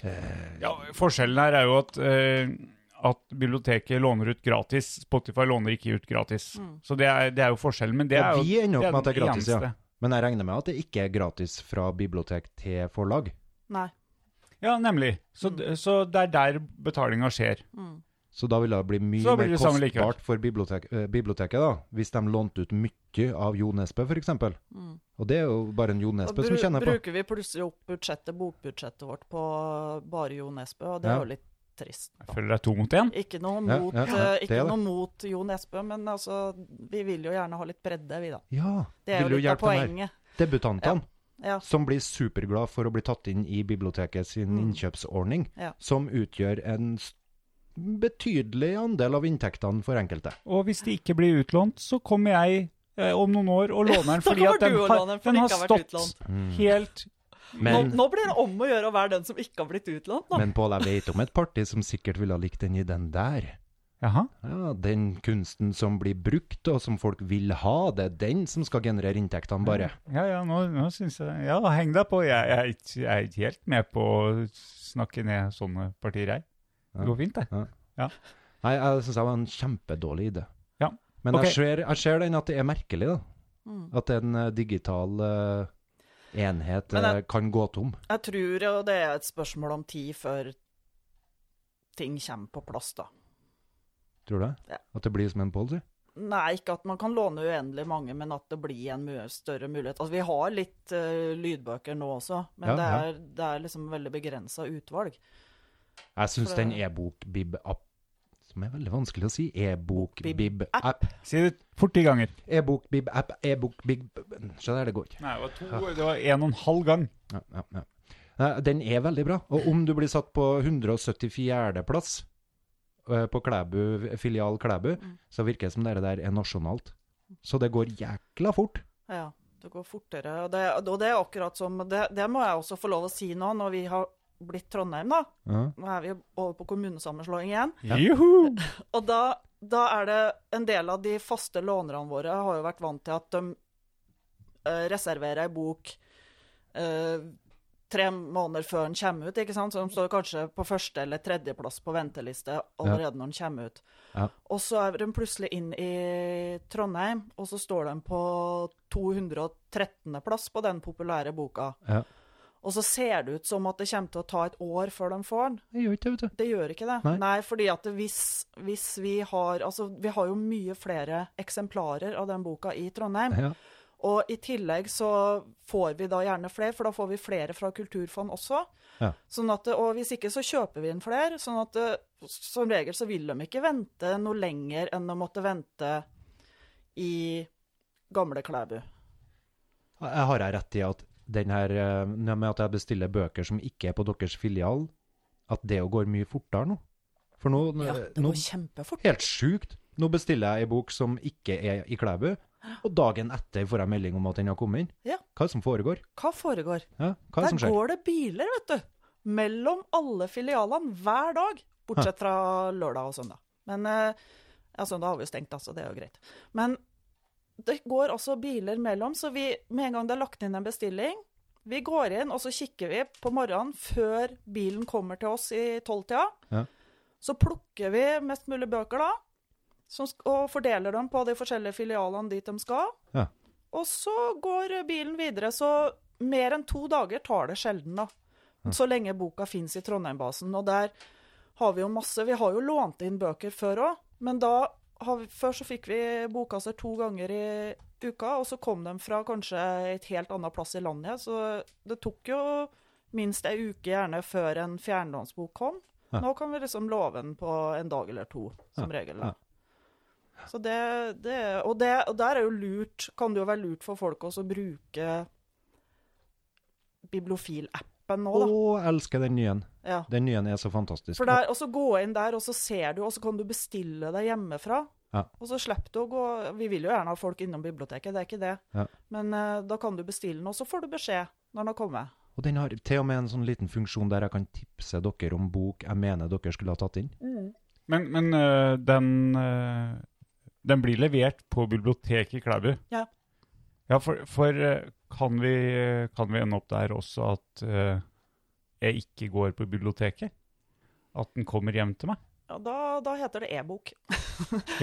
S5: eh, eh,
S4: Ja, forskjellen her er jo at, eh, at biblioteket låner ut gratis. Spotify låner ikke ut gratis.
S2: Mm.
S4: Så det er, det er jo forskjellen. Men det
S5: Ja,
S4: er jo
S5: vi ender opp
S4: det
S5: med at det er
S4: den
S5: gratis, ja.
S4: eneste.
S5: Men jeg regner med at det ikke er gratis fra bibliotek til forlag.
S2: Nei. Mm.
S4: Ja, nemlig. Så, d- så det er der betalinga skjer.
S5: Så da ville det bli mye
S4: Så blir
S5: mer
S4: det samme likevel.
S5: kostbart for bibliotek, eh, biblioteket, da, hvis de lånte ut mye av Jo Nesbø, f.eks. eksempel. Og det er jo bare en Jo
S2: Da
S5: Nesbø
S2: Mm. bru-
S5: som kjenner på.
S2: bruker vi plutselig opp budsjettet, bokbudsjettet vårt på bare Jo Nesbø, og det
S5: Ja.
S2: er jo litt trist.
S4: Jeg føler det er to mot én.
S2: Ikke noe
S5: Ja,
S2: mot,
S5: ja, ja,
S2: eh,
S5: det
S2: ikke
S5: er det.
S2: noe mot Jo Nesbø, men altså, vi vil jo gjerne ha litt bredde, vi da.
S5: Ja,
S2: Det er
S5: vil
S2: jo
S5: jo
S2: litt av
S5: hjelpe den her.
S2: poenget.
S5: Debutantene.
S2: Ja.
S5: Som blir superglad for å bli tatt inn i biblioteket sin innkjøpsordning,
S2: Mm. Ja.
S5: som utgjør en s- betydelig andel av inntektene for enkelte.
S4: Og hvis de ikke blir utlånt, så kommer jeg eh, om noen år og
S2: *laughs*
S4: låner den,
S2: Da
S4: fordi
S2: kommer
S4: at den
S2: du og
S4: har,
S2: låner den, for
S4: den
S2: den
S4: har
S2: ikke har vært
S4: stått helt
S2: Nå,
S5: Men,
S2: nå blir det om å gjøre å være den som ikke har blitt utlånt, da.
S5: men Pål, jeg vet om et parti som sikkert ville ha likt den i den der.
S4: Jaha.
S5: Ja, Den kunsten som blir brukt, og som folk vil ha, det er den som skal generere inntektene, bare.
S4: Ja, ja, nå, nå syns jeg Ja, heng deg på. Jeg, jeg, er ikke- jeg er ikke helt med på å snakke ned sånne partier, jeg. Det går fint, det.
S5: Nei, jeg syns jeg var en kjempedårlig idé.
S4: Ja,
S5: Men
S4: ok.
S5: jeg, ser, jeg ser den at det er merkelig, da.
S2: Mm.
S5: At en eh, digital eh, enhet
S2: Men jeg-
S5: eh, kan gå tom.
S2: Jeg tror jo det er et spørsmål om tid før ting kommer på plass, da.
S5: Tror du det?
S2: Ja.
S5: At det blir som en policy?
S2: Nei, ikke at man kan låne uendelig mange, men at det blir en mye større mulighet. Altså, vi har litt eh, lydbøker nå også, men
S5: Ja,
S2: det,
S5: ja.
S2: er, det er liksom veldig begrensa utvalg.
S5: Jeg syns
S2: For det-
S5: den e-bok-bib-app Som er veldig vanskelig å si. E-bok-bib-app.
S4: Si det fort ti ganger.
S5: E-bok-bib-app. E-bok-bib... Skjønner, det går ikke.
S4: Nei, det var to Det var en og en halv gang.
S5: Ja, ja, ja. Nei, Den er veldig bra. Og om du blir satt på 174. plass eh, på Klæbu, filial Klæbu,
S2: Mm.
S5: så virker det som det der er nasjonalt. Så det går jækla fort.
S2: Ja, det går fortere. Og det, og det er akkurat som det, det må jeg også få lov å si nå, når vi har blitt Trondheim, da.
S5: Ja.
S2: Nå er vi jo over på kommunesammenslåing igjen.
S4: Juhu!
S2: Og da, da er det en del av de faste lånerne våre har jo vært vant til at de eh, reserverer ei bok eh, tre måneder før den kommer ut, ikke sant? Så de står kanskje på første eller tredjeplass på venteliste allerede når den kommer ut.
S5: Ja.
S2: Og så er de plutselig inn i Trondheim, og så står de på 213. plass på den populære boka.
S5: Ja.
S2: Og så ser det ut som at det kommer til å ta et år før de får den.
S5: Det gjør ikke det, vet du.
S2: Det gjør ikke det.
S5: Nei.
S2: Nei, fordi at hvis, hvis vi har Altså, vi har jo mye flere eksemplarer av den boka i Trondheim.
S5: Ja.
S2: Og i tillegg så får vi da gjerne flere, for da får vi flere fra Kulturfond også.
S5: Ja.
S2: Sånn at, og hvis ikke så kjøper vi inn flere. Sånn at eh, som regel så vil de ikke vente noe lenger enn å måtte vente i Gamle Klæbu.
S5: Jeg har jeg rett i at den her eh, nå med at jeg bestiller bøker som ikke er på deres filial, at det jo går mye fortere nå? For nå, nå, eh,
S2: Ja, det
S5: nå
S2: går kjempefort.
S5: Helt sjukt. Nå bestiller jeg ei bok som ikke er i Klæbu, og dagen etter får jeg melding om at den har kommet inn.
S2: Ja.
S5: Hva er det som foregår?
S2: Hva foregår?
S5: Ja, hva er det som
S2: Der
S5: skjer?
S2: går det biler, vet du. Mellom alle filialene hver dag. Bortsett fra lørdag og søndag. Men eh, ja, søndag har vi jo stengt, da, så det er jo greit. Men det går altså biler mellom, så vi, med en gang det er lagt inn en bestilling Vi går inn, og så kikker vi på morgenen før bilen kommer til oss i tolvtida.
S5: Ja.
S2: Så plukker vi mest mulig bøker, da. Som, sk- og fordeler dem på de forskjellige filialene dit de skal.
S5: Ja.
S2: Og så går bilen videre, så mer enn to dager tar det sjelden, da. Så lenge boka fins i Trondheim-basen. Og der har vi jo masse Vi har jo lånt inn bøker før òg, men da har vi, Før så fikk vi bokkasser to ganger i uka, og så kom de fra kanskje et helt annet plass i landet, ja, så det tok jo minst ei uke gjerne før en fjernlånsbok kom. Nå kan vi liksom love den på en dag eller to, som regel. da.
S5: ja.
S2: Så det, det, og det Og der er jo lurt Kan det jo være lurt for folk også å bruke bibliofil-appen nå,
S5: Å,
S2: da.
S5: jeg elsker den nye.
S2: Ja.
S5: Den nye er så fantastisk.
S2: For der, og så gå inn der, og så ser du, og så kan du bestille deg hjemmefra.
S5: Ja.
S2: Og så slipper du å gå Vi vil jo gjerne ha folk innom biblioteket, det er ikke det.
S5: Ja.
S2: Men eh, da kan du bestille den, og så får du beskjed når den har kommet.
S5: Og den har til og med en sånn liten funksjon der jeg kan tipse dere om bok jeg mener dere skulle ha tatt inn.
S4: Men, men øh, den, øh, den blir levert på biblioteket i Klæbu.
S2: Ja.
S4: Ja, for, for øh, kan, vi, øh, kan vi ende opp der også at øh, jeg ikke går på biblioteket? At den kommer hjem til meg?
S2: Ja, da, da heter det e-bok.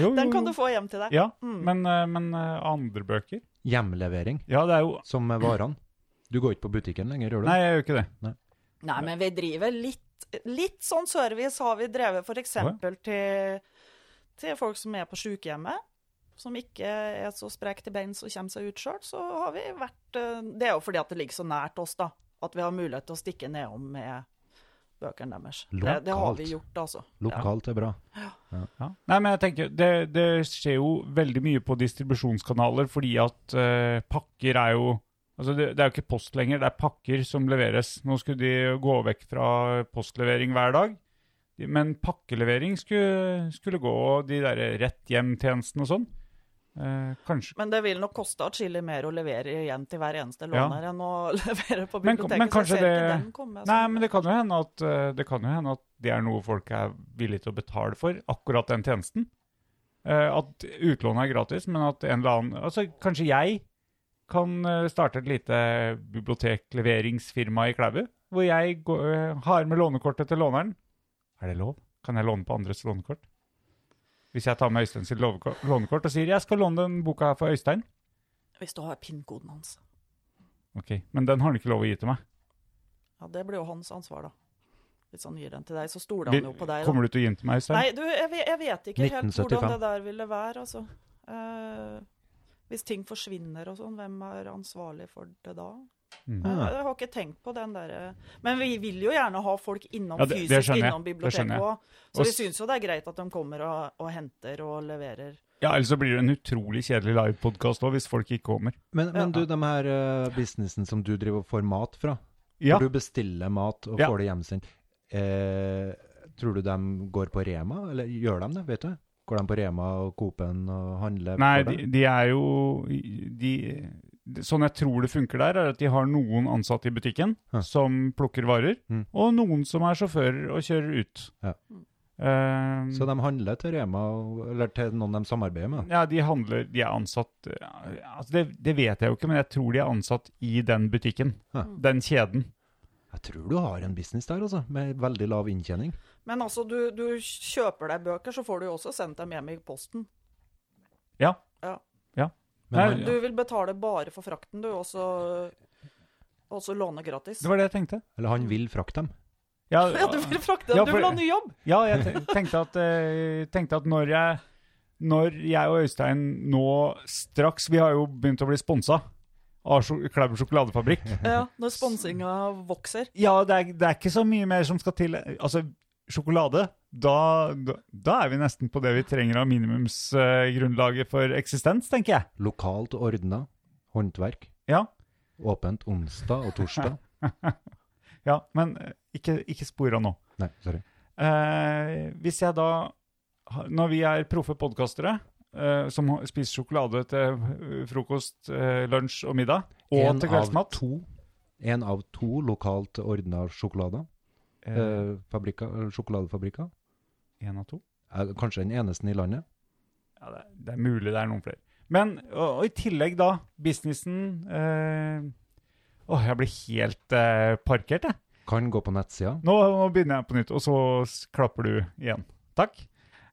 S4: Jo,
S2: Den kan du få hjem til deg.
S4: Ja,
S2: Mm.
S4: men, øh, men øh, andre bøker?
S5: Hjemlevering,
S4: Ja, det er jo
S5: som med varene. Du går ikke på butikken lenger, gjør du?
S4: Nei, jeg gjør ikke det.
S5: Nei.
S2: Nei, men vi driver litt, litt sånn service har vi drevet f.eks. Til, til folk som er på sykehjemmet. Som ikke er så sprek til beins og kommer seg ut sjøl, så har vi vært eh, Det er jo fordi at det ligger så nært oss, da. At vi har mulighet til å stikke nedom med bøkene deres. Det, det har vi
S5: Lokalt.
S2: gjort, altså.
S5: Lokalt er bra.
S4: Ja. Nei, men jeg tenker, det, det skjer jo veldig mye på distribusjonskanaler, fordi at eh, pakker er jo Altså, det, det er jo ikke post lenger, det er pakker som leveres. Nå skulle de gå vekk fra postlevering hver dag, De- men pakkelevering skulle, skulle gå de der rett hjem-tjenestene og sånn. Eh, kanskje
S2: Men det vil nok koste atskillig mer å levere igjen til hver eneste
S4: Ja.
S2: låner enn å *laughs* levere på
S4: Men-
S2: biblioteket.
S4: men
S2: så jeg
S4: kanskje
S2: ser ikke
S4: det-
S2: den komme.
S4: Nei,
S2: sånn.
S4: men det kan jo hende at eh, det kan jo hende at det er noe folk er villige til å betale for, akkurat den tjenesten. Eh, At utlånet er gratis, men at en eller annen Altså, kanskje jeg kan eh, starte et lite bibliotekleveringsfirma i Klæbu, hvor jeg går, eh, har med lånekortet til låneren. Er det lov? Kan jeg låne på andres lånekort? Hvis jeg tar med Øystein sitt loveko- lånekort og sier 'jeg skal låne den boka her for Øystein',
S2: Hvis du har pin-koden hans.
S4: ok, men den har han ikke lov å gi til meg.
S2: Ja, det blir jo hans ansvar, da. Hvis han gir den til deg, så stoler
S4: Vi-
S2: han jo på deg. da.
S4: Kommer du til å gi den til meg, Øystein?
S2: Nei, du, jeg, ve- jeg vet ikke helt hvordan
S6: 1975.
S2: det der ville være, altså. Eh, hvis ting forsvinner og sånn, hvem er ansvarlig for det da?
S4: Mm.
S2: Jeg, jeg har ikke tenkt på den derre Men vi vil jo gjerne ha folk innom
S4: Ja, det- det
S2: fysisk
S4: skjønner jeg.
S2: innom
S4: Det skjønner
S2: biblioteket
S4: jeg.
S2: òg.
S4: Og
S2: Så vi
S4: s-
S2: syns jo det er greit at de kommer og, og henter og leverer.
S4: Ja, ellers så blir det en utrolig kjedelig livepodkast òg, hvis folk ikke kommer.
S5: Men, men
S2: Ja.
S5: du, de her eh, businessen som du driver og får mat fra,
S4: Ja,
S5: hvor du bestiller mat og
S4: Ja.
S5: får det hjemsendt, eh, tror du de går på Rema, eller gjør de det, vet du? Går de på Rema og Coop-en og handler
S4: Nei,
S5: for
S4: de,
S5: deg?
S4: de er jo de, Sånn jeg tror det funker der, er at de har noen ansatte i butikken
S5: Ja.
S4: som plukker varer,
S5: Mm.
S4: og noen som er sjåfører og kjører ut.
S5: Ja.
S4: Eh,
S5: Så de handler til Rema, og- eller til noen de samarbeider med?
S4: ja, de handler De er ansatt ja, altså det, det vet jeg jo ikke, men jeg tror de er ansatt i den butikken.
S5: Ja.
S4: Den kjeden.
S5: Jeg tror du har en business der, altså, med veldig lav inntjening.
S2: Men altså, du, du kjøper deg bøker, så får du jo også sendt dem hjem i posten.
S4: Ja.
S2: Ja.
S4: Ja.
S5: Men
S4: Nei,
S5: han-
S2: Du vil betale bare for frakten, du, og så og så låne gratis.
S4: Det var det jeg tenkte.
S5: Eller han vil frakte dem.
S4: Ja,
S2: *laughs* Ja, du vil frakte
S4: Ja,
S2: dem, du
S4: for-
S2: vil ha ny jobb!
S4: Ja, jeg te- tenkte at, eh, tenkte at når, jeg, når jeg og Øystein nå straks Vi har jo begynt å bli sponsa av sjok- Klæbu sjokoladefabrikk.
S2: Ja, *laughs* når sponsinga vokser.
S4: *laughs* Ja, det er, det er ikke så mye mer som skal til. Altså, sjokolade da, da, da er vi nesten på det vi trenger av minimumsgrunnlaget for eksistens, tenker jeg.
S5: Lokalt ordna håndverk.
S4: Ja,
S5: Åpent onsdag og
S4: *laughs*
S5: torsdag.
S4: ja men eh, ikke, ikke spor av nå.
S5: Nei, sorry.
S4: Eh, hvis jeg da ha- Når vi er proffe podkastere eh, som ha- spiser sjokolade til eh, frokost, eh, lunsj og middag, og
S5: En
S4: til
S5: av
S4: kveldsmat
S5: to. En av to lokalt ordna sjokolader.
S4: eh,
S5: Eh, fabrikka, eller sjokoladefabrikker.
S4: En av to?
S5: Eh, Kanskje den eneste i landet.
S4: Ja, det, er- det er mulig det er noen flere. Men og, og i tillegg, da, businessen eh, Åh, jeg blir helt eh, parkert, jeg.
S5: Kan gå på nettsida.
S4: Nå, nå begynner jeg på nytt, og så s- klapper du igjen. Takk.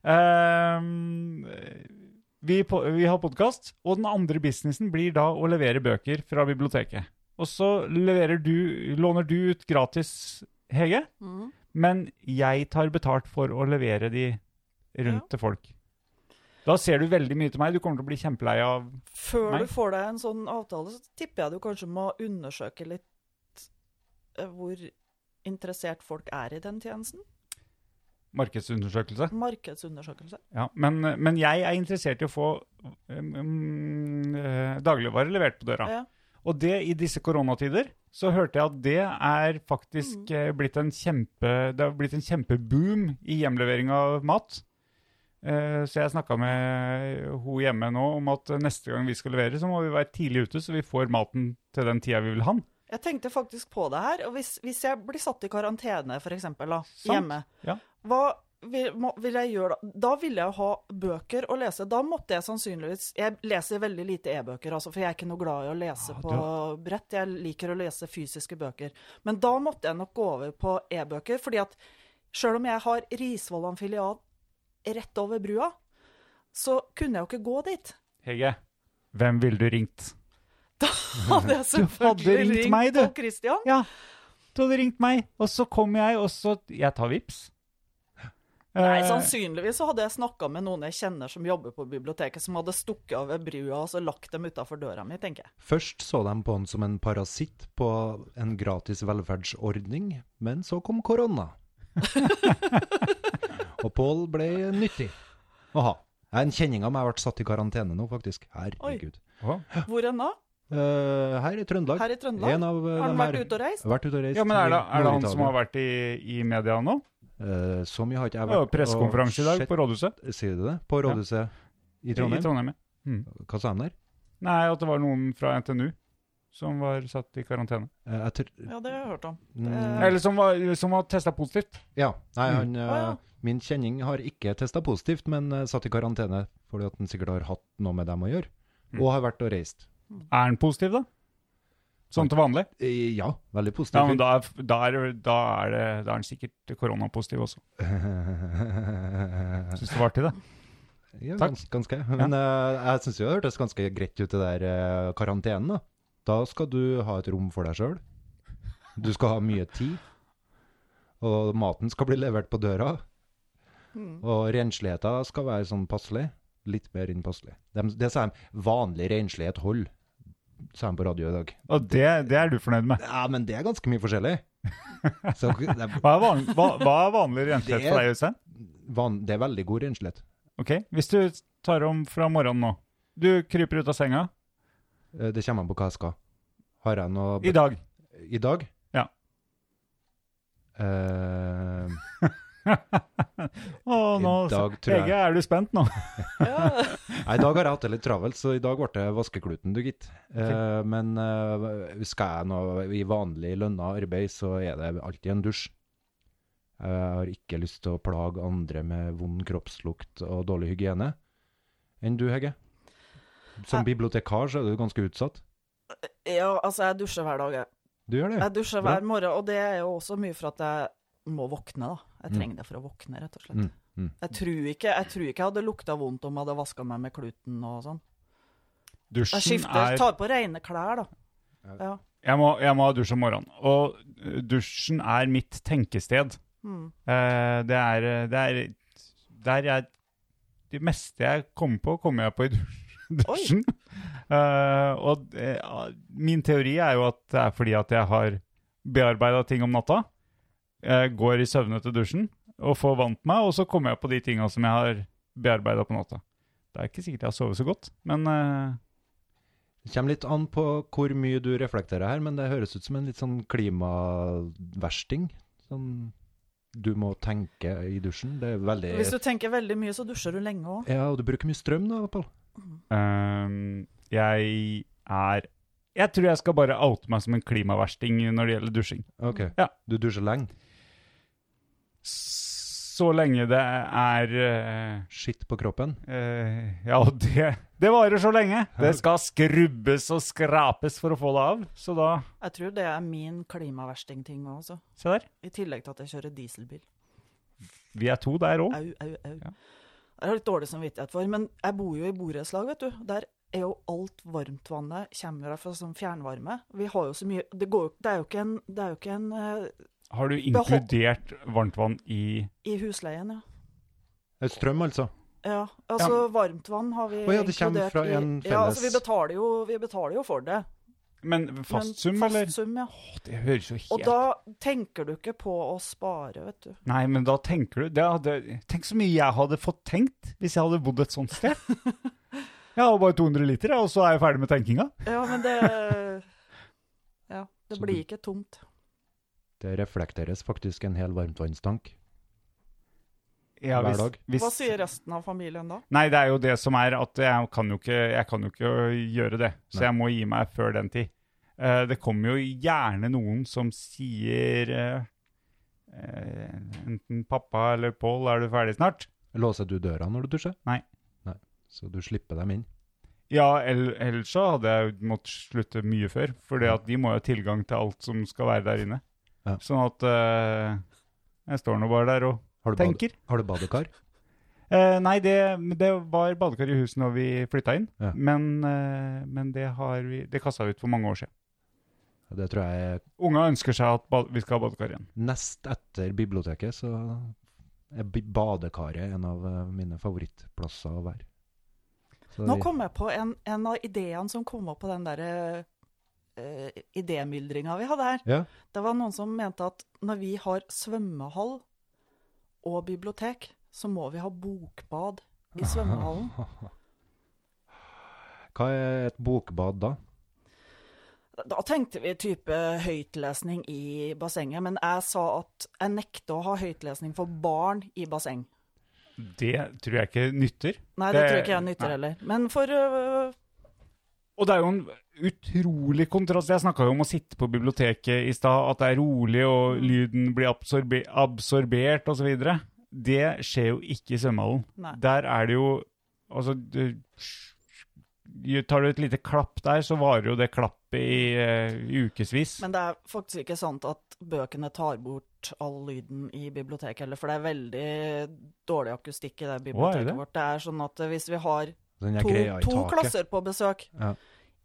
S4: Ehm, vi, på, vi har podkast, og den andre businessen blir da å levere bøker fra biblioteket. Og så leverer du, låner du ut gratis, Hege, men jeg tar betalt for å levere de rundt
S2: Ja.
S4: til folk. Da ser du veldig mye til meg. Du kommer til å bli kjempelei av
S2: Før
S4: Nei.
S2: du får deg en sånn avtale, så tipper jeg du kanskje må undersøke litt eh, hvor interessert folk er i den tjenesten.
S4: markedsundersøkelse.
S2: Markedsundersøkelse.
S4: Ja, men, men jeg er interessert i å få um, um, eh, dagligvarer levert på døra.
S2: Ja.
S4: Og det i disse koronatider, så hørte jeg at det er faktisk eh, blitt en kjempe Det har blitt en kjempeboom i hjemlevering av mat. Eh, Så jeg snakka med hun hjemme nå om at neste gang vi skal levere, så må vi være tidlig ute, så vi får maten til den tida vi vil ha den.
S2: Jeg tenkte faktisk på det her. og Hvis, hvis jeg blir satt i karantene, f.eks.,
S4: Sant.
S2: hjemme,
S4: Ja.
S2: hva vil, må, vil jeg gjøre da? Da ville jeg ha bøker å lese. Da måtte jeg sannsynligvis Jeg leser veldig lite e-bøker, altså, for jeg er ikke noe glad i å lese
S4: Ah,
S2: på brett. Jeg liker å lese fysiske bøker. Men da måtte jeg nok gå over på e-bøker, fordi at sjøl om jeg har Risvollan filial rett over brua, så kunne jeg jo ikke gå
S4: *laughs*
S2: dit.
S4: Hege, hvem ville du ringt?
S2: Hadde jeg
S4: ringt
S2: selvfølgelig ringt
S4: meg, du.
S2: Pål Christian.
S4: Ja. Du hadde ringt meg, og så kom jeg, og så Jeg tar vips.
S2: Nei,
S4: Eh,
S2: sannsynligvis så hadde jeg snakka med noen jeg kjenner som jobber på biblioteket, som hadde stukket av ved brua og så lagt dem utafor døra mi, tenker jeg.
S5: Først så de på han som en parasitt på en gratis velferdsordning, men så kom korona.
S2: *laughs*
S5: og Pål ble nyttig å ha. Jeg er En kjenning av meg ble satt i karantene nå, faktisk. Herregud.
S4: hva?
S2: Hvor enn da?
S5: Eh, her i Trøndelag.
S2: Her i Trøndelag?
S5: En av, eh,
S2: Har han
S5: dem her-
S2: vært ute og reist?
S5: Vært ute og reist
S4: Ja, men er det,
S5: i
S4: er det han som
S5: Nord-Italia.
S4: har vært i, i media nå?
S5: Eh, Så mye har ikke
S4: Det
S5: jeg
S4: var jo
S5: vært
S4: pressekonferanse i dag
S5: og
S4: på rådhuset.
S5: sett- Sier du det? På rådhuset i
S4: I
S5: Trondheim?
S4: Trondheim. ja. Mm.
S5: Hva sa de der?
S4: Nei, at det var noen fra NTNU som var satt i karantene.
S5: Eh, Jeg tr-
S2: Ja, det har jeg hørt *laughs* om.
S5: mm,
S4: Eller som var, som var testa positivt.
S5: Ja. Nei, han,
S2: Mm. Å, ja.
S5: eh, min kjenning har ikke testa positivt, men eh, satt i karantene fordi at han sikkert har hatt noe med dem å gjøre.
S2: Mm.
S5: Og har vært og reist.
S4: Er han positiv, da? Sånn til vanlig?
S5: Eh, Ja, veldig positivt.
S4: Ja, men da, er- da, er, da, er, det, da er han sikkert koronapositiv også.
S5: *laughs*
S4: Syns det var artig, det.
S5: Ja,
S4: Takk.
S5: gans, ganske. Men eh, jeg syns jo det hørtes ganske greit ut, det der eh, karantenen. Da. da skal du ha et rom for deg sjøl. Du skal ha mye tid. Og maten skal bli levert på døra. Og rensligheta skal være sånn passelig. Litt mer enn passelig. Dem- det sa de. Vanlig renslighet holder, sa de på radio i dag.
S4: Og det, det er du fornøyd med.
S5: Ja, men det er ganske mye forskjellig. Så det er,
S4: *laughs* Hva er vanlig, hva, hva er vanlig rentehet for deg, Øystein?
S5: van, det er veldig god renslighet.
S4: Ok, Hvis du tar om fra morgenen nå. Du kryper ut av senga
S5: Eh, Det kommer an på hva jeg skal. Har jeg noe
S4: i dag. *laughs*
S5: I dag?
S4: Ja.
S5: Eh,
S4: Å, nå,
S5: I dag tror jeg-
S4: Hege, er du spent nå?
S5: nei, i dag har jeg hatt det litt travelt, så i dag ble det vaskekluten, du gitt. Eh, men eh, skal jeg nå i vanlig lønna arbeid, så er det alltid en dusj. Jeg har ikke lyst til å plage andre med vond kroppslukt og dårlig hygiene. Enn du, Hegge? Som bibliotekar så er du ganske utsatt.
S2: Ja, altså, jeg dusjer hver dag, jeg.
S5: Du gjør det?
S2: Jeg dusjer
S5: Bra.
S2: hver morgen, og det er jo også mye for at jeg må våkne, da. Jeg trenger det for å våkne, rett og slett.
S5: Mm, mm.
S2: Jeg, tror ikke, jeg tror ikke jeg hadde lukta vondt om jeg hadde vaska meg med kluten og sånn. Jeg
S4: Dusjen
S2: skifter,
S4: er
S2: tar på rene klær, da. Ja.
S4: jeg må, jeg må ha dusj om morgenen. Og eh, dusjen er mitt tenkested.
S2: Mm.
S4: Eh, det, er, eh, det er der jeg Det meste jeg kommer på, kommer jeg på i *laughs* dus- dusjen. Eh, og eh, min teori er jo at det er fordi at jeg har bearbeida ting om natta. eh, går i søvne til dusjen og får vann på meg, og så kommer jeg på de tinga som jeg har bearbeida på natta. Det er ikke sikkert jeg har sovet så godt, men eh,
S5: Det kommer litt an på hvor mye du reflekterer her, men det høres ut som en litt sånn klimaversting. Sånn du må tenke i dusjen. Det er veldig
S2: Hvis du tenker veldig mye, så dusjer du lenge òg.
S5: Ja, og du bruker mye strøm da, Pål.
S4: Ehm, jeg er Jeg tror jeg skal bare oute meg som en klimaversting når det gjelder dusjing.
S5: OK.
S4: Ja.
S5: Du dusjer lenge.
S4: Så lenge det er eh,
S5: Skitt på kroppen.
S4: eh, Ja, *laughs* det, det varer så lenge. Det skal skrubbes og skrapes for å få det av. Så da
S2: Jeg tror det er min klimaversting-ting òg, altså.
S4: Se der.
S2: I tillegg til at jeg kjører dieselbil.
S4: Vi er to der òg.
S2: Au, au, au.
S4: Ja.
S2: Det har jeg litt dårlig samvittighet for, men jeg bor jo i borettslag, vet du. Der er jo alt varmtvannet kommer fra sånn fjernvarme. Vi har jo så mye Det, går, jo- det er jo ikke en, det er jo ikke en eh,
S4: Har du
S2: Behold-
S4: inkludert varmtvann i
S2: i husleien, ja.
S5: Eh, Strøm, altså.
S2: Ja, altså varmtvann har vi
S5: Å ja, det kommer
S2: inkludert
S5: fra
S2: i-
S5: en
S2: Ja, altså vi
S5: felles-
S2: betaler jo, vi betaler jo for det.
S4: Men
S2: Men
S4: fastsum, eller?
S2: Fast sum, ja.
S4: Det høres jo
S2: Og
S4: helt
S2: da tenker du ikke på å spare, vet du.
S4: Nei, men da tenker du det hadde, Tenk så mye jeg hadde fått tenkt hvis jeg hadde bodd et sånt sted.
S5: *laughs*
S4: Jeg har bare 200 liter, jeg, og så er jeg ferdig med tenkinga.
S2: Ja, men det
S5: *laughs*
S2: Ja, det
S5: Så
S2: blir
S5: du-
S2: ikke tomt.
S5: Det reflekteres faktisk en hel varmtvannstank.
S4: Ja,
S5: Hver dag.
S4: Hvis,
S2: Hva sier resten av familien da?
S4: Nei, det er jo det som er at jeg kan jo ikke, jeg kan jo ikke gjøre det. Så
S5: Nei.
S4: jeg må gi meg før den tid. Eh, det kommer jo gjerne noen som sier eh, eh, enten pappa eller Pål, er du ferdig snart?
S5: Låser du døra når du dusjer?
S4: Nei.
S5: Nei. Så du slipper dem inn?
S4: Ja, eller, ellers så hadde jeg jo måttet slutte mye før. For de må jo ha tilgang til alt som skal være der inne.
S5: Ja.
S4: Sånn at eh, jeg står nå bare der og
S5: Har du, bad-
S4: tenker.
S5: har du badekar?
S4: Eh, nei, det, det var badekar i huset når vi flytta inn.
S5: Ja.
S4: Men, eh, men det, har vi, det kasta vi ut for mange år siden.
S5: Det tror jeg er
S4: Unga ønsker seg at bad, vi skal ha badekar igjen.
S5: nest etter biblioteket, så er bi- badekaret en av eh, mine favorittplasser å være. Så
S2: Nå
S5: vi-
S2: kom jeg på en, en av ideene som kom opp på den der uh, idémyldringa vi hadde her.
S5: Ja.
S2: Det var noen som mente at når vi har svømmehall og bibliotek, så må vi ha bokbad
S4: *laughs*
S2: i svømmehallen.
S5: Hva er et bokbad da?
S2: Da tenkte vi type høytlesning i bassenget, men jeg sa at jeg nekter å ha høytlesning for barn i basseng.
S4: Det tror jeg ikke nytter.
S2: Nei, det,
S4: Det-
S2: tror ikke jeg nytter
S4: nei.
S2: heller. Men for øh,
S4: Og det er jo en utrolig kontrast. Jeg snakka jo om å sitte på biblioteket i stad, at det er rolig og
S2: Mm.
S4: lyden blir absorbe absorbert osv. Det skjer jo ikke i svømmehallen.
S2: Nei.
S4: Der er det jo Altså du, Tar du et lite klapp der, så varer jo det klappet i, eh, i ukevis.
S2: Men det er faktisk ikke sant at bøkene tar bort all lyden i biblioteket heller, for det er veldig dårlig akustikk i det biblioteket
S4: det?
S2: vårt. Det er sånn at hvis vi har
S5: Den der
S2: to,
S5: greia i
S2: to
S5: taket.
S2: klasser på besøk,
S5: Ja.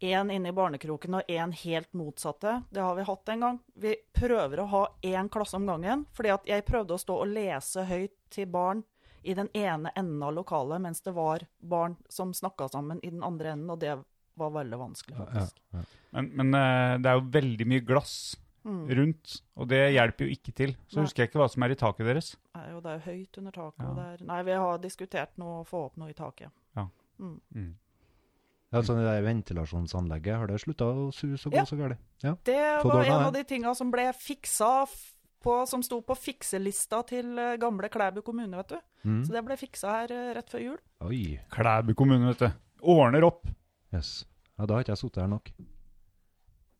S2: én inne i barnekroken og én helt motsatte, det har vi hatt en gang. Vi prøver å ha én klasse om gangen, fordi at jeg prøvde å stå og lese høyt til barn i den ene enden av lokalet, mens det var barn som snakka sammen i den andre enden, og det var veldig vanskelig,
S5: Ja,
S2: faktisk.
S5: ja.
S4: Men, men eh, det er jo veldig mye glass rundt, og det hjelper jo ikke til. Så
S2: Mm. Nei.
S4: husker jeg ikke hva som er i taket deres.
S2: er jo, det er jo høyt under taket. Og
S4: Ja.
S2: det er, nei, vi har diskutert noe, å få opp noe i taket.
S5: Ja, så det der ventilasjonsanlegget har det slutta å suse og gå
S2: Ja.
S5: så galt. Ja.
S2: Det
S5: Få
S2: var
S5: det ordnet,
S2: en
S5: ja.
S2: av de tinga som ble fiksa f- på, som sto på fikselista til eh, gamle Klæbu kommune, vet du.
S5: Mm.
S2: Så det ble fiksa her eh, rett før jul.
S5: Oi.
S4: Klæbu kommune, vet du. Ordner opp.
S5: Yes. Ja, da har ikke jeg sittet her nok.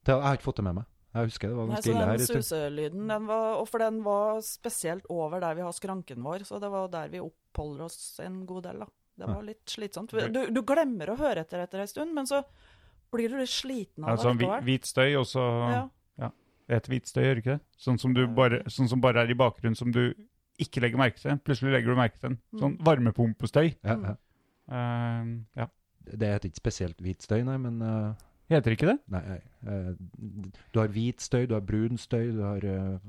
S5: Det, jeg har ikke fått det med meg. Jeg husker det var
S2: Nei,
S5: ganske
S2: så
S5: ille her.
S2: den
S5: i stund.
S2: suselyden, den var, og for den var spesielt over der vi har skranken vår, så det var der vi oppholder oss en god del, da. Det var litt slitsomt. Du, du glemmer å høre etter etter ei stund, men så blir du litt sliten
S5: sånn,
S2: av
S4: Altså,
S2: det
S4: hvi-
S2: likevel.
S4: hvit støy, og så
S2: Ja.
S4: Det heter hvit støy, gjør det ikke det? Sånn som, du bare, sånn som bare er i bakgrunnen, som du ikke legger merke til. Plutselig legger du merke til den. Sånn varmepumpestøy.
S2: Mm.
S5: Ja, ja.
S4: Eh, ja.
S5: Det heter ikke spesielt hvit støy, nei, men eh,
S4: Heter ikke det?
S5: Nei, eh, du har hvit støy, du har brun støy, du har eh,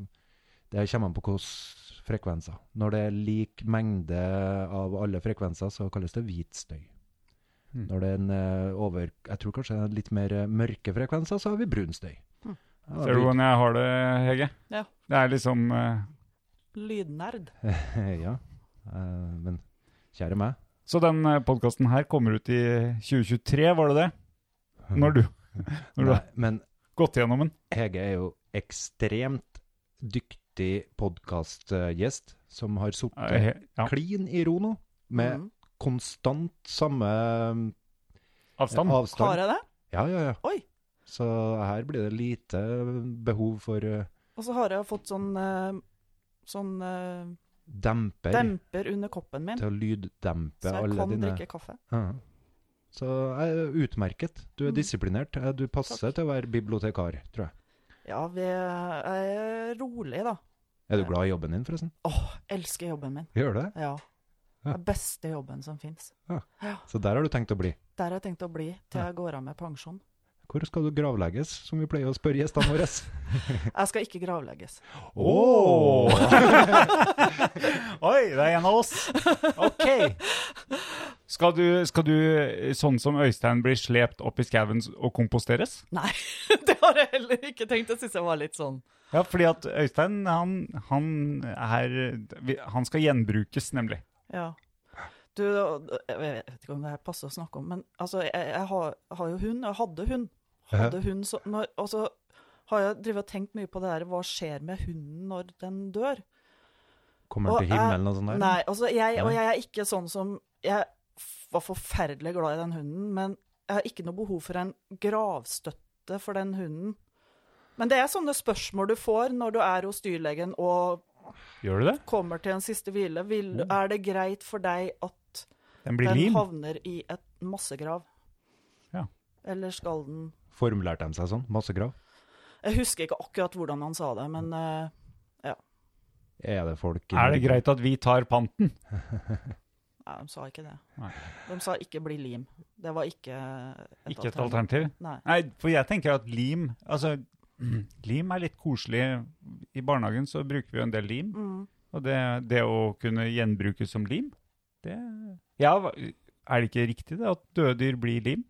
S5: Det kommer an på hvilke frekvenser. Når det er lik mengde av alle frekvenser, så kalles det hvit støy.
S4: Mm.
S5: Når det er en eh, over Jeg tror kanskje det er litt mer eh, mørke frekvenser, så har vi brun støy.
S2: Mm.
S5: Ja,
S4: Ser du hvordan jeg har det, Hege?
S2: Ja.
S4: Det er liksom eh,
S2: Lydnerd.
S5: *laughs* ja. Eh, men kjære meg.
S4: Så den podkasten her kommer ut i 2023, var det det?
S5: Mm.
S4: Når du Når du
S5: Nei,
S4: har
S5: men
S4: gått gjennom den?
S5: Hege er jo ekstremt dyktig podkastgjest, som har
S4: Eh,
S5: sittet
S4: he- Ja.
S5: klin i ro nå, med
S2: Mm.
S5: konstant samme um,
S4: Avstand.
S5: avstand.
S2: Har jeg det?
S5: Ja, ja, ja.
S2: Oi.
S5: Så her blir det lite behov for uh,
S2: Og så har jeg fått sånn, eh, sånn eh,
S5: demper,
S2: demper under koppen min,
S5: til å lyddempe
S2: så jeg
S5: alle
S2: kan
S5: dine
S2: drikke kaffe.
S5: Ja. Så jeg er utmerket. Du er
S2: Mm.
S5: disiplinert. Eh, Du passer
S2: Takk.
S5: til å være bibliotekar, tror jeg.
S2: Ja, vi er rolig da.
S5: Er du glad i jobben din, forresten?
S2: Åh, elsker jobben min.
S5: Gjør du det?
S2: Ja.
S5: Ja.
S2: Den beste jobben som finnes.
S5: Så der har du tenkt å bli.
S2: Der har jeg tenkt å bli til jeg går av
S5: *laughs*
S2: med pensjon.
S5: Hvor skal du gravlegges, som vi pleier å spørre gjestene våre?
S2: *laughs* Jeg skal ikke gravlegges.
S4: Åh! Oi, det er en av oss. Ok. Skal du, skal du, sånn som Øystein, bli slept opp i skauen og komposteres?
S2: Nei, *laughs* det har jeg heller ikke tenkt. Jeg synes jeg var litt sånn.
S4: Ja, fordi at Øystein, han, han er Han skal gjenbrukes, nemlig.
S2: Ja. Du, jeg vet ikke om det her passer å snakke om, men altså, jeg, jeg har, har jo hund, og jeg hadde hund. Hadde hund så, når, og så har jeg drevet og tenkt mye på det her, hva skjer med hunden når den dør?
S5: Kommer
S2: Og
S5: han til himmelen
S2: jeg-
S5: og sånn der?
S2: Nei, altså jeg, og
S5: Nei.
S2: jeg er ikke sånn som, jeg f- var forferdelig glad i den hunden, men jeg har ikke noe behov for en gravstøtte for den hunden. Men det er sånne spørsmål du får når du er hos dyrlegen og
S4: Gjør du det?
S2: kommer til en siste hvile. Vil, er det greit for deg at
S4: Den blir
S2: den
S4: lim.
S2: havner i et massegrav.
S4: Ja.
S2: Eller skal den
S5: Formulerte de seg sånn? Massegrav?
S2: Jeg husker ikke akkurat hvordan han sa det, men eh,
S5: Er det folk i
S4: Er det
S5: Norge?
S4: greit at vi tar panten?
S2: nei, de sa ikke det.
S4: Nei.
S2: De sa 'ikke bli lim'. Det var ikke et
S4: Ikke et alternativ?
S2: Nei.
S4: Nei, for jeg tenker at lim Altså, *clears throat* Lim er litt koselig. I barnehagen så bruker vi jo en del lim. Og det, det å kunne gjenbrukes som lim, det Ja, hva- er det ikke riktig det, at døde dyr blir lim?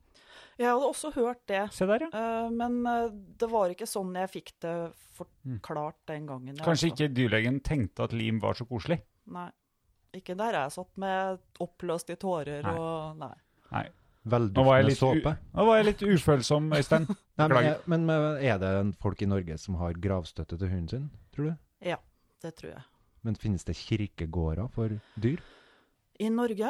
S2: Jeg hadde også hørt det,
S4: Se der, ja.
S2: eh, men eh, det var ikke sånn jeg fikk det forklart den gangen. jeg
S4: Mm. Kanskje
S2: også.
S4: ikke dyrlegen tenkte at lim var så koselig.
S2: Nei. Ikke der jeg satt med oppløst i tårer
S4: Nei.
S2: og Nei.
S4: Nei. Nå var jeg
S5: Velduftende
S4: litt, u
S5: såpe.
S4: nå var jeg litt ufølsom, Øystein.
S5: Nei, men,
S4: Beklager.
S5: men men er det en folk i Norge som har gravstøtte til hunden sin, tror du?
S2: Ja, det tror jeg.
S5: Men finnes det kirkegårder for dyr?
S2: I Norge?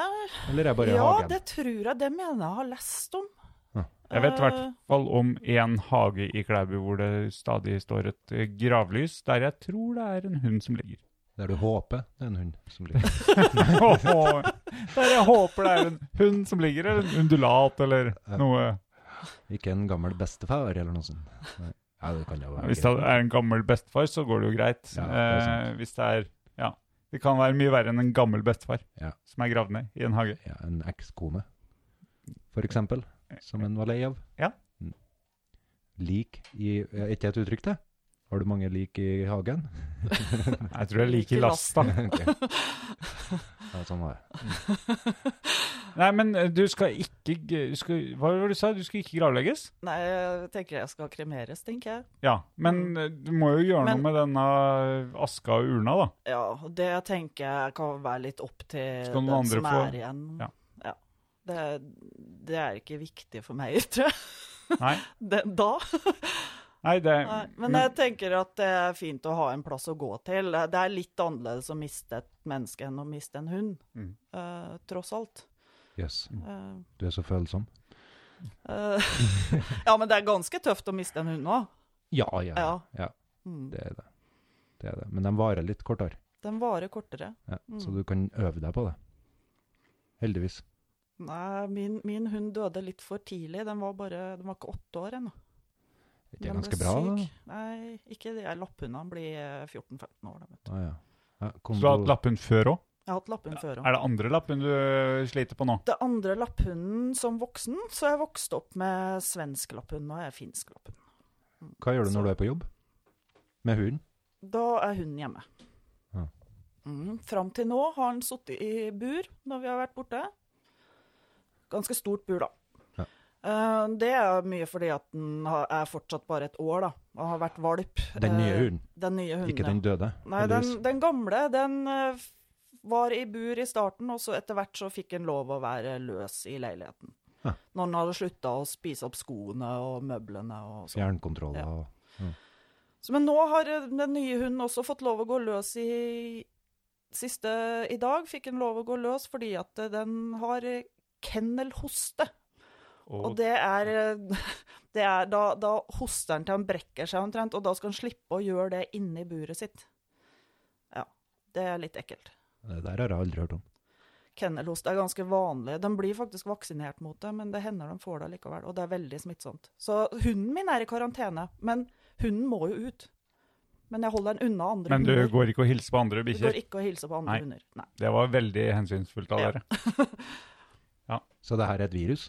S5: Eller er det bare
S2: ja,
S5: hagen?
S2: det tror jeg. Det mener jeg har lest om.
S5: Ja.
S4: Jeg vet i hvert
S2: Eh,
S4: fall om én hage i Klæbu hvor det stadig står et eh, gravlys, der jeg tror det er en hund som
S5: *laughs*
S4: ligger. *laughs*
S5: Der du håper det er en hund som ligger.
S4: Åh, der jeg håper det er en hund som ligger, eller en undulat, eller noe.
S5: *laughs* Ikke en gammel bestefar eller noe sånt. Nei, ja, det kan jo være
S4: Hvis det
S5: greit.
S4: er en gammel bestefar, så går det jo greit.
S5: Ja, det er sant.
S4: eh, hvis det er Ja. Det kan være mye verre enn en gammel bestefar
S5: Ja.
S4: som er gravd ned i en hage.
S5: ja, en ekskone, for eksempel, som en var lei av.
S4: Ja.
S5: Mm. Lik i Er ikke det et uttrykk, det? Har du mange lik i hagen?
S4: Jeg tror jeg liker
S2: Ikke
S4: lasta.
S5: *laughs* Ok. Ja, sånn var det.
S4: Nei, men eh, du skal ikke g- du skal, Hva var det du sa? Du skal ikke gravlegges?
S2: Nei, jeg tenker jeg skal kremeres, tenker jeg.
S4: Ja, men eh, du må jo gjøre
S2: Mm. Men-
S4: noe med denne aska og urna, da.
S2: Ja, og det tenker jeg kan være litt opp til
S4: Skal noen
S2: den
S4: andre
S2: som
S4: få-
S2: er igjen.
S4: Ja.
S2: Ja. Det, det er ikke viktig for meg, *laughs* tror jeg.
S4: Nei,
S2: Det, da.
S4: nei det
S2: Nei, men jeg tenker at det er fint å ha en plass å gå til. Det er litt annerledes å miste et menneske enn å miste en hund,
S4: Mm.
S2: eh, tross alt.
S5: Jøss,
S2: Eh,
S5: du er så følsom.
S2: eh, *laughs* ja, men det er ganske tøft å miste en hund òg.
S5: Ja, ja, ja.
S2: Ja.
S5: ja
S2: Mm.
S5: det, er det. det er det. Men de varer litt kortere,
S2: Den varer kortere.
S5: ja. så du kan øve deg på det. Heldigvis.
S2: Nei, min, min hund døde litt for tidlig. Den var, bare, den var ikke åtte år ennå.
S5: Er ikke det
S2: Den ble
S5: ganske bra? da?
S2: syk. Nei, ikke det. Lapphundene blir eh, 14-15 år. Da, vet du.
S5: Ah, ja. Ja,
S4: Så du har hatt
S5: kondol-
S4: lapphund før òg?
S2: Jeg har hatt lapphund før òg.
S4: Er det andre lapphund du sliter på nå?
S2: Det andre lapphunden som voksen, så jeg vokste opp med svensk lapphund, og jeg er finsk lapphund.
S5: Hva gjør du når du er på jobb? Med hunden?
S2: Da er hunden hjemme.
S5: Ja.
S2: Mm, fram til nå har han sittet i bur når vi har vært borte. Ganske stort bur, da.
S5: Ja.
S2: Eh, det er mye fordi at den har, er fortsatt bare et år, da, og har vært valp.
S5: Den nye
S2: Eh,
S5: hunden,
S2: Den nye hunden,
S5: ikke
S2: ja.
S5: den døde.
S2: Nei, den,
S5: heldigvis.
S2: den gamle, den eh, f- var i bur i starten, og så etter hvert så fikk den lov å være løs i leiligheten.
S5: Ja.
S2: Når den hadde slutta å spise opp skoene og møblene og sånn.
S5: Fjernkontroller
S2: Ja.
S5: og
S2: Så, men nå har eh, den nye hunden også fått lov å gå løs i Siste i dag fikk den lov å gå løs fordi at eh, den har eh, kennelhoste. Og det er, eh, *laughs* det er da, da hoster den til han brekker seg omtrent, og da skal han slippe å gjøre det inni buret sitt. Ja, det er litt ekkelt.
S5: Det der har jeg aldri hørt om.
S2: Kennelhost er ganske vanlig. De blir faktisk vaksinert mot det, men det hender de får det likevel. Og det er veldig smittsomt. Så hunden min er i karantene, men hunden må jo ut. Men jeg holder den unna andre
S4: Men du
S2: hunder.
S4: går ikke og hilser på andre
S2: Vi går
S4: bikkjer?
S2: ikke og hilser på andre
S4: Nei.
S2: hunder. Nei.
S4: Det var veldig hensynsfullt av
S2: Ja.
S4: dere.
S5: Så det her er et virus?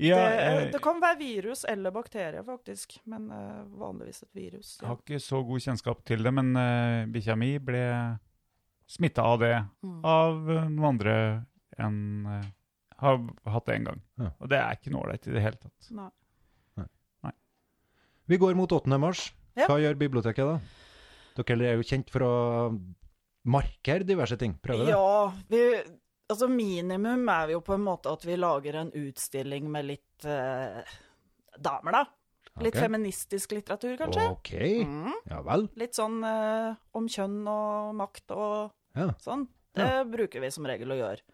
S4: Ja, eh,
S2: det,
S4: jeg
S2: det kan være virus eller bakterier, faktisk. Men eh, vanligvis et virus. Ja.
S4: har ikke så god kjennskap til det, men uh, bikkja mi ble smitta av det
S2: Mm.
S4: av eh, noen andre enn eh, Har hatt det en gang.
S5: Ja.
S4: Og det er ikke noe ålreit i det hele tatt.
S2: Nei.
S5: Vi går mot 8. mars.
S2: Ja.
S5: Hva gjør biblioteket da? Dere er jo kjent for å markere diverse ting. Prøver det?
S2: Ja, vi, altså minimum er jo på en måte at vi lager en utstilling med litt eh, damer, da. Litt
S5: Ok.
S2: feministisk litteratur, kanskje. Mm.
S5: OK. Ja vel.
S2: Litt sånn eh, om kjønn og makt og
S5: Ja.
S2: sånn. Det bruker vi som regel å gjøre.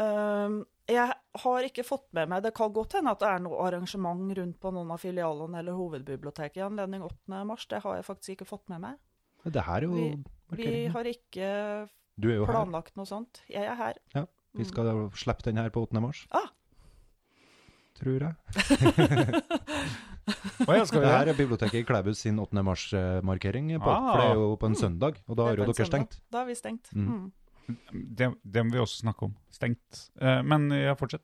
S2: Ehm, jeg har ikke fått med meg Det kan godt hende at det er noe arrangement rundt på noen av filialene eller hovedbiblioteket i anledning 8. mars. Det har jeg faktisk ikke fått med meg.
S5: Men Det her er jo
S2: Vi, vi
S5: markering.
S2: har ikke
S5: Du er jo her.
S2: planlagt noe sånt. Jeg er her.
S5: Ja. Vi skal da slippe den her på 8. mars.
S2: Mm. Ah.
S5: Tror
S2: *laughs*
S5: jeg.
S4: Å ja, skal
S5: Det
S4: vi
S5: her er biblioteket i Klæbu sin 8. mars-markering, på,
S4: Ah.
S5: for det er jo på en søndag, og da
S2: Det er
S5: har jo
S2: på en
S5: dere
S2: søndag.
S5: stengt.
S2: Da er vi stengt.
S5: Mm.
S2: Mm.
S4: det? Det må vi også snakke om. Stengt. Eh, men ja, fortsett.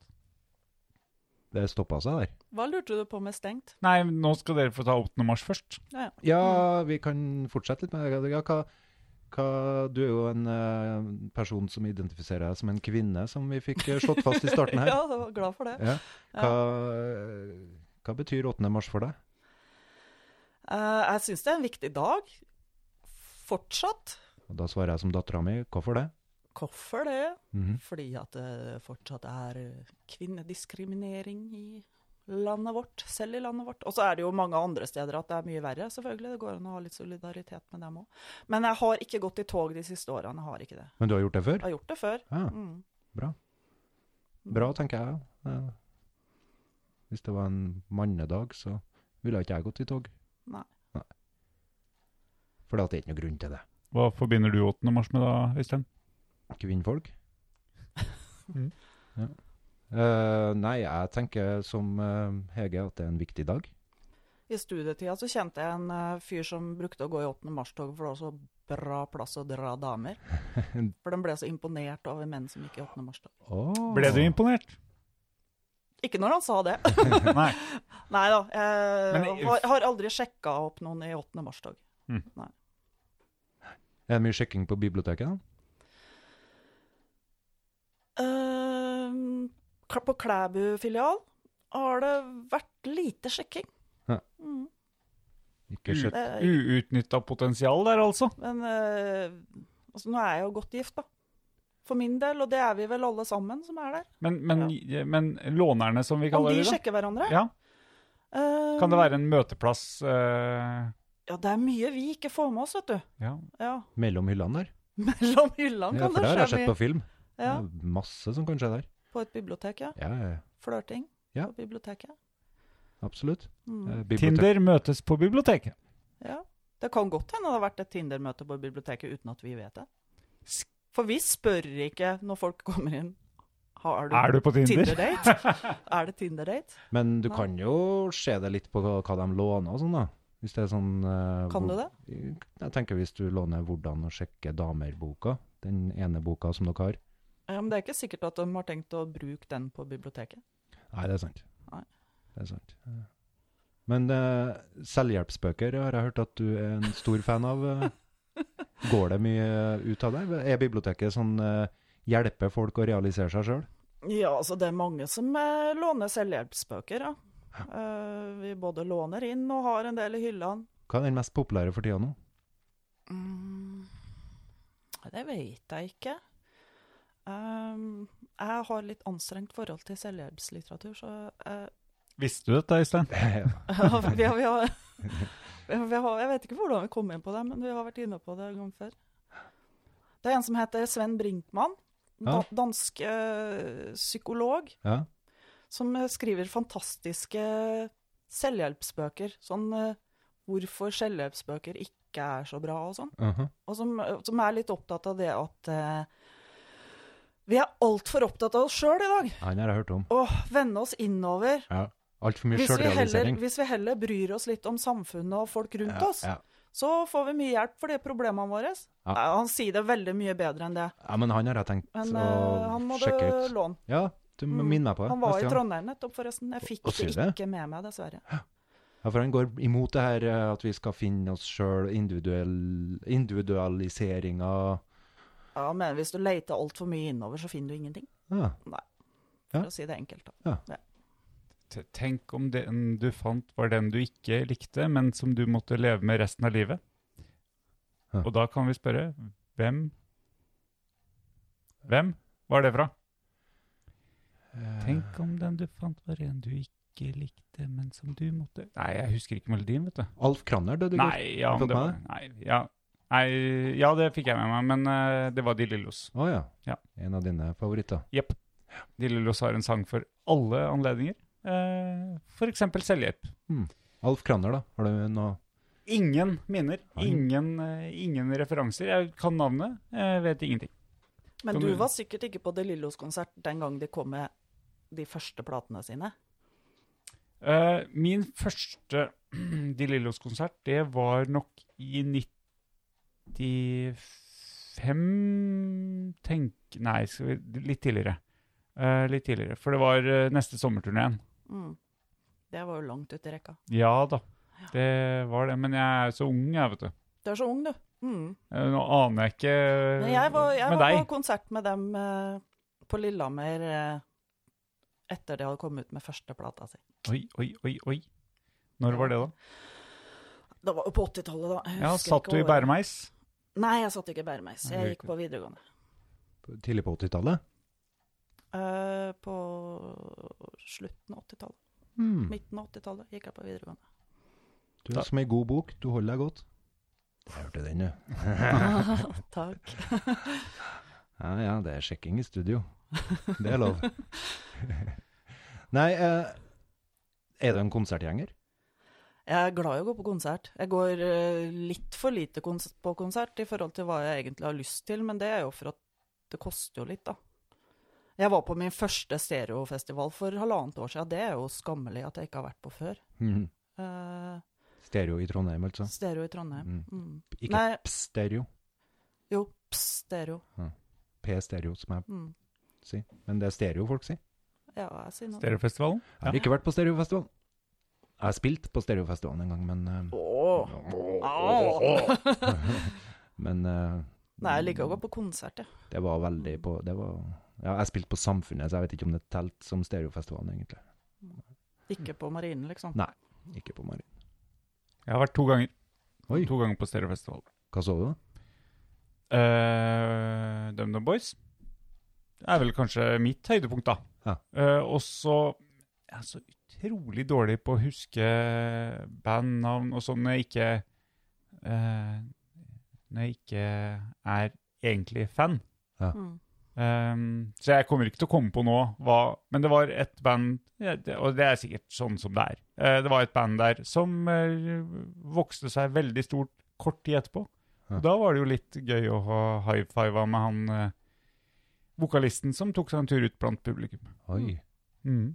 S6: Det stoppa seg der.
S2: Hva lurte du på med stengt?
S4: Nei, nå skal dere få ta 8. mars først.
S2: Ja, ja.
S5: Ja,
S2: Mm.
S5: vi kan fortsette litt med det. Ja, hva, hva, du er jo en eh, person som identifiserer deg som en kvinne, som vi fikk eh, slått fast i starten her.
S2: *laughs* ja, jeg var glad for det.
S5: Ja. Hva, eh, hva betyr 8. mars for deg?
S2: Eh, jeg syns det er en viktig dag. Fortsatt.
S5: Og da svarer jeg som dattera mi, hvorfor det?
S2: Hvorfor det?
S5: Mhm.
S2: Fordi at det fortsatt er kvinnediskriminering i landet vårt, selv i landet vårt. Og så er det jo mange andre steder at det er mye verre, selvfølgelig. Det går an å ha litt solidaritet med dem òg. Men jeg har ikke gått i tog de siste årene, jeg har ikke det.
S5: Men du har gjort det
S2: Jeg
S5: før?
S2: har gjort det før.
S5: Ja,
S2: Mm.
S5: bra, tenker jeg. Eh, Hvis det var en mannedag, så ville ikke jeg gått i tog.
S2: Nei.
S5: For det er ikke noe grunn til det.
S4: Hva forbinder du 8. mars med da, Øystein?
S2: *laughs*
S5: kvinnfolk.
S4: Mm.
S5: ja. Eh, nei, jeg tenker som eh, Hege at det er en viktig dag.
S2: I studietida så kjente jeg en eh, fyr som brukte å gå i 8. mars-tog, for det var så bra plass å dra damer. For de ble så imponert over menn som gikk i 8. mars-tog.
S4: Ble du
S2: *laughs*
S4: imponert?
S2: Ikke når han sa det. *laughs*
S4: Nei.
S2: Nei da. Jeg
S4: Men i-
S2: har, har aldri sjekka opp noen i 8. mars-tog.
S5: Er det mye sjekking på biblioteket? da?
S2: Ehm, kla- på Klæbu-filial har det vært lite sjekking.
S5: Ja.
S2: Mm,
S5: Ikke
S4: Mm.
S5: sjekk.
S2: det-
S4: Uutnytta potensial der, altså.
S2: men eh, altså, nå er jeg jo godt gift, da. For min del, og det er vi vel alle sammen som er der.
S4: Men, men, men lånerne, som vi
S2: Om
S4: kaller
S2: de
S4: det, da?
S2: sjekker hverandre.
S4: Ja.
S2: Ehm,
S4: Kan det være en møteplass eh,
S2: Ja, det er mye vi ikke får med oss, vet du.
S4: Ja.
S2: Ja. *laughs*
S5: Mellom hyllene der.
S2: Mellom hyllene
S5: Ja,
S2: kan
S5: for det har
S2: det
S5: jeg
S2: skje
S5: sett på
S2: mye.
S5: film.
S2: Ja,
S5: Det er masse som kan skje der.
S2: på et bibliotek, ja.
S5: Ja, ja, ja.
S2: Flørting
S5: Ja.
S2: på biblioteket.
S5: absolutt.
S2: Mm.
S5: Eh, bibliotek.
S4: Tinder møtes på biblioteket.
S2: Ja. Det kan godt hende det har vært et Tinder-møte på biblioteket uten at vi vet det.
S4: Sk-
S2: For vi spør ikke når folk kommer inn Har du,
S4: Er du på Tinder?
S2: Tinder-date?
S4: *laughs*
S2: er det Tinder-date?
S5: Men du
S2: Nei.
S5: kan jo se det litt på hva hva de låner og sånn, da. Hvis det er sånn eh,
S2: Kan
S5: hvor-
S2: du det?
S5: Jeg tenker hvis du låner 'Hvordan å sjekke damer'-boka, den ene boka som dere har.
S2: Ja, men det er ikke sikkert at de har tenkt å bruke den på biblioteket.
S5: Nei, det er sant.
S2: Nei.
S5: Det er sant. Ja. Men eh, selvhjelpsbøker har jeg hørt at du er en stor fan av.
S2: *laughs*
S5: eh. Går det mye ut av det? Er biblioteket sånn eh, hjelper folk å realisere seg sjøl?
S2: Ja, altså det er mange som eh, låner selvhjelpsbøker, ja. Eh, vi både låner inn og har en del i hyllene.
S5: Hva er den mest populære for tida nå?
S2: Mm, det vet jeg ikke. Ehm, jeg har litt anstrengt forhold til selvhjelpslitteratur, så eh, *laughs*
S4: Visste du dette, Øystein?
S2: ja, vi har, vi har, vi har, jeg vet ikke hvordan vi kom inn på det, men vi har vært inne på det en gang før. Det er en som heter Sven Brinkmann, da,
S5: Ja.
S2: dansk eh, psykolog,
S5: Ja.
S2: som eh, skriver fantastiske selvhjelpsbøker. Sånn eh, 'Hvorfor selvhjelpsbøker ikke er så bra' og sånn.
S5: aha.
S2: Og som, som er litt opptatt av det at eh, vi er altfor opptatt av oss sjøl i dag.
S5: Han har jeg hørt om.
S2: Å vende oss innover.
S5: Ja. Altfor mye
S2: Hvis vi, heller,
S5: sjølrealisering.
S2: hvis vi heller bryr oss litt om samfunnet og folk rundt oss,
S5: Ja, ja.
S2: så får vi mye hjelp for de problemene våre.
S5: Ja.
S2: Nei, Han sier det veldig mye bedre enn det,
S5: ja, men han har jeg tenkt
S2: men eh, han
S5: å
S2: må du
S5: sjekke ut.
S2: låne.
S5: Ja, du må
S2: Mm.
S5: minne meg på det.
S2: Han var
S5: neste
S2: i
S5: gang.
S2: Trondheim nettopp, forresten. Jeg fikk
S5: Og sier
S2: det
S5: det?
S2: ikke med meg, dessverre.
S5: Ja, for han går imot det her eh, at vi skal finne oss sjøl, individuell, individualiseringa
S2: Ja, Men hvis du leter altfor mye innover, så finner du ingenting,
S5: ja. Ja.
S2: for å si det enkelt. da.
S4: T- Tenk om den du fant var den du ikke likte, men som du måtte leve med resten av livet.
S5: Ja.
S4: Og da kan vi spørre hvem Hvem var det fra?
S5: Eh,
S4: Tenk om den du fant var en du ikke likte, men som du måtte Nei, jeg husker ikke melodien, vet du.
S5: Alf Kranner døde i går.
S4: Nei, ja,
S5: Har du fått
S4: det var, nei, ja, nei, ja, det fikk jeg med meg, men eh, det var De Lillos.
S5: Å ja.
S4: Ja.
S5: En av dine favoritter.
S4: Jepp. De Lillos har en sang for alle anledninger. Eh, for eksempel selvhjelp.
S5: Alf Kranner, da. Har du noe
S4: Ingen minner,
S5: Nei.
S4: ingen, eh, ingen referanser. Jeg kan navnet, jeg vet ingenting.
S2: Men
S4: Kan
S2: du
S4: du-
S2: var sikkert ikke på De Lillos konsert den gang de kom med de første platene sine.
S4: Eh, min første *clears throat* De Lillos-konsert, det var nok i 95 Tenk Nei, skal vi, litt tidligere. Eh, litt tidligere, for det var eh, neste sommerturneen.
S2: Mm. Det var jo langt ute i rekka.
S4: Ja da, det var det. Men jeg er så ung, jeg, vet du.
S2: Du er så ung, du. Mm.
S4: Eh, Nå aner jeg ikke eh,
S2: Men jeg var, jeg
S4: med
S2: var
S4: deg.
S2: på konsert med dem eh, på Lillehammer eh, etter de hadde kommet ut med første plata si.
S4: Oi, oi, oi, oi. Når var det, da?
S2: Det var jo på 80-tallet, da. Jeg
S4: Ja,
S2: husker
S4: Satt
S2: ikke
S4: du i
S2: året.
S4: bæremeis?
S2: Nei, jeg satt ikke i Bæremeis. Jeg gikk på videregående.
S5: Tidlig på 80-tallet?
S2: Eh, på slutten av 80-tallet.
S4: Mm.
S5: Hmm.
S2: Midten av 80-tallet gikk jeg på
S4: *laughs*
S2: videregående.
S5: Du er som ei god bok, du holder deg godt. Jeg hørte den, du.
S2: Takk.
S5: Ja ja, det er sjekking i studio. *laughs* Det er *laughs* lov. Nei, eh, er du en konsertgjenger?
S2: Jeg er glad i å gå på konsert. Jeg går eh, litt for lite kons på konsert i forhold til hva jeg egentlig har lyst til, men det er jo for at det koster jo litt, da. Jeg var på min første stereofestival for halvannet år siden. Det er jo skammelig at jeg ikke har vært på før.
S5: Mhm.
S2: Eh,
S5: Stereo i Trondheim, altså.
S2: stereo i Trondheim.
S5: Mm.
S2: Mm.
S5: Ikke
S2: Nei.
S5: stereo.
S2: Jo, pss, stereo.
S5: P-stereo, som jeg
S2: Mm.
S5: sier. Men det er stereo folk sier.
S2: Ja, jeg sier noe.
S4: Stereofestivalen?
S5: Jeg har ikke vært på stereofestivalen. Jeg har spilt på stereofestivalen en gang, men eh,
S2: Åh.
S5: Men eh,
S2: Nei, jeg liker å gå på konsert, jeg.
S5: det var veldig på Det var Ja, jeg spilte på Samfunnet, så jeg vet ikke om det telte som stereofestivalen, egentlig.
S2: Ikke på marinen, liksom.
S5: Nei. Ikke på Marin.
S4: Jeg har vært to ganger.
S5: Oi.
S4: To ganger på stereofestival.
S5: Hva så du, da?
S4: Eh, DumDum Boys Det er vel kanskje mitt høydepunkt, da.
S5: Ja.
S4: Eh, og så Jeg er så utrolig dårlig på å huske bandnavn og sånn når jeg ikke eh, Når jeg ikke er egentlig fan.
S2: Mm.
S4: Ehm, så jeg kommer ikke til å komme på nå hva Men det var et band ja, det- Og det er sikkert sånn som det er. Eh, det var et band der som eh, vokste seg veldig stort kort tid etterpå.
S5: Ja.
S4: Og da var det jo litt gøy å ha high five med han eh, vokalisten som tok seg en tur ut blant publikum.
S5: Oi.
S4: Mm.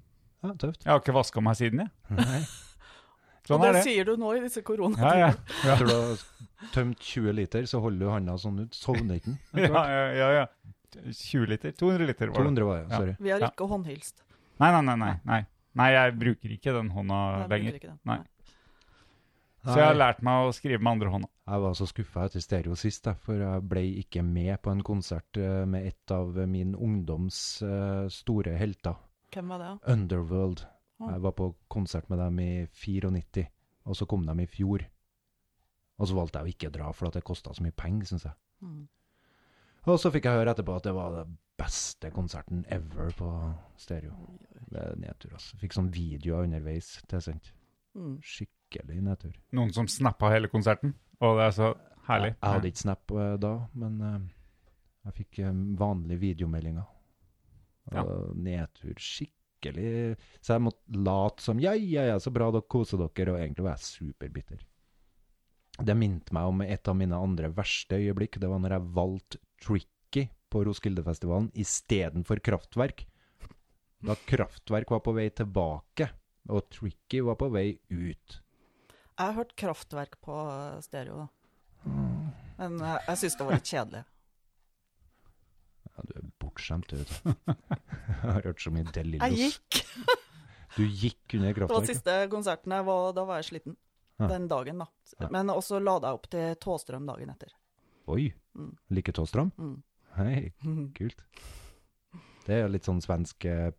S5: Ja, tøft.
S4: *laughs* Jeg har ikke vaska meg siden, jeg.
S5: Nei.
S4: Sånn
S2: og
S4: er
S2: det,
S4: det.
S2: sier du nå i disse
S4: Ja,
S2: koronatider.
S4: ja.
S5: Etter du har tømt 20 liter, så holder du handa sånn ut. Sovner ikke den.
S4: *laughs* Ja, ja, ja, ja. 20 liter? 200 liter, var det.
S5: 200 var det,
S4: Ja.
S5: sorry.
S2: Vi har
S4: Ja.
S2: ikke håndhilst.
S4: Nei, nei, nei. nei, nei. Nei, jeg bruker ikke den hånda
S2: Jeg bruker
S4: lenger.
S2: ikke den.
S4: Nei.
S2: Nei.
S4: Så jeg har
S5: Nei,
S4: lært meg å skrive med andre hånda.
S5: jeg var så skuffa etter stereo sist, jeg, for jeg ble ikke med på en konsert eh, med et av min ungdoms eh, store helter.
S2: Hvem var det? da?
S5: Underworld.
S2: Ah.
S5: Jeg var på konsert med dem i 94, og så kom de i fjor. Og så valgte jeg å ikke dra, for at det kosta så mye penger, syns jeg.
S2: Mm.
S5: Og så fikk jeg høre etterpå at det var den beste konserten ever på stereo. Det er nedtur, altså. Fikk sånn videoer underveis tilsendt.
S2: Mm.
S5: Skikkelig nedtur.
S4: noen som snappa hele konserten, og det er så herlig.
S5: Jeg, jeg hadde ikke Snap eh, da, men eh, jeg fikk eh, vanlige videomeldinger. Og
S4: Ja.
S5: Nedtur skikkelig. Så jeg måtte late som ja, ja, ja, så bra dere koser dere, og egentlig var jeg superbitter. Det minte meg om et av mine andre verste øyeblikk. Det var når jeg valgte Tricky på Roskildefestivalen istedenfor Kraftverk. Da Kraftverk var på vei tilbake, og Tricky var på vei ut.
S2: Jeg har hørt Kraftverk på eh, stereo, da.
S4: Mm.
S2: Men eh, jeg syns det var litt
S5: *laughs*
S2: kjedelig.
S5: Ja, du er bortskjemt, du vet
S2: *laughs*
S5: du. Jeg har hørt så mye
S2: Jeg
S5: Delillos.
S2: gikk!
S5: Du gikk under
S2: Det var
S5: kraftverket?
S2: siste konserten jeg var, da var jeg sliten.
S5: Ja.
S2: Den dagen,
S5: Ja.
S2: da. Men også lada jeg opp til Tåstrøm dagen
S5: *laughs*
S2: etter.
S5: Oi!
S2: Mm.
S5: Like Tåstrøm?
S2: Mm.
S5: Hei, kult. Det er jo litt sånn svensk eh,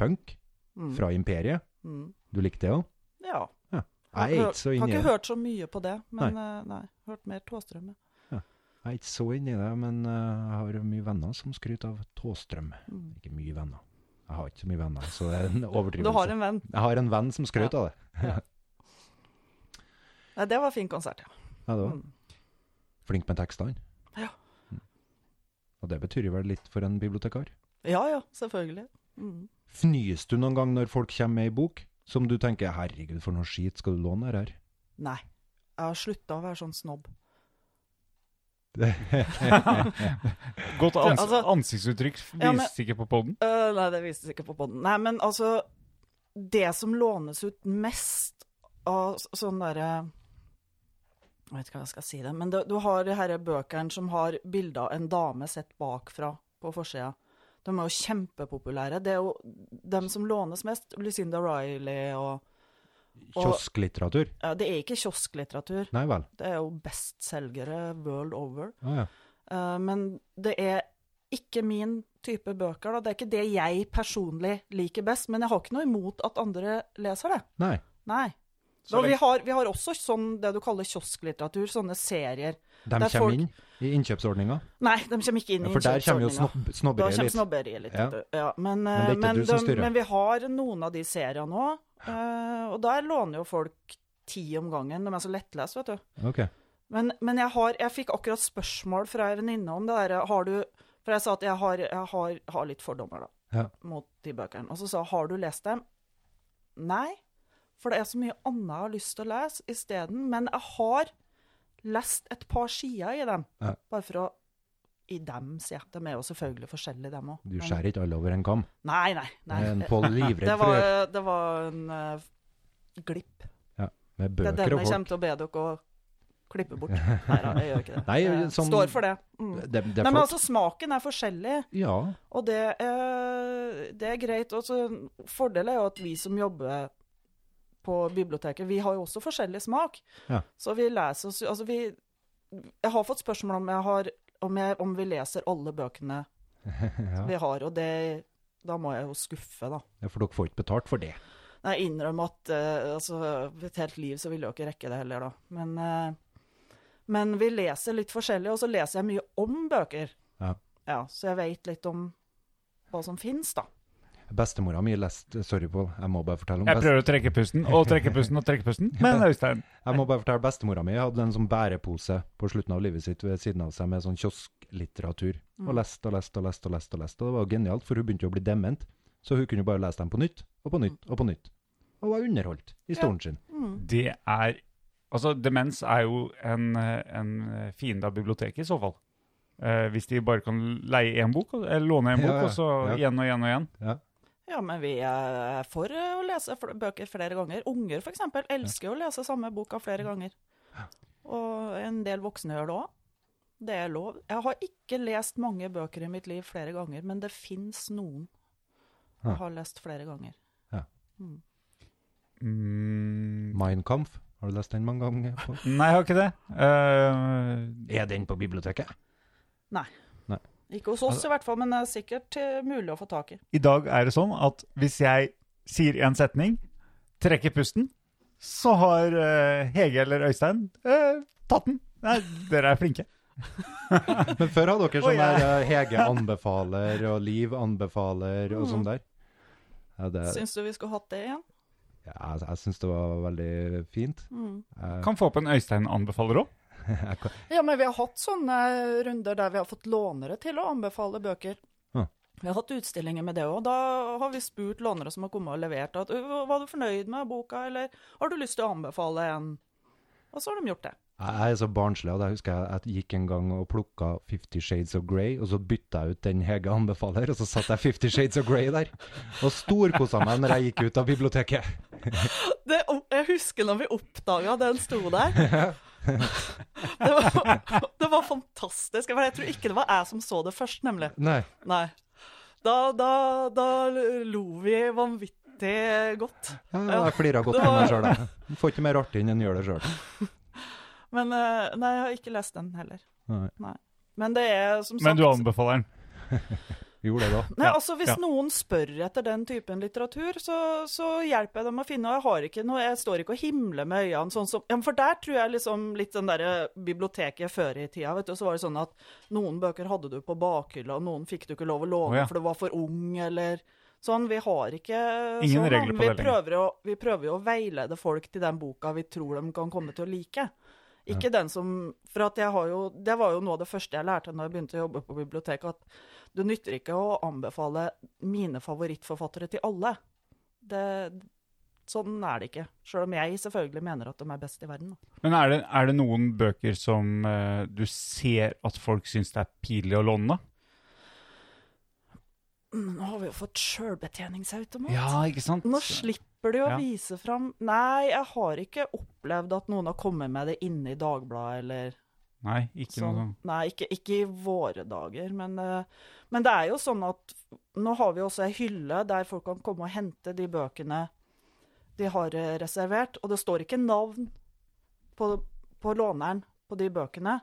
S5: punk
S2: Mm.
S5: fra imperiet.
S2: Mm.
S5: Du likte det òg?
S2: Ja.
S5: Jeg er ikke så
S2: Har
S5: inni
S2: ikke
S5: det.
S2: hørt så mye på det, men eh, nei. Hørt mer Tåstrøm. ja.
S5: Jeg er ikke så inni det, men eh, jeg har mye venner som skryter av Tåstrøm.
S2: Mm.
S5: Ikke mye venner. Jeg har ikke så mye venner, så det er en
S2: *laughs* Du
S5: overdrivelse.
S2: har en venn.
S5: Jeg har en venn som skrøt av det.
S2: Nei, det var fin konsert, ja.
S5: Ja, det var.
S2: Mm.
S5: Flink med tekstene.
S2: Ja.
S5: Mm. Og det betyr jo vel litt for en bibliotekar.
S2: Ja ja, selvfølgelig. Mm.
S5: Fnys du noen gang når folk kommer med ei bok som du tenker 'herregud, for noe skit, skal du låne det her'?
S2: Nei. Jeg har slutta å være sånn snobb.
S4: Godt ans
S2: Altså-
S4: ansiktsuttrykk vises
S2: Ja, men-
S4: ikke på poden.
S2: Øh, nei, det vises ikke på poden. Nei, men altså Det som lånes ut mest av s- sånn derre Jeg vet ikke hva jeg skal si det, men det, du har de herre bøkene som har bilde av en dame sett bakfra på forsida. De er jo kjempepopulære. Det er jo dem som lånes mest. Lucinda Riley og Og-
S5: Kiosklitteratur?
S2: ja, Det er ikke kiosklitteratur.
S5: Nei vel.
S2: Det er jo bestselgere world over.
S5: Å ja.
S2: Eh, men det er ikke min type bøker, da. Det er ikke det jeg personlig liker best. Men jeg har ikke noe imot at andre leser det.
S5: Nei.
S2: Nei.
S4: Så
S2: Og vi
S4: lenge-
S2: har, vi har også sånn det du kaller kiosklitteratur, sånne serier.
S5: De
S2: Det er
S5: kommer
S2: folk-
S5: inn i innkjøpsordninga.
S2: Nei, de kommer ikke inn
S5: Ja,
S2: i
S5: for der kommer jo snobb,
S2: innkjøpsordninga. Da
S5: snobberiet
S2: kommer
S5: litt.
S2: snobberiet litt.
S5: Ja.
S2: vet du. Ja, men,
S5: det er
S2: eh,
S5: ikke
S2: men,
S5: du som
S2: de,
S5: styrer.
S2: men vi har noen av de seriene òg, og der låner jo folk ti om gangen. De er så lettlest, vet du.
S5: Ok.
S2: Men, men jeg, har, jeg fikk akkurat spørsmål fra ei venninne om det derre Har du For jeg sa at jeg har, jeg har, har litt fordommer, da,
S5: Ja.
S2: mot de bøkene. Og så sa hun Har du lest dem? Nei. For det er så mye annet jeg har lyst til å lese isteden. Men jeg har lest et par sider i dem.
S5: Ja.
S2: Bare for å I dem, sier jeg. De er jo selvfølgelig forskjellige, dem òg.
S5: Du skjærer ikke alle over en kam.
S2: Nei, nei.
S5: Det
S2: nei.
S5: er en Pål livredd
S2: *laughs* Det
S5: for å
S2: var,
S5: gjøre.
S2: det var en eh, glipp.
S5: Med
S2: Det er den
S5: bøker og
S2: jeg
S5: folk.
S2: kommer til å be dere å klippe
S5: *laughs*
S2: bort. Nei da, jeg gjør ikke det.
S5: Nei,
S2: Jeg
S5: sånn-
S2: Står for det. Mm.
S5: Det, det er
S2: Nei, men
S5: flott.
S2: altså, smaken er forskjellig,
S5: Ja.
S2: og det er, det er greit. Og så fordelen er jo at vi som jobber på biblioteket, vi har jo også forskjellig smak.
S5: Ja.
S2: Så vi leser oss Altså, vi Jeg har fått spørsmål om jeg har om, jeg, om vi leser alle bøkene
S5: *laughs* ja.
S2: vi har, og det Da må jeg jo skuffe, da.
S5: Ja, For dere får ikke betalt for det.
S2: Nei, jeg innrømmer at eh, altså, ved et helt liv så ville jeg jo ikke rekke det heller, da. Men, eh, men vi leser litt forskjellig, og så leser jeg mye om bøker.
S5: Ja.
S2: så jeg veit litt om hva som fins, da.
S5: Bestemora mi leste Sorry, Pål, jeg må bare fortelle om
S4: Jeg
S5: best...
S4: prøver å trekke pusten og trekke pusten og trekke
S5: *laughs*
S4: pusten, men Øystein
S5: Jeg må bare fortelle bestemora mi hadde en sånn bærepose på slutten av livet sitt ved siden av seg med sånn kiosklitteratur. Og leste og leste og leste og leste. Og leste. Og det var jo genialt, for hun begynte jo å bli dement. Så hun kunne jo bare lese dem på nytt og på nytt og på nytt. Og var underholdt i stolen sin.
S4: Det er Altså, demens er jo en, eh, en fiende av biblioteket, i så fall. Eh, hvis de bare kan leie én bok, eller låne én
S5: Ja,
S4: bok,
S5: ja,
S4: og så
S5: ja.
S4: igjen og igjen og igjen.
S2: Ja, men vi er for eh, å lese fl- bøker flere ganger. Unger, for eksempel, elsker jo å lese samme boka flere ganger. Og en del voksne gjør det òg. Det er lov. Jeg har ikke lest mange bøker i mitt liv flere ganger, men det fins noen
S5: Ja.
S2: jeg har lest flere ganger.
S4: Mm,
S5: Mein Kampf, har du lest den mange ganger? Pål?
S4: nei, jeg har ikke det. Eh,
S5: *laughs* Er den på biblioteket?
S2: Ikke hos
S5: Altså-
S2: oss i hvert fall, men det er sikkert eh, mulig å få tak i.
S4: I dag er det sånn at hvis jeg sier en setning, trekker pusten, så har eh, Hege eller Øystein eh, tatt den. Nei, dere er flinke.
S5: Men før hadde
S4: Oi,
S5: dere sånn
S4: ja.
S5: der eh, *laughs* Hege anbefaler og Liv anbefaler og sånn der. Ja, det,
S2: Syns du vi skulle hatt det igjen?
S5: ja, jeg, jeg syns det var veldig fint.
S4: Kan få opp en Øystein anbefaler òg.
S2: Ja, men vi har hatt sånne runder der vi har fått lånere til å anbefale bøker.
S5: Ja.
S2: Vi har hatt utstillinger med det òg. Da har vi spurt lånere som har kommet og levert at «Øh, var du fornøyd med boka, eller har du lyst til å anbefale en? Og så har de gjort det.
S5: Jeg jeg er så barnslig at jeg husker jeg, jeg gikk en gang og plukka Fifty Shades of Grey, og så bytta jeg ut den Hege anbefaler, og så satt jeg Fifty Shades of Grey der. Og storkosa meg når jeg gikk ut av biblioteket.
S2: det jeg husker når vi oppdaga den sto
S5: *laughs*
S2: der. Det var, det var fantastisk. For jeg tror ikke det var jeg som så det først, nemlig.
S5: Nei.
S2: Nei. Da, da, da lo vi vanvittig godt.
S5: Ja, jeg flira godt med meg sjøl, da. Får ikke mer artig enn en gjør det sjøl.
S2: Men eh, nei, jeg har ikke lest den heller.
S5: Nei.
S2: Men det er som sagt
S4: Men du anbefaler den.
S5: Gjorde det da.
S2: Nei,
S4: Ja,
S2: altså Hvis
S4: ja.
S2: noen spør etter den typen litteratur, så, så hjelper jeg dem å finne. Og jeg har ikke noe, jeg står ikke og himler med øynene sånn som ja, men For der tror jeg liksom litt den derre biblioteket før i tida, vet du. Så var det sånn at noen bøker hadde du på bakhylla, og noen fikk du ikke lov å låne
S4: Å, ja.
S2: for du var for ung, eller sånn. Vi har ikke
S4: Ingen
S2: sånn,
S4: regler på
S2: men
S4: det
S2: vi
S4: lenger.
S2: prøver, å, vi prøver jo å veilede folk til den boka vi tror de kan komme til å like. Ikke den som For at jeg har jo Det var jo noe av det første jeg lærte når jeg begynte å jobbe på biblioteket, at du nytter ikke å anbefale mine favorittforfattere til alle. Det, sånn er det ikke. Sjøl om jeg selvfølgelig mener at de er best i verden. Da. *clears throat*
S4: Men er det, er det noen bøker som eh, du ser at folk syns det er pinlig å låne?
S2: Mm, Nå har vi jo fått sjølbetjeningsautomat.
S4: Ja, ikke sant?
S2: Nå slipper de å
S4: Ja.
S2: vise fram Nei, jeg har ikke opplevd at noen har kommet med det inne i Dagbladet eller
S4: Nei, ikke
S2: Sånn.
S4: noe sånn.
S2: Nei, ikke, ikke i våre dager, men, eh, men det er jo sånn at nå har vi også ei hylle der folk kan komme og hente de bøkene de har eh, reservert, og det står ikke navn på, på låneren på de bøkene.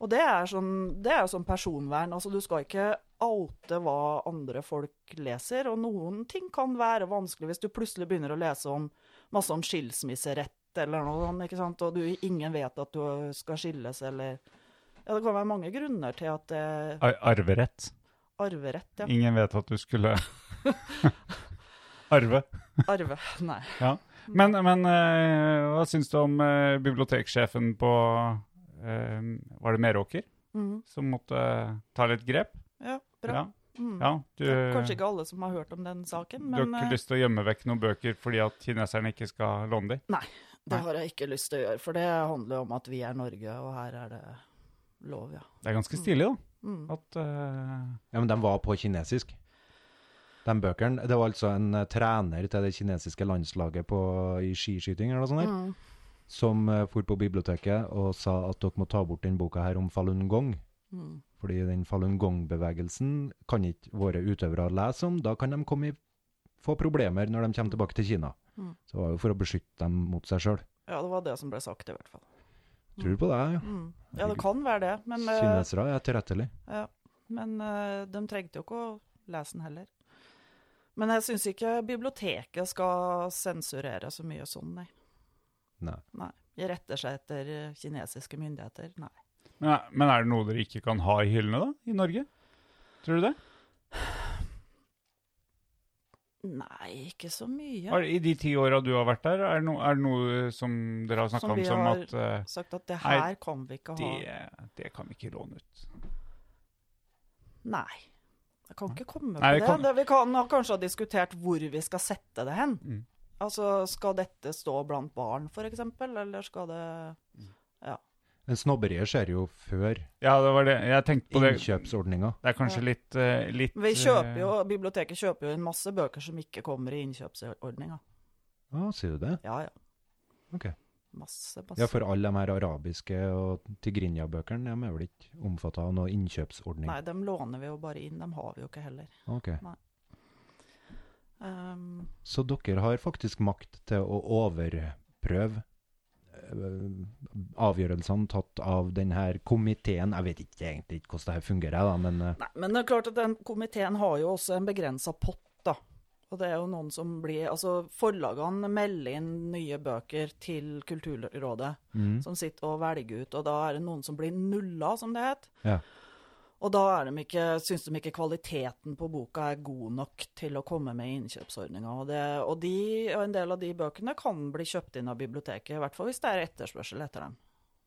S2: Og det er, sånn, det er jo sånn personvern. Altså, du skal ikke oute hva andre folk leser, og noen ting kan være vanskelig hvis du plutselig begynner å lese om masse om skilsmisserett eller noe sånt, ikke sant? og du, ingen vet at du skal skilles, eller ja, det kan være mange grunner til at det er
S4: Ar arverett.
S2: arverett, ja.
S4: Ingen vet at du
S2: *laughs*
S4: skulle *laughs* arve.
S2: Arve, *laughs* nei.
S4: Ja. Men, men eh, hva syns du om eh, biblioteksjefen på eh, Var det Meråker?
S2: Mhm.
S4: Som måtte eh, ta litt grep?
S2: Ja, bra.
S4: Ja.
S2: Mm.
S4: ja du,
S2: Det er Kanskje ikke alle som har hørt om den saken,
S4: du har
S2: men
S4: ikke
S2: eh,
S4: lyst til å gjemme vekk noen bøker fordi at kineserne ikke skal låne dem?
S2: det har jeg ikke lyst til å gjøre, for det handler jo om at vi er Norge, og her er det lov, ja.
S4: Det er ganske stilig, da.
S2: Mm.
S4: At, eh,
S5: Ja, men de var på kinesisk. De bøkene, Det var altså en eh, trener til det kinesiske landslaget på, i skiskyting eller noe sånt, der,
S2: Mm.
S5: som uh, for på biblioteket og sa at dere må ta bort den boka her om Falun Gong.
S2: Mm.
S5: Fordi den Falun Gong-bevegelsen kan ikke våre utøvere lese om. Da kan de komme i, få problemer når de kommer tilbake til Kina.
S2: Mm.
S5: Så det var jo for å beskytte dem mot seg sjøl.
S2: Ja, det var det som ble sagt, i hvert fall.
S5: Tror du på det? ja?
S2: Mm. Ja, det kan være det, men, eh,
S5: Kinesere er etterrettelige.
S2: ja. men eh, de trengte jo ikke å lese den heller. Men jeg syns ikke biblioteket skal sensurere så mye sånn, nei.
S5: Nei.
S2: Nei. De retter seg etter eh, kinesiske myndigheter, nei.
S4: men, er- men er det noe dere ikke kan ha i hyllene, da? I Norge? Tror du det?
S2: Nei, ikke så mye.
S4: Har- I de ti åra du har vært der, er det noe, er det noe som dere har snakka
S2: Som
S4: om
S2: vi
S4: som
S2: har-
S4: at eh,
S2: Sagt at det
S4: Nei,
S2: her kan vi ikke ha.
S4: det, det kan vi ikke låne ut?
S2: Nei. Jeg kan ikke komme
S4: Nei, vi
S2: på det.
S4: kan-
S2: det. Vi kan ha kanskje ha diskutert hvor vi skal sette det hen.
S4: Mm.
S2: Altså, skal dette stå blant barn, for eksempel, eller skal det
S5: Men Snobberiet skjer jo før
S4: Ja, det var det. Jeg tenkte på det.
S5: innkjøpsordninga.
S4: Det er kanskje litt, eh, litt
S2: Vi kjøper jo,
S4: eh,
S2: Biblioteket kjøper jo inn masse bøker som ikke kommer i innkjøpsordninga.
S5: Å, sier du det?
S2: Ja, ja.
S5: Ok.
S2: Masse, masse.
S5: Ja, for alle de her arabiske og tigrinja-bøkene de er vel ikke omfatta av noen innkjøpsordning?
S2: Nei, dem låner vi jo bare inn. Dem har vi jo ikke heller.
S5: Ok.
S2: Um,
S5: Så dere har faktisk makt til å overprøve eh, avgjørelsene tatt av denne komiteen. Jeg vet ikke egentlig ikke hvordan det her fungerer, da, men eh,
S2: Nei, men det er klart at den komiteen har jo også en begrensa pott, da. Og det er jo noen som blir Altså, forlagene melder inn nye bøker til Kulturrådet,
S5: Mm.
S2: som sitter og velger ut, og da er det noen som blir nulla, som det het.
S5: ja.
S2: Og da er de ikke, syns de ikke kvaliteten på boka er god nok til å komme med i innkjøpsordninga. Og, det, og, de, og en del av de bøkene kan bli kjøpt inn av biblioteket, i hvert fall hvis det er etterspørsel etter dem.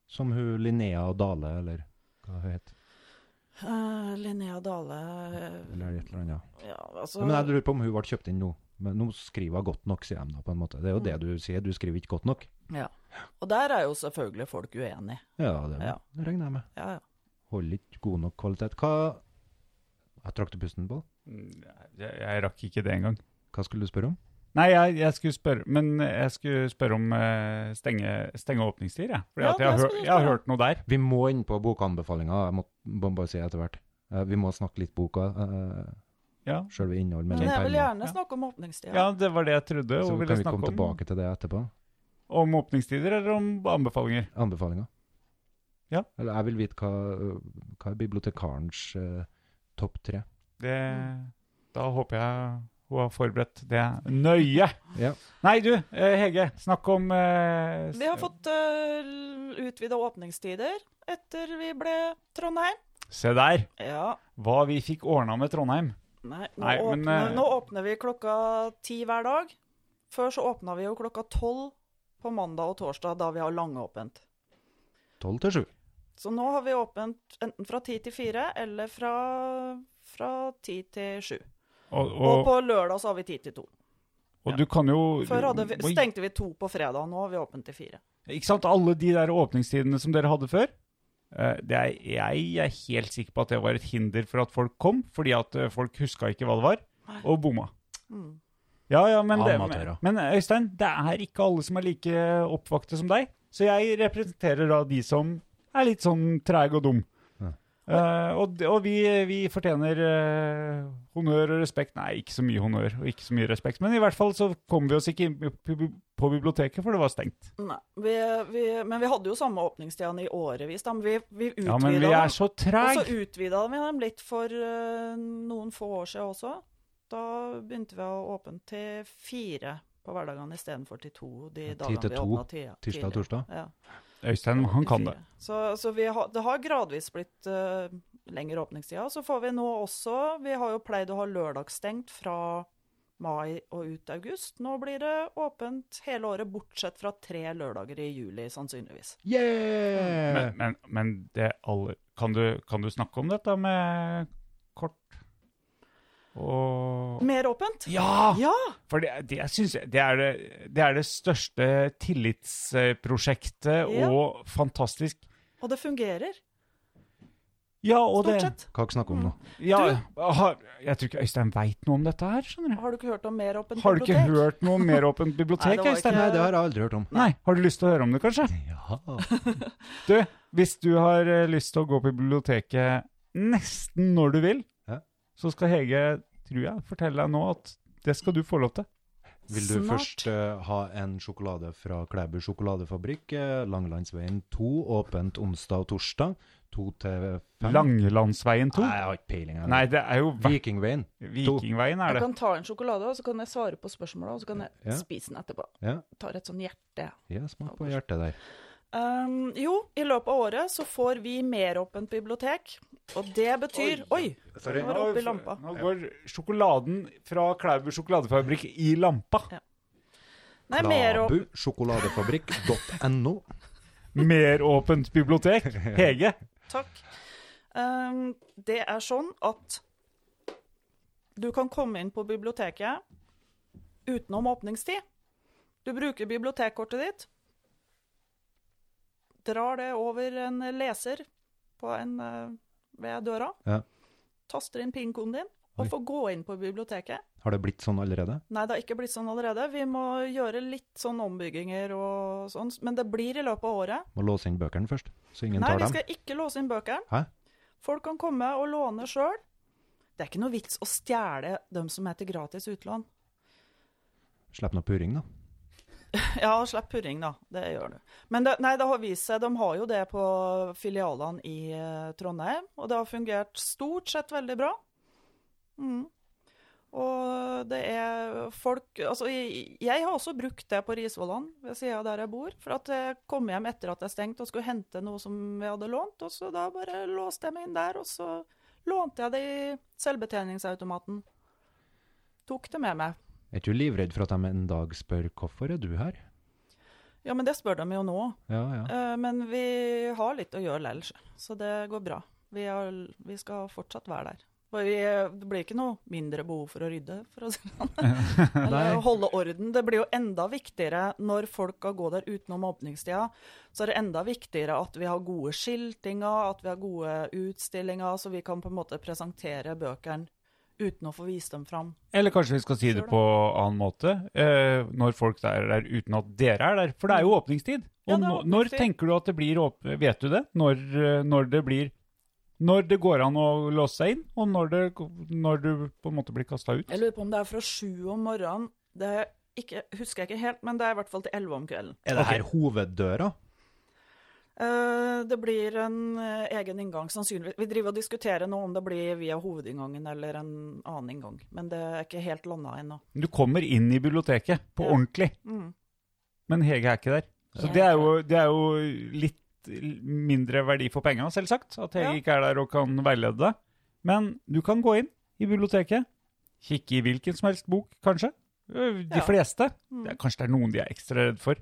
S5: Som hun Linnea Dale, eller hva hun heter.
S2: Eh, Linnea Dale eh,
S5: Eller et eller annet.
S2: Ja, altså
S5: Men jeg lurer på om hun ble kjøpt inn nå. Men nå skriver hun godt nok, sier de da, på en måte. Det er jo
S2: Mm.
S5: det du sier, du skriver ikke godt nok.
S2: Ja. Og der er jo selvfølgelig folk uenig.
S5: Ja, det
S2: Ja.
S5: regner jeg med.
S2: Ja, ja.
S5: holder ikke god nok kvalitet. Hva Jeg trakk du pusten på?
S4: eh, jeg, jeg rakk ikke det engang.
S5: Hva skulle du spørre om?
S4: Nei, jeg, jeg skulle spørre Men jeg skulle spørre om eh, stenge, stenge åpningstider, jeg. Fordi
S2: Ja,
S4: at jeg,
S2: det
S4: har
S2: skal
S4: hør,
S2: du
S4: jeg har
S2: spørre om.
S4: hørt noe der.
S5: Vi må inn på bokanbefalinga, jeg må, må bare si etter hvert. Eh, vi må snakke litt boka, uh,
S4: Ja.
S5: sjølve innhold, men
S2: Men jeg vil gjerne
S4: Ja.
S2: snakke om åpningstida.
S4: ja, det var det jeg trodde.
S5: Så
S4: Og
S5: kan
S4: ville
S5: vi komme
S4: snakke om,
S5: tilbake til det etterpå.
S4: om åpningstider eller om anbefalinger.
S5: Anbefalinga.
S4: Ja.
S5: Eller jeg vil vite hva, eh, hva er bibliotekarens eh, topp tre.
S4: Det,
S2: Mm.
S4: da håper jeg hun har forberedt det nøye.
S5: Ja.
S4: Nei, du, eh, Hege. Snakk om eh, s-
S2: Vi har fått uh, utvida åpningstider etter vi ble Trondheim.
S4: Se der!
S2: Ja.
S4: Hva vi fikk ordna med Trondheim.
S2: Nei, nå,
S4: Nei, men,
S2: åpner,
S4: eh,
S2: nå åpner vi klokka ti hver dag. Før så åpna vi jo klokka tolv på mandag og torsdag, da vi har langåpent.
S5: Tolv til sju.
S2: Så nå har vi åpent enten fra ti til fire eller fra, fra ti til sju.
S4: Og,
S2: Og
S4: og,
S2: på lørdag så har vi ti til to.
S4: og du kan jo
S2: Før hadde vi,
S4: Oi.
S2: stengte vi to på fredag, nå har vi åpent til fire.
S4: Ikke sant? Alle de der åpningstidene som dere hadde før. eh, Det er, jeg er helt sikker på at det var et hinder for at folk kom, fordi at eh, folk huska ikke hva det var, og bomma.
S2: Mm.
S4: Ja, ja, men, det,
S5: Amatører.
S4: men Øystein, det er ikke alle som er like oppvakte som deg. Så jeg representerer da de som er litt sånn treg og dum.
S5: Ja.
S4: Eh, og d- og vi, vi fortjener eh, honnør og respekt. Nei, ikke så mye honnør og ikke så mye respekt. Men i hvert fall så kom vi oss ikke inn på bi- på biblioteket, for det var stengt.
S2: Nei, vi, vi, men vi hadde jo samme åpningstidene i årevis. da, men Vi, vi utvida
S4: Ja, men vi er
S2: dem.
S4: så
S2: Og så
S4: treg!
S2: utvida vi dem litt for eh, noen få år siden også. Da begynte vi å åpne til fire på hverdagene istedenfor til to de
S5: Ja, ti
S2: dagene
S5: til
S2: vi
S5: to.
S2: åpna tidligere.
S5: Tirsdag og torsdag.
S2: Ja,
S4: Øystein, han kan det.
S2: fire. Så, så vi har, det har gradvis blitt eh, lengre åpningstida. Så får vi nå også Vi har jo pleid å ha lørdagsstengt fra mai og ut august. Nå blir det åpent hele året, bortsett fra tre lørdager i juli, sannsynligvis.
S5: Yeah!
S4: Men, men, men det alle kan du, kan du snakke om dette med kort og
S2: Mer åpent?
S4: Ja!
S2: Ja!
S4: For det, det, jeg synes jeg, det, er det, det er det største tillitsprosjektet
S2: Ja.
S4: og fantastisk
S2: Og det fungerer,
S4: Ja, og
S2: stort
S4: det
S2: sett.
S5: Hva snakker vi
S2: Mm.
S5: om nå?
S4: ja, har, Jeg tror ikke Øystein veit noe om dette her, skjønner du.
S2: Har du ikke hørt om mer åpent
S4: Har du ikke
S2: bibliotek?
S4: hørt noe om mer åpent
S2: *laughs* Nei,
S4: bibliotek,
S2: det var
S4: Øystein?
S5: Nei, det har jeg aldri hørt om.
S4: Nei. Har du lyst til å høre om det, kanskje? Du, hvis du har eh, lyst til å gå på biblioteket nesten når du vil,
S5: Ja.
S4: så skal Hege, tror jeg, fortelle deg nå at det skal du få lov til.
S5: Vil du
S2: Snart.
S5: først eh, ha en sjokolade fra Klæbu sjokoladefabrikk, eh, Langelandsveien 2, åpent onsdag og torsdag, 2 til 5?
S4: Langelandsveien 2.
S5: Nei, jeg har ikke peiling. jeg.
S4: Nei, det er jo Vik-
S5: Vikingveien.
S4: Vikingveien, er
S2: Jeg
S4: det.
S2: kan ta en sjokolade, og så kan jeg svare på spørsmåla, og så kan jeg
S5: Ja.
S2: spise den etterpå.
S5: Ja,
S2: Tar et sånn hjerte.
S5: ja smak på hjertet der.
S2: Um, jo, i løpet av året så får vi meråpent bibliotek, og det betyr Oi!
S5: Sorry.
S2: Nå var det oppe i lampa.
S4: Nå går sjokoladen fra Klæbu sjokoladefabrikk i lampa.
S2: Nei, meråp...
S5: Klabusjokoladefabrikk.no.
S4: Mer åpent bibliotek. Hege.
S2: Takk. Um, det er sånn at du kan komme inn på biblioteket utenom åpningstid. Du bruker bibliotekkortet ditt, drar det over en leser på en, eh, ved døra,
S5: Ja.
S2: taster inn PIN-koden din og
S5: Oi.
S2: får gå inn på biblioteket.
S5: Har det blitt sånn allerede?
S2: Nei, det har ikke blitt sånn allerede. Vi må gjøre litt sånn ombygginger og sånn, men det blir i løpet av året.
S5: Må låse inn bøkene først, så ingen
S2: Nei,
S5: tar
S2: vi
S5: dem.
S2: skal ikke låse inn bøkene.
S5: Hæ?
S2: Folk kan komme og låne sjøl. Det er ikke noe vits å stjele dem som heter gratis utlån.
S5: Slipp noe purring, da.
S2: Ja, slipp purring, da. Det gjør du. Men det, nei, det har vist seg, de har jo det på filialene i eh, Trondheim, og det har fungert stort sett veldig bra. Mm. Og det er folk Altså, jeg, jeg har også brukt det på Risvollan, ved sida av der jeg bor. For at jeg kom hjem etter at det er stengt, og skulle hente noe som vi hadde lånt. Og så da bare låste jeg meg inn der, og så lånte jeg det i selvbetjeningsautomaten. Tok det med meg.
S5: Er ikke du livredd for at de en dag spør 'hvorfor er du her'?
S2: Ja, men det spør de jo nå.
S5: Ja, ja.
S2: Eh, Men vi har litt å gjøre lell, så det går bra. Vi, har, vi skal fortsatt være der. Og vi, det blir ikke noe mindre behov for å rydde, for å si det sånn. Eller å holde orden. Det blir jo enda viktigere når folk skal gå der utenom åpningstida. Så er det enda viktigere at vi har gode skiltinger, at vi har gode utstillinger, så vi kan på en måte presentere bøkene uten å få vist dem fram.
S4: Eller kanskje vi skal si det på annen måte, eh, når folk er der uten at dere er der. For det er jo åpningstid.
S2: Mm. Ja,
S4: Og
S2: det er
S4: nå- når
S2: åpningstid.
S4: tenker du at det blir åpent? Vet du det? Når, eh, når det blir Når det går an å låse seg inn, og når, det, når du på en måte blir kasta ut?
S2: Jeg lurer på om det er fra sju om morgenen. Det er ikke, husker jeg ikke helt, men det er i hvert fall til elleve om kvelden.
S5: Er det her hoveddøra?
S2: Eh, Det blir en eh, egen inngang, sannsynligvis. Vi driver og diskuterer nå om det blir via hovedinngangen eller en annen inngang. Men det er ikke helt landa ennå.
S4: Du kommer inn i biblioteket på
S2: Ja.
S4: ordentlig,
S2: Mm.
S4: men Hege er ikke der. Så
S2: Ja.
S4: det er jo, det er jo litt mindre verdi for penga, selvsagt, at Hege
S2: Ja.
S4: ikke er der og kan veilede deg. Men du kan gå inn i biblioteket, kikke i hvilken som helst bok, kanskje. Ø, De
S2: Ja.
S4: fleste.
S2: Mm.
S4: Det er, kanskje det er noen de er ekstra redd for.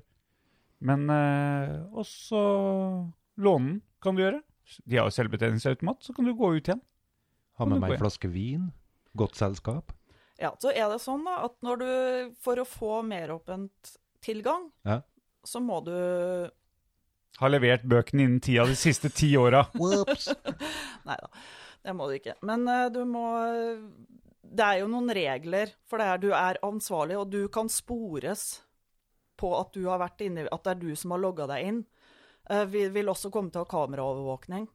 S4: Men eh, også lånen kan du gjøre. De har jo selvbetjeningsautomat, så kan du gå ut igjen.
S5: Ha
S4: Kan
S5: med
S4: du
S5: meg
S4: gå
S5: en flaske vin. Godt selskap.
S2: Ja, så er det sånn da, at når du, for å få meråpent tilgang,
S5: Ja.
S2: så må du
S4: Har levert bøkene innen tida de siste ti åra.
S5: Whoops!
S2: Nei da, det må du ikke. Men eh, du må Det er jo noen regler for det her. Du er ansvarlig, og du kan spores på at du har vært inne At det er du som har logga deg inn. Eh, Vi vil også komme til å ha kameraovervåkning.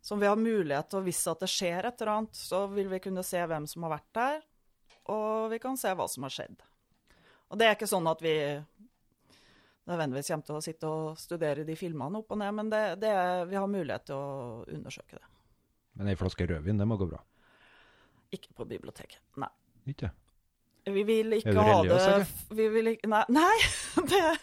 S2: Som vi har mulighet til, og hvis at det skjer et eller annet, så vil vi kunne se hvem som har vært der, og vi kan se hva som har skjedd. Og det er ikke sånn at vi nødvendigvis kommer til å sitte og studere de filmene opp og ned, men det, det er, vi har mulighet til å undersøke det.
S5: Men ei flaske rødvin, det må gå bra.
S2: Ikke på biblioteket, nei.
S5: Ikke?
S2: Vi vil ikke
S5: Er du
S2: ha det
S5: religiøs, eller?
S2: Vi vil ikke, nei, *laughs* nei,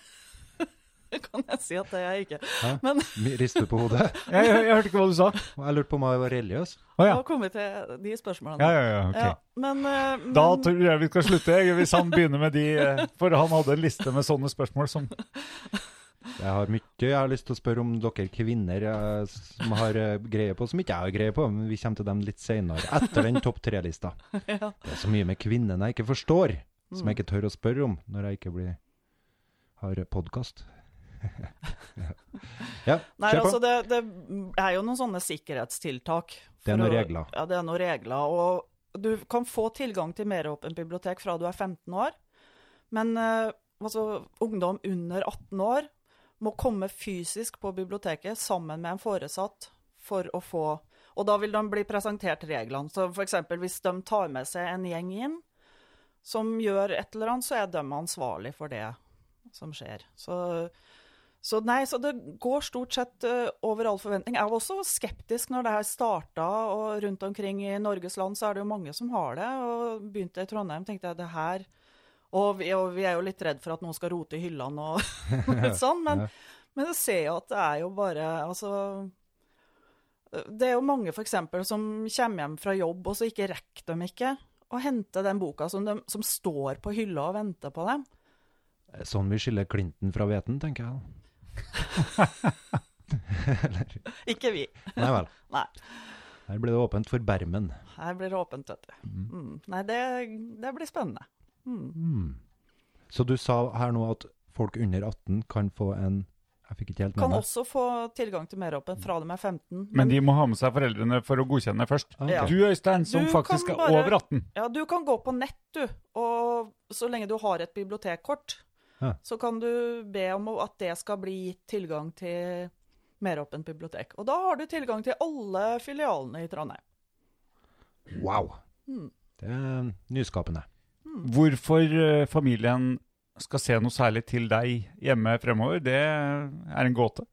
S2: det kan jeg si at det *laughs* er jeg ikke.
S5: Mi- Rister du på hodet? *laughs*
S4: Jeg, jeg, jeg hørte ikke hva du sa.
S5: Jeg lurte på om jeg var
S4: Å
S5: religiøs.
S2: Nå
S4: ja.
S2: kommer vi til de spørsmålene.
S4: Ja, ja, ja, ok.
S2: Ja, men, eh, men
S4: Da tror jeg vi skal slutte, jeg, hvis han begynner med de eh, For han hadde en liste med sånne spørsmål som
S5: Jeg har mye jeg har lyst til å spørre om dere kvinner eh, som har eh, greie på, som ikke jeg har greie på, men vi kommer til dem litt senere, etter den topp
S2: *laughs*
S5: tre-lista. Det er så mye med kvinnene jeg ikke forstår, som jeg
S2: Mm.
S5: ikke tør å spørre om når jeg ikke blir, har podkast. *laughs* ja,
S2: Nei,
S5: kjør på.
S2: altså det, det er jo noen sånne sikkerhetstiltak.
S5: Det er noen
S2: for å-
S5: regler.
S2: Ja, det er noen regler. Og du kan få tilgang til meråpent bibliotek fra du er 15 år. Men eh, altså, ungdom under 18 år må komme fysisk på biblioteket sammen med en foresatt for å få Og da vil de bli presentert reglene. Så f.eks. hvis de tar med seg en gjeng inn som gjør et eller annet, så er de ansvarlig for det som skjer. Så så nei, så det går stort sett eh, over all forventning. Jeg var også skeptisk når det her starta, og rundt omkring i Norges land så er det jo mange som har det. Og begynte i Trondheim, tenkte jeg det her Og vi, og vi er jo litt redd for at noen skal rote i hyllene og *laughs* litt sånn, men, men jeg ser jo at det er jo bare Altså det er jo mange for eksempel, som kommer hjem fra jobb, og så ikke rekker de ikke å hente den boka som, de, som står på hylla og venter på dem.
S5: Det er Sånn vi skiller Clinton fra hveten, tenker jeg.
S2: Ikke vi.
S5: Nei vel.
S2: Nei.
S5: Her blir det åpent for bermen.
S2: Her blir det åpent, vet du. Mm. Nei, det, det blir spennende.
S5: Så du sa her nå at folk under 18 kan få en Jeg fikk ikke helt med
S2: Kan
S5: meg.
S2: også få tilgang til meråpent fra dem er 15.
S4: Men de må ha med seg foreldrene for å godkjenne først.
S5: Ah,
S2: Ja.
S5: ok.
S4: Du Øystein, som
S2: Du
S4: faktisk
S2: kan
S4: er
S2: bare-
S4: over 18.
S2: Ja, du kan gå på nett, du. Og så lenge du har et bibliotekkort,
S5: Ja.
S2: så kan du be om at det skal bli gitt tilgang til meråpent bibliotek. Og da har du tilgang til alle filialene i Trondheim.
S5: Wow.
S4: Mm.
S5: Det er eh, nyskapende.
S4: Hvorfor eh, familien skal se noe særlig til deg hjemme fremover, det er en gåte.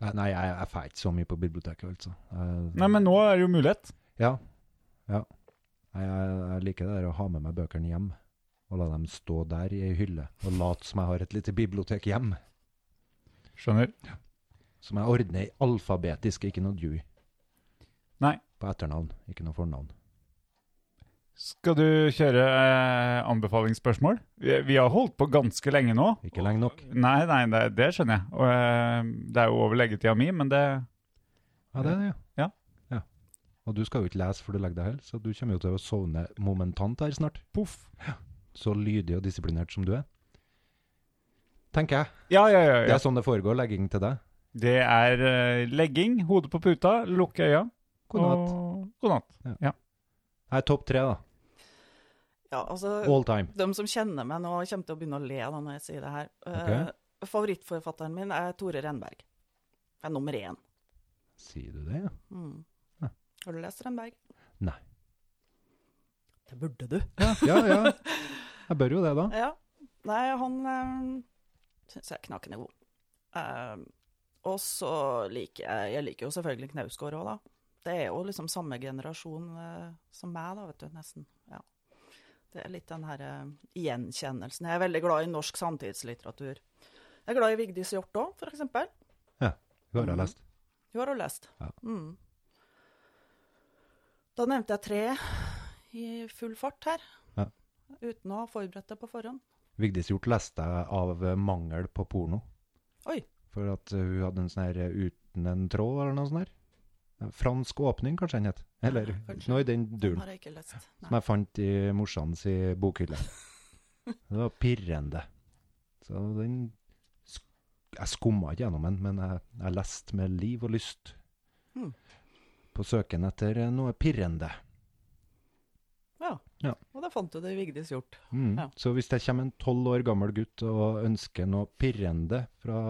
S5: Eh, Nei, jeg, jeg får ikke så mye på biblioteket, altså. Jeg-
S4: Nei, men nå er det jo mulighet.
S5: Ja. ja. Nei, Jeg, jeg liker det der å ha med meg bøkene hjem, og la dem stå der i ei hylle, og late som jeg har et lite bibliotek hjem,
S4: Skjønner.
S5: som jeg ordner i alfabetisk, ikke noe due.
S4: Nei.
S5: På etternavn, ikke noe fornavn.
S4: Skal du kjøre eh, anbefalingsspørsmål? Vi, vi har holdt på ganske lenge nå.
S5: Ikke lenge nok.
S4: Nei, nei, det, det skjønner jeg. Og, eh, det er jo over leggetida mi, men det
S5: Ja, det er det,
S4: Ja.
S5: ja. Og du skal jo ikke lese før du legger deg heller, så du kommer jo til å sovne momentant her snart.
S4: Poff.
S5: Så lydig og disiplinert som du er. Tenker jeg.
S4: Ja, ja, ja.
S5: Det
S4: ja.
S5: er sånn det foregår, legging til deg.
S4: Det er eh, legging, hodet på puta, lukke øya.
S5: God natt.
S4: og- God natt.
S5: Nei, topp tre, da.
S2: Ja, altså...
S5: All time.
S2: De som kjenner meg nå, kommer til å begynne å le da når jeg sier det her. Eh, favorittforfatteren min er Tore Renberg. Det er nummer én.
S5: Sier du det, ja?
S2: Mm.
S5: Ja.
S2: Har du lest Renberg?
S5: Nei.
S2: Det burde du.
S5: Ja, ja. Jeg bør jo det,
S2: *laughs*
S5: da.
S2: Ja. Nei, han syns jeg er knakende god. Eh, og så liker jeg Jeg liker jo selvfølgelig Knausgård òg, da. Det er jo liksom samme generasjon eh, som meg, da, vet du. Nesten. Ja. Det er litt den her eh, gjenkjennelsen. Jeg er veldig glad i norsk samtidslitteratur. Jeg er glad i Vigdis Hjorth òg, for eksempel.
S5: Du har jeg lest.
S2: Hun har hun lest.
S5: Ja.
S2: Mm. Da nevnte jeg tre i full fart her.
S5: Ja.
S2: Uten å ha forberedt det på forhånd.
S5: Vigdis Hjorth leste jeg av eh, mangel på porno.
S2: Oi.
S5: For at eh, hun hadde en sånn her eh, uten en tråd, eller noe sånt der. Eh, Fransk åpning, kanskje den het. Eller
S2: Kanskje.
S5: noe i den duren.
S2: Har jeg ikke lest.
S5: Som jeg fant i morsans i bokhylle. Det var pirrende. Så den sk- Jeg skumma ikke gjennom den, men jeg, jeg leste med liv og lyst.
S2: Hmm.
S5: På søken etter eh, noe pirrende.
S2: Ja.
S5: Ja.
S2: Og da fant du det i Vigdis Hjort. *laughs*
S5: Mm.
S2: Ja.
S5: Så hvis det kommer en tolv år gammel gutt og ønsker noe pirrende fra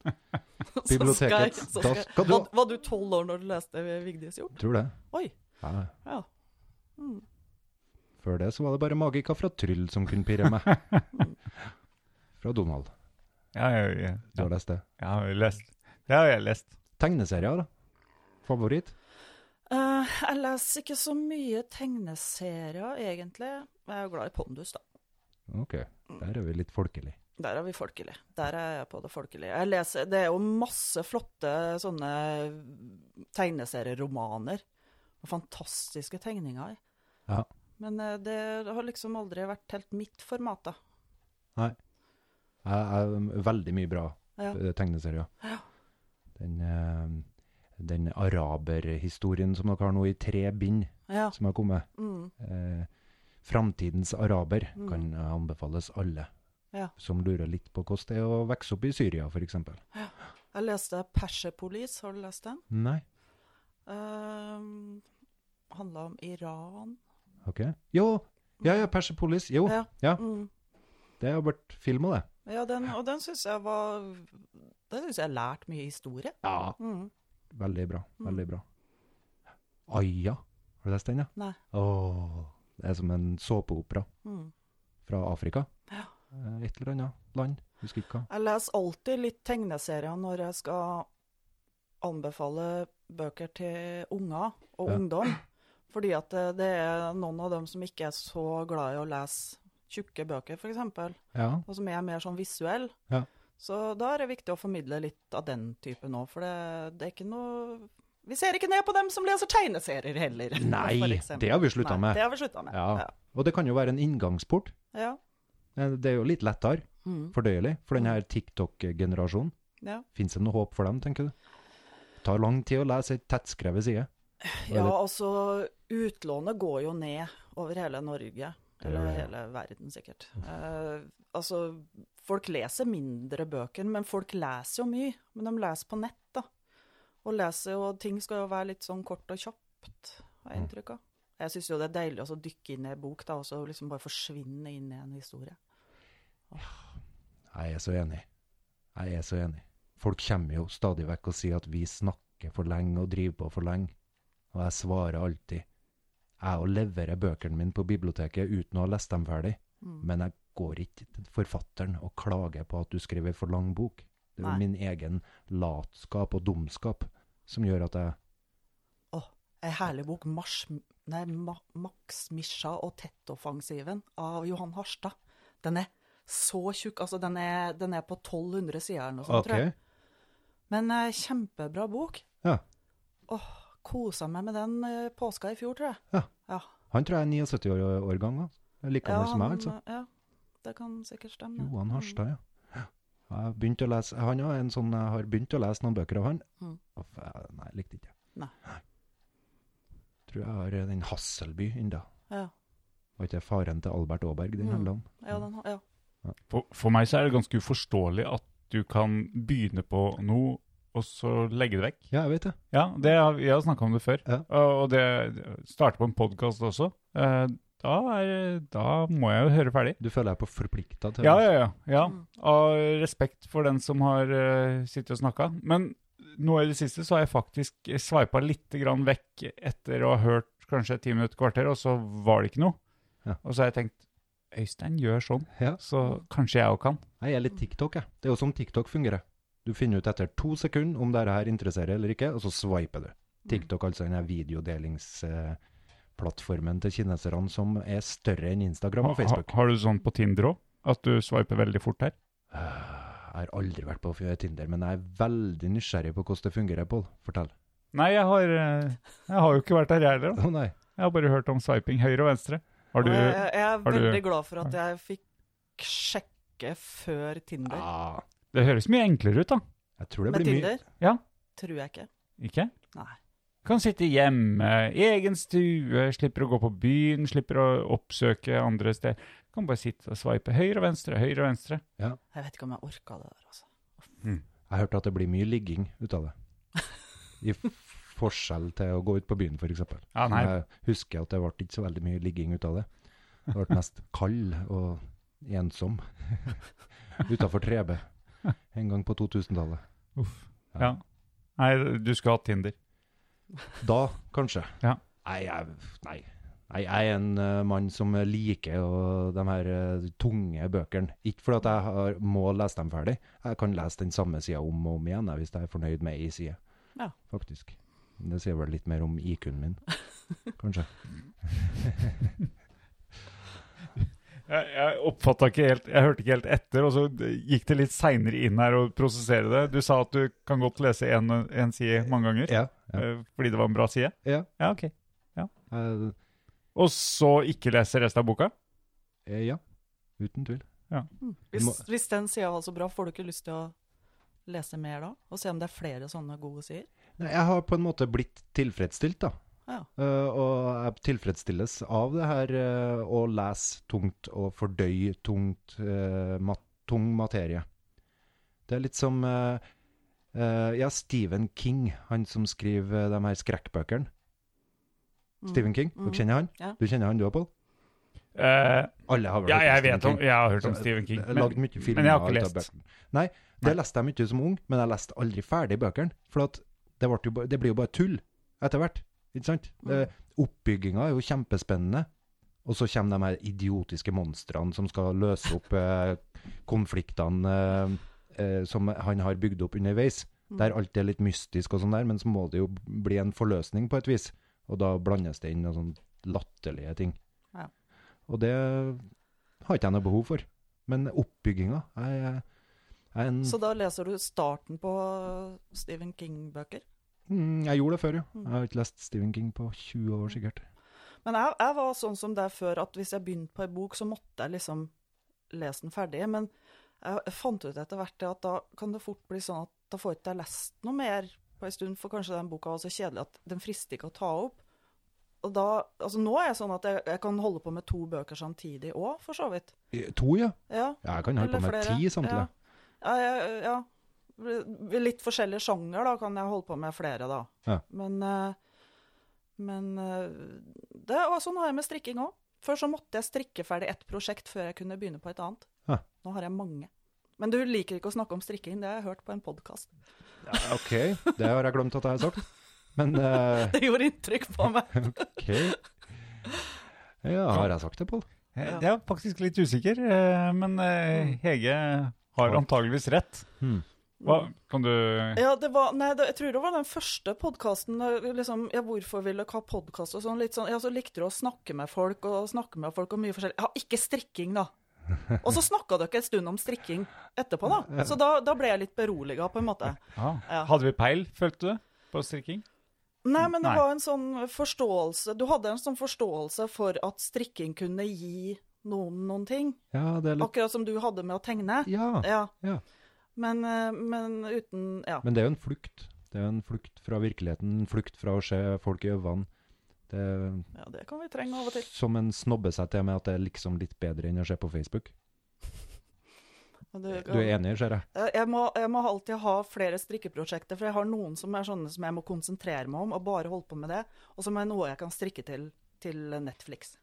S5: Biblioteket.
S2: Så skal,
S5: Da
S2: jeg- så
S5: skal
S2: skal,
S5: du-
S2: var, var du tolv år når du leste Vigdis Hjort?
S5: Tror det.
S2: Oi.
S5: Ja.
S2: Ja. Mm.
S5: Før det så var det bare magika fra Tryll som kunne pirre
S2: *laughs*
S5: meg. Fra Donald.
S4: Ja, jeg, jeg,
S5: Du har lest det.
S4: jeg har jo lest. Det har jeg lest.
S5: Tegneserier, da? Favoritt?
S2: Eh, jeg leser ikke så mye tegneserier, egentlig. Jeg er jo glad i Pondus, da.
S5: Ok, der er vi litt folkelig.
S2: Der er vi folkelig. Der er jeg på det folkelige. Jeg leser, det er jo masse flotte sånne tegneserieromaner. Og fantastiske tegninger i.
S5: Ja.
S2: Men eh, det har liksom aldri vært helt mitt format, da.
S5: Jeg er um, veldig mye bra
S2: Ja.
S5: eh, tegneserier. Den, eh, den araberhistorien som dere har nå i tre bind,
S2: Ja.
S5: som har kommet.
S2: Mm.
S5: Eh, Framtidens araber
S2: Mm.
S5: kan anbefales alle.
S2: Ja.
S5: Som lurer litt på hvordan det er å vokse opp i Syria, f.eks.
S2: Jeg leste Persepolis, har du lest den?
S5: Nei.
S2: Um, Handla om Iran.
S5: Ok. Jo! Ja, ja, Persepolis. Jo,
S2: Ja.
S5: ja.
S2: Mm.
S5: det har vært film av det.
S2: ja den, og den syns jeg var Den syns jeg har lært mye historie.
S5: Ja.
S2: Mm.
S5: Veldig bra. Veldig bra. Aya. Har du lest den, ja?
S2: Nei.
S5: Åh, det er som en såpeopera
S2: Mm.
S5: fra Afrika.
S2: Ja.
S5: Eh, Et eller annet land. Husker ikke hva.
S2: Jeg leser alltid litt tegneserier når jeg skal anbefale bøker til unger og
S5: Ja.
S2: ungdom. Fordi at det, det er noen av dem som ikke er så glad i å lese tjukke bøker, f.eks.,
S5: Ja.
S2: og som er mer sånn visuell.
S5: Ja.
S2: Så da er det viktig å formidle litt av den typen òg, for det, det er ikke noe Vi ser ikke ned på dem som leser tegneserier heller. *laughs*
S5: Nei,
S2: for eksempel.
S5: det har vi sluttet
S2: Nei,
S5: med.
S2: Det har vi slutta med.
S5: Ja.
S2: Ja.
S5: Og det kan jo være en inngangsport.
S2: Ja.
S5: Eh, Det er jo litt lettere,
S2: Mm.
S5: fordøyelig, for denne TikTok-generasjonen.
S2: ja.
S5: Fins det noe håp for dem, tenker du? Det tar lang tid å lese ei tettskrevet side.
S2: Ja,
S5: Eller-
S2: altså utlånet går jo ned over hele Norge. Eller hele verden, sikkert. Eh, altså, folk leser mindre bøker, men folk leser jo mye. Men de leser på nett, da. Og leser jo, ting skal jo være litt sånn kort og kjapt, har jeg inntrykk av. Jeg syns jo det er deilig også å dykke inn i en bok, da, og så liksom bare forsvinne inn i en historie.
S5: Jeg er så enig. Jeg er så enig. Folk kommer jo stadig vekk og sier at vi snakker for lenge og driver på for lenge. Og jeg svarer alltid. Jeg òg leverer bøkene mine på biblioteket uten å ha lest dem ferdig.
S2: Mm.
S5: Men jeg går ikke til forfatteren og klager på at du skrev ei for lang bok. Det er
S2: Nei.
S5: jo min egen latskap og dumskap som gjør at jeg
S2: Åh, ei herlig bok. Mars, nei, Ma, Max Mischa og Tettoffensiven av Johan Harstad. Den er så tjukk. Altså, den er, den er på 1200 sider eller noe sånt, tror jeg. Men eh, kjempebra bok.
S5: Ja.
S2: Åh, kosa meg med den eh, påska i fjor, tror jeg.
S5: Ja.
S2: Ja,
S5: Han tror jeg er 79 år, år gammel. Like gammel som meg,
S2: han,
S5: altså.
S2: ja, det kan sikkert stemme. Mm. det.
S5: Johan Harstad, ja. Jeg har begynt å lese, han er en sånn, jeg har begynt å lese noen bøker av han.
S2: Mm.
S5: Og f- jeg- Nei, jeg likte ikke.
S2: Nei.
S5: Tror jeg har eh, den Hasselby enda.
S2: Ja,
S5: Var ikke det faren til Albert Aaberg den
S2: Mm.
S5: handler om?
S2: ja, den, ja.
S4: For, for meg så er det ganske uforståelig at du kan begynne på noe, og så legge det vekk.
S5: Ja, jeg vet det.
S4: Ja, det har, jeg har snakka om det før.
S5: Ja.
S4: Og og det starter på en podkast også. Eh, Da, er, da må jeg jo høre ferdig.
S5: Du føler deg på forplikta til
S4: Ja,
S5: det.
S4: ja, ja. ja.
S2: Mm.
S4: Av respekt for den som har eh, sittet og snakka. Men nå i det siste så har jeg faktisk sveipa litt grann vekk etter å ha hørt kanskje et ti minutter, kvarter, og så var det ikke noe.
S5: Ja.
S4: Og så har jeg tenkt Øystein gjør sånn,
S5: Ja.
S4: så kanskje jeg òg kan.
S5: Jeg er litt TikTok, jeg. Det er jo sånn TikTok fungerer. Du finner ut etter to sekunder om dette her interesserer eller ikke, og så swiper du. TikTok, altså den her videodelingsplattformen til kineserne som er større enn Instagram og
S4: Ha-
S5: Facebook.
S4: Ha, har du sånn på Tinder òg? At du sveiper veldig fort her?
S5: Eh, Jeg har aldri vært på Tinder, men jeg er veldig nysgjerrig på hvordan det fungerer, Pål. Fortell.
S4: Nei, jeg har, eh, jeg har jo ikke vært her, jeg heller. da.
S5: Å nei.
S4: Jeg har bare hørt om sveiping høyre og venstre. Har du
S2: Og jeg, jeg er
S4: har du-
S2: veldig glad for at jeg fikk sjekke før Tinder.
S5: Ah,
S4: Det høres mye enklere ut, da.
S5: jeg tror det
S2: Med
S5: blir mye
S2: Tinder?
S4: Ja.
S2: Tror jeg ikke.
S4: Ikke?
S2: Nei.
S4: Kan sitte hjemme, egen stue, slipper å gå på byen, slipper å oppsøke andre steder. Kan bare sitte og sveipe høyre og venstre, høyre og venstre.
S2: Jeg vet ikke om jeg orka det der, altså.
S5: Jeg hørte at det blir mye ligging ut
S2: *laughs*
S5: av det. I f- forskjell til å gå ut på byen, f.eks.
S4: Ja, nei.
S5: jeg husker at det ble ikke så veldig mye ligging ut av det. Det ble mest kald
S2: *laughs*
S5: *laughs* og ensom utafor Trebe en gang på 2000-tallet.
S4: Uff. Ja. Nei, du skulle hatt Tinder.
S5: Da, kanskje.
S4: Ja.
S5: Nei, jeg, nei. nei, jeg er en eh, mann som liker å- de her eh, tunge bøkene. Ikke fordi at jeg har, må lese dem ferdig. Jeg kan lese den samme sida om og om igjen jeg, hvis jeg er fornøyd med ei side,
S2: Ja.
S5: faktisk. Men Det sier vel litt mer om IQ-en min, kanskje.
S4: Jeg, jeg oppfatta ikke helt Jeg hørte ikke helt etter, og så gikk det litt seinere inn her å prosessere det. Du sa at du kan godt lese en, en side mange ganger
S5: Ja. ja.
S4: eh, fordi det var en bra side.
S5: Ja.
S4: ja ok.
S5: Jeg-
S4: Og så ikke lese resten av boka?
S5: eh, ja. Uten tvil.
S2: Hvis,
S5: Må-
S2: hvis den sida var så bra, får du ikke lyst til å lese mer da? Og se om det er flere sånne gode sider?
S5: Nei, jeg har på en måte blitt tilfredsstilt, da.
S2: Ja.
S5: Eh, og jeg tilfredsstilles av det her eh, å lese tungt og fordøye tungt, eh, mat, tung materie. Det er litt som eh, eh, Ja, Stephen King, han som skriver eh, de her skrekkbøkene. Stephen King,
S2: Mm.
S5: dere kjenner han?
S2: Ja.
S5: Du kjenner han du òg, Pål?
S4: Eh,
S5: Alle har vel
S4: ja, jeg
S5: hørt om Stephen
S4: vet om
S5: King.
S4: Jeg har hørt om Stephen King.
S5: Jeg lagde eh, mye filmer
S4: men jeg har ikke
S5: ut av
S4: lest.
S5: bøkene. Nei, det leste jeg mye som ung, men jeg leste aldri ferdig bøkene. For at det, ble jo, ba- det blir jo bare tull etter hvert. Ikke sant? Det, oppbygginga er jo kjempespennende. Og så kommer de her idiotiske monstrene som skal løse opp eh, konfliktene eh, eh, som han har bygd opp underveis.
S2: Mm.
S5: Der alt er litt mystisk og sånn der, men så må det jo bli en forløsning på et vis. Og da blandes det inn noen sånn latterlige ting.
S2: Ja.
S5: Og det har ikke jeg noe behov for. Men oppbygginga jeg, jeg, jeg, er en,
S2: Så da leser du starten på Stephen King-bøker?
S5: mm, jeg gjorde det før, ja. Jeg har ikke lest Stephen King på 20
S2: Mm.
S5: år, sikkert.
S2: Men jeg, jeg var sånn som deg før, at hvis jeg begynte på ei bok, så måtte jeg liksom lese den ferdig. Men jeg fant ut etter hvert det at da kan det fort bli sånn at da får ikke jeg lest noe mer på ei stund, for kanskje den boka var så kjedelig at den frister ikke å ta opp. Og da, altså Nå er jeg sånn at jeg, jeg kan holde på med to bøker samtidig òg, for så vidt.
S5: Eh, To, ja.
S2: Ja,
S5: Ja, Jeg kan holde på
S2: eller
S5: med
S2: flere.
S5: ti samtidig.
S2: Ja. Ja, ja, ja. Litt forskjellige sjanger da, kan jeg holde på med flere, da.
S5: Ja.
S2: Men, eh, men eh, det, og sånn har jeg med strikking òg. Før så måtte jeg strikke ferdig ett prosjekt før jeg kunne begynne på et annet.
S5: Ja.
S2: Nå har jeg mange. Men du liker ikke å snakke om strikking, det har jeg hørt på en podkast.
S5: Ok, det har jeg glemt at jeg har sagt. Men eh,
S2: *laughs* Det gjorde inntrykk på meg. *laughs*
S5: ok. Ja, har jeg sagt det, Pål?
S4: Eh, Jeg er faktisk litt usikker, eh, men eh, Hege har antageligvis rett.
S5: Hmm.
S4: Hva, kan du
S2: Ja, det var, nei, det, jeg tror det var den første podkasten. Liksom, ja, hvorfor vil dere ha podkast og sånn? Litt sånn, ja, så likte du å snakke med folk og snakke med folk om mye forskjellig. Ja, ikke strikking, da. Og så snakka dere en stund om strikking etterpå, da. Så da, da ble jeg litt beroliga, på en måte.
S4: Ah,
S2: Ja.
S4: Hadde vi peil, følte du, det, på strikking?
S2: Nei, men det
S4: Nei.
S2: var en sånn forståelse Du hadde en sånn forståelse for at strikking kunne gi noen noen ting.
S5: Ja, det er litt
S2: Akkurat som du hadde med å tegne.
S5: Ja.
S2: Ja.
S5: Ja.
S2: Men, eh, men uten Ja.
S5: Men det er jo en flukt. Det er jo en flukt fra virkeligheten, en flukt fra å se folk i øynene. Det er
S2: ja, det kan vi trenge av og til.
S5: som en snobber seg til med at det er liksom litt bedre enn å se på Facebook.
S2: Og
S5: Du er enig, ser jeg?
S2: Eh, Jeg må, jeg må alltid ha flere strikkeprosjekter, for jeg har noen som er sånne som jeg må konsentrere meg om, og bare holde på med det. Og som er noe jeg kan strikke til til Netflix.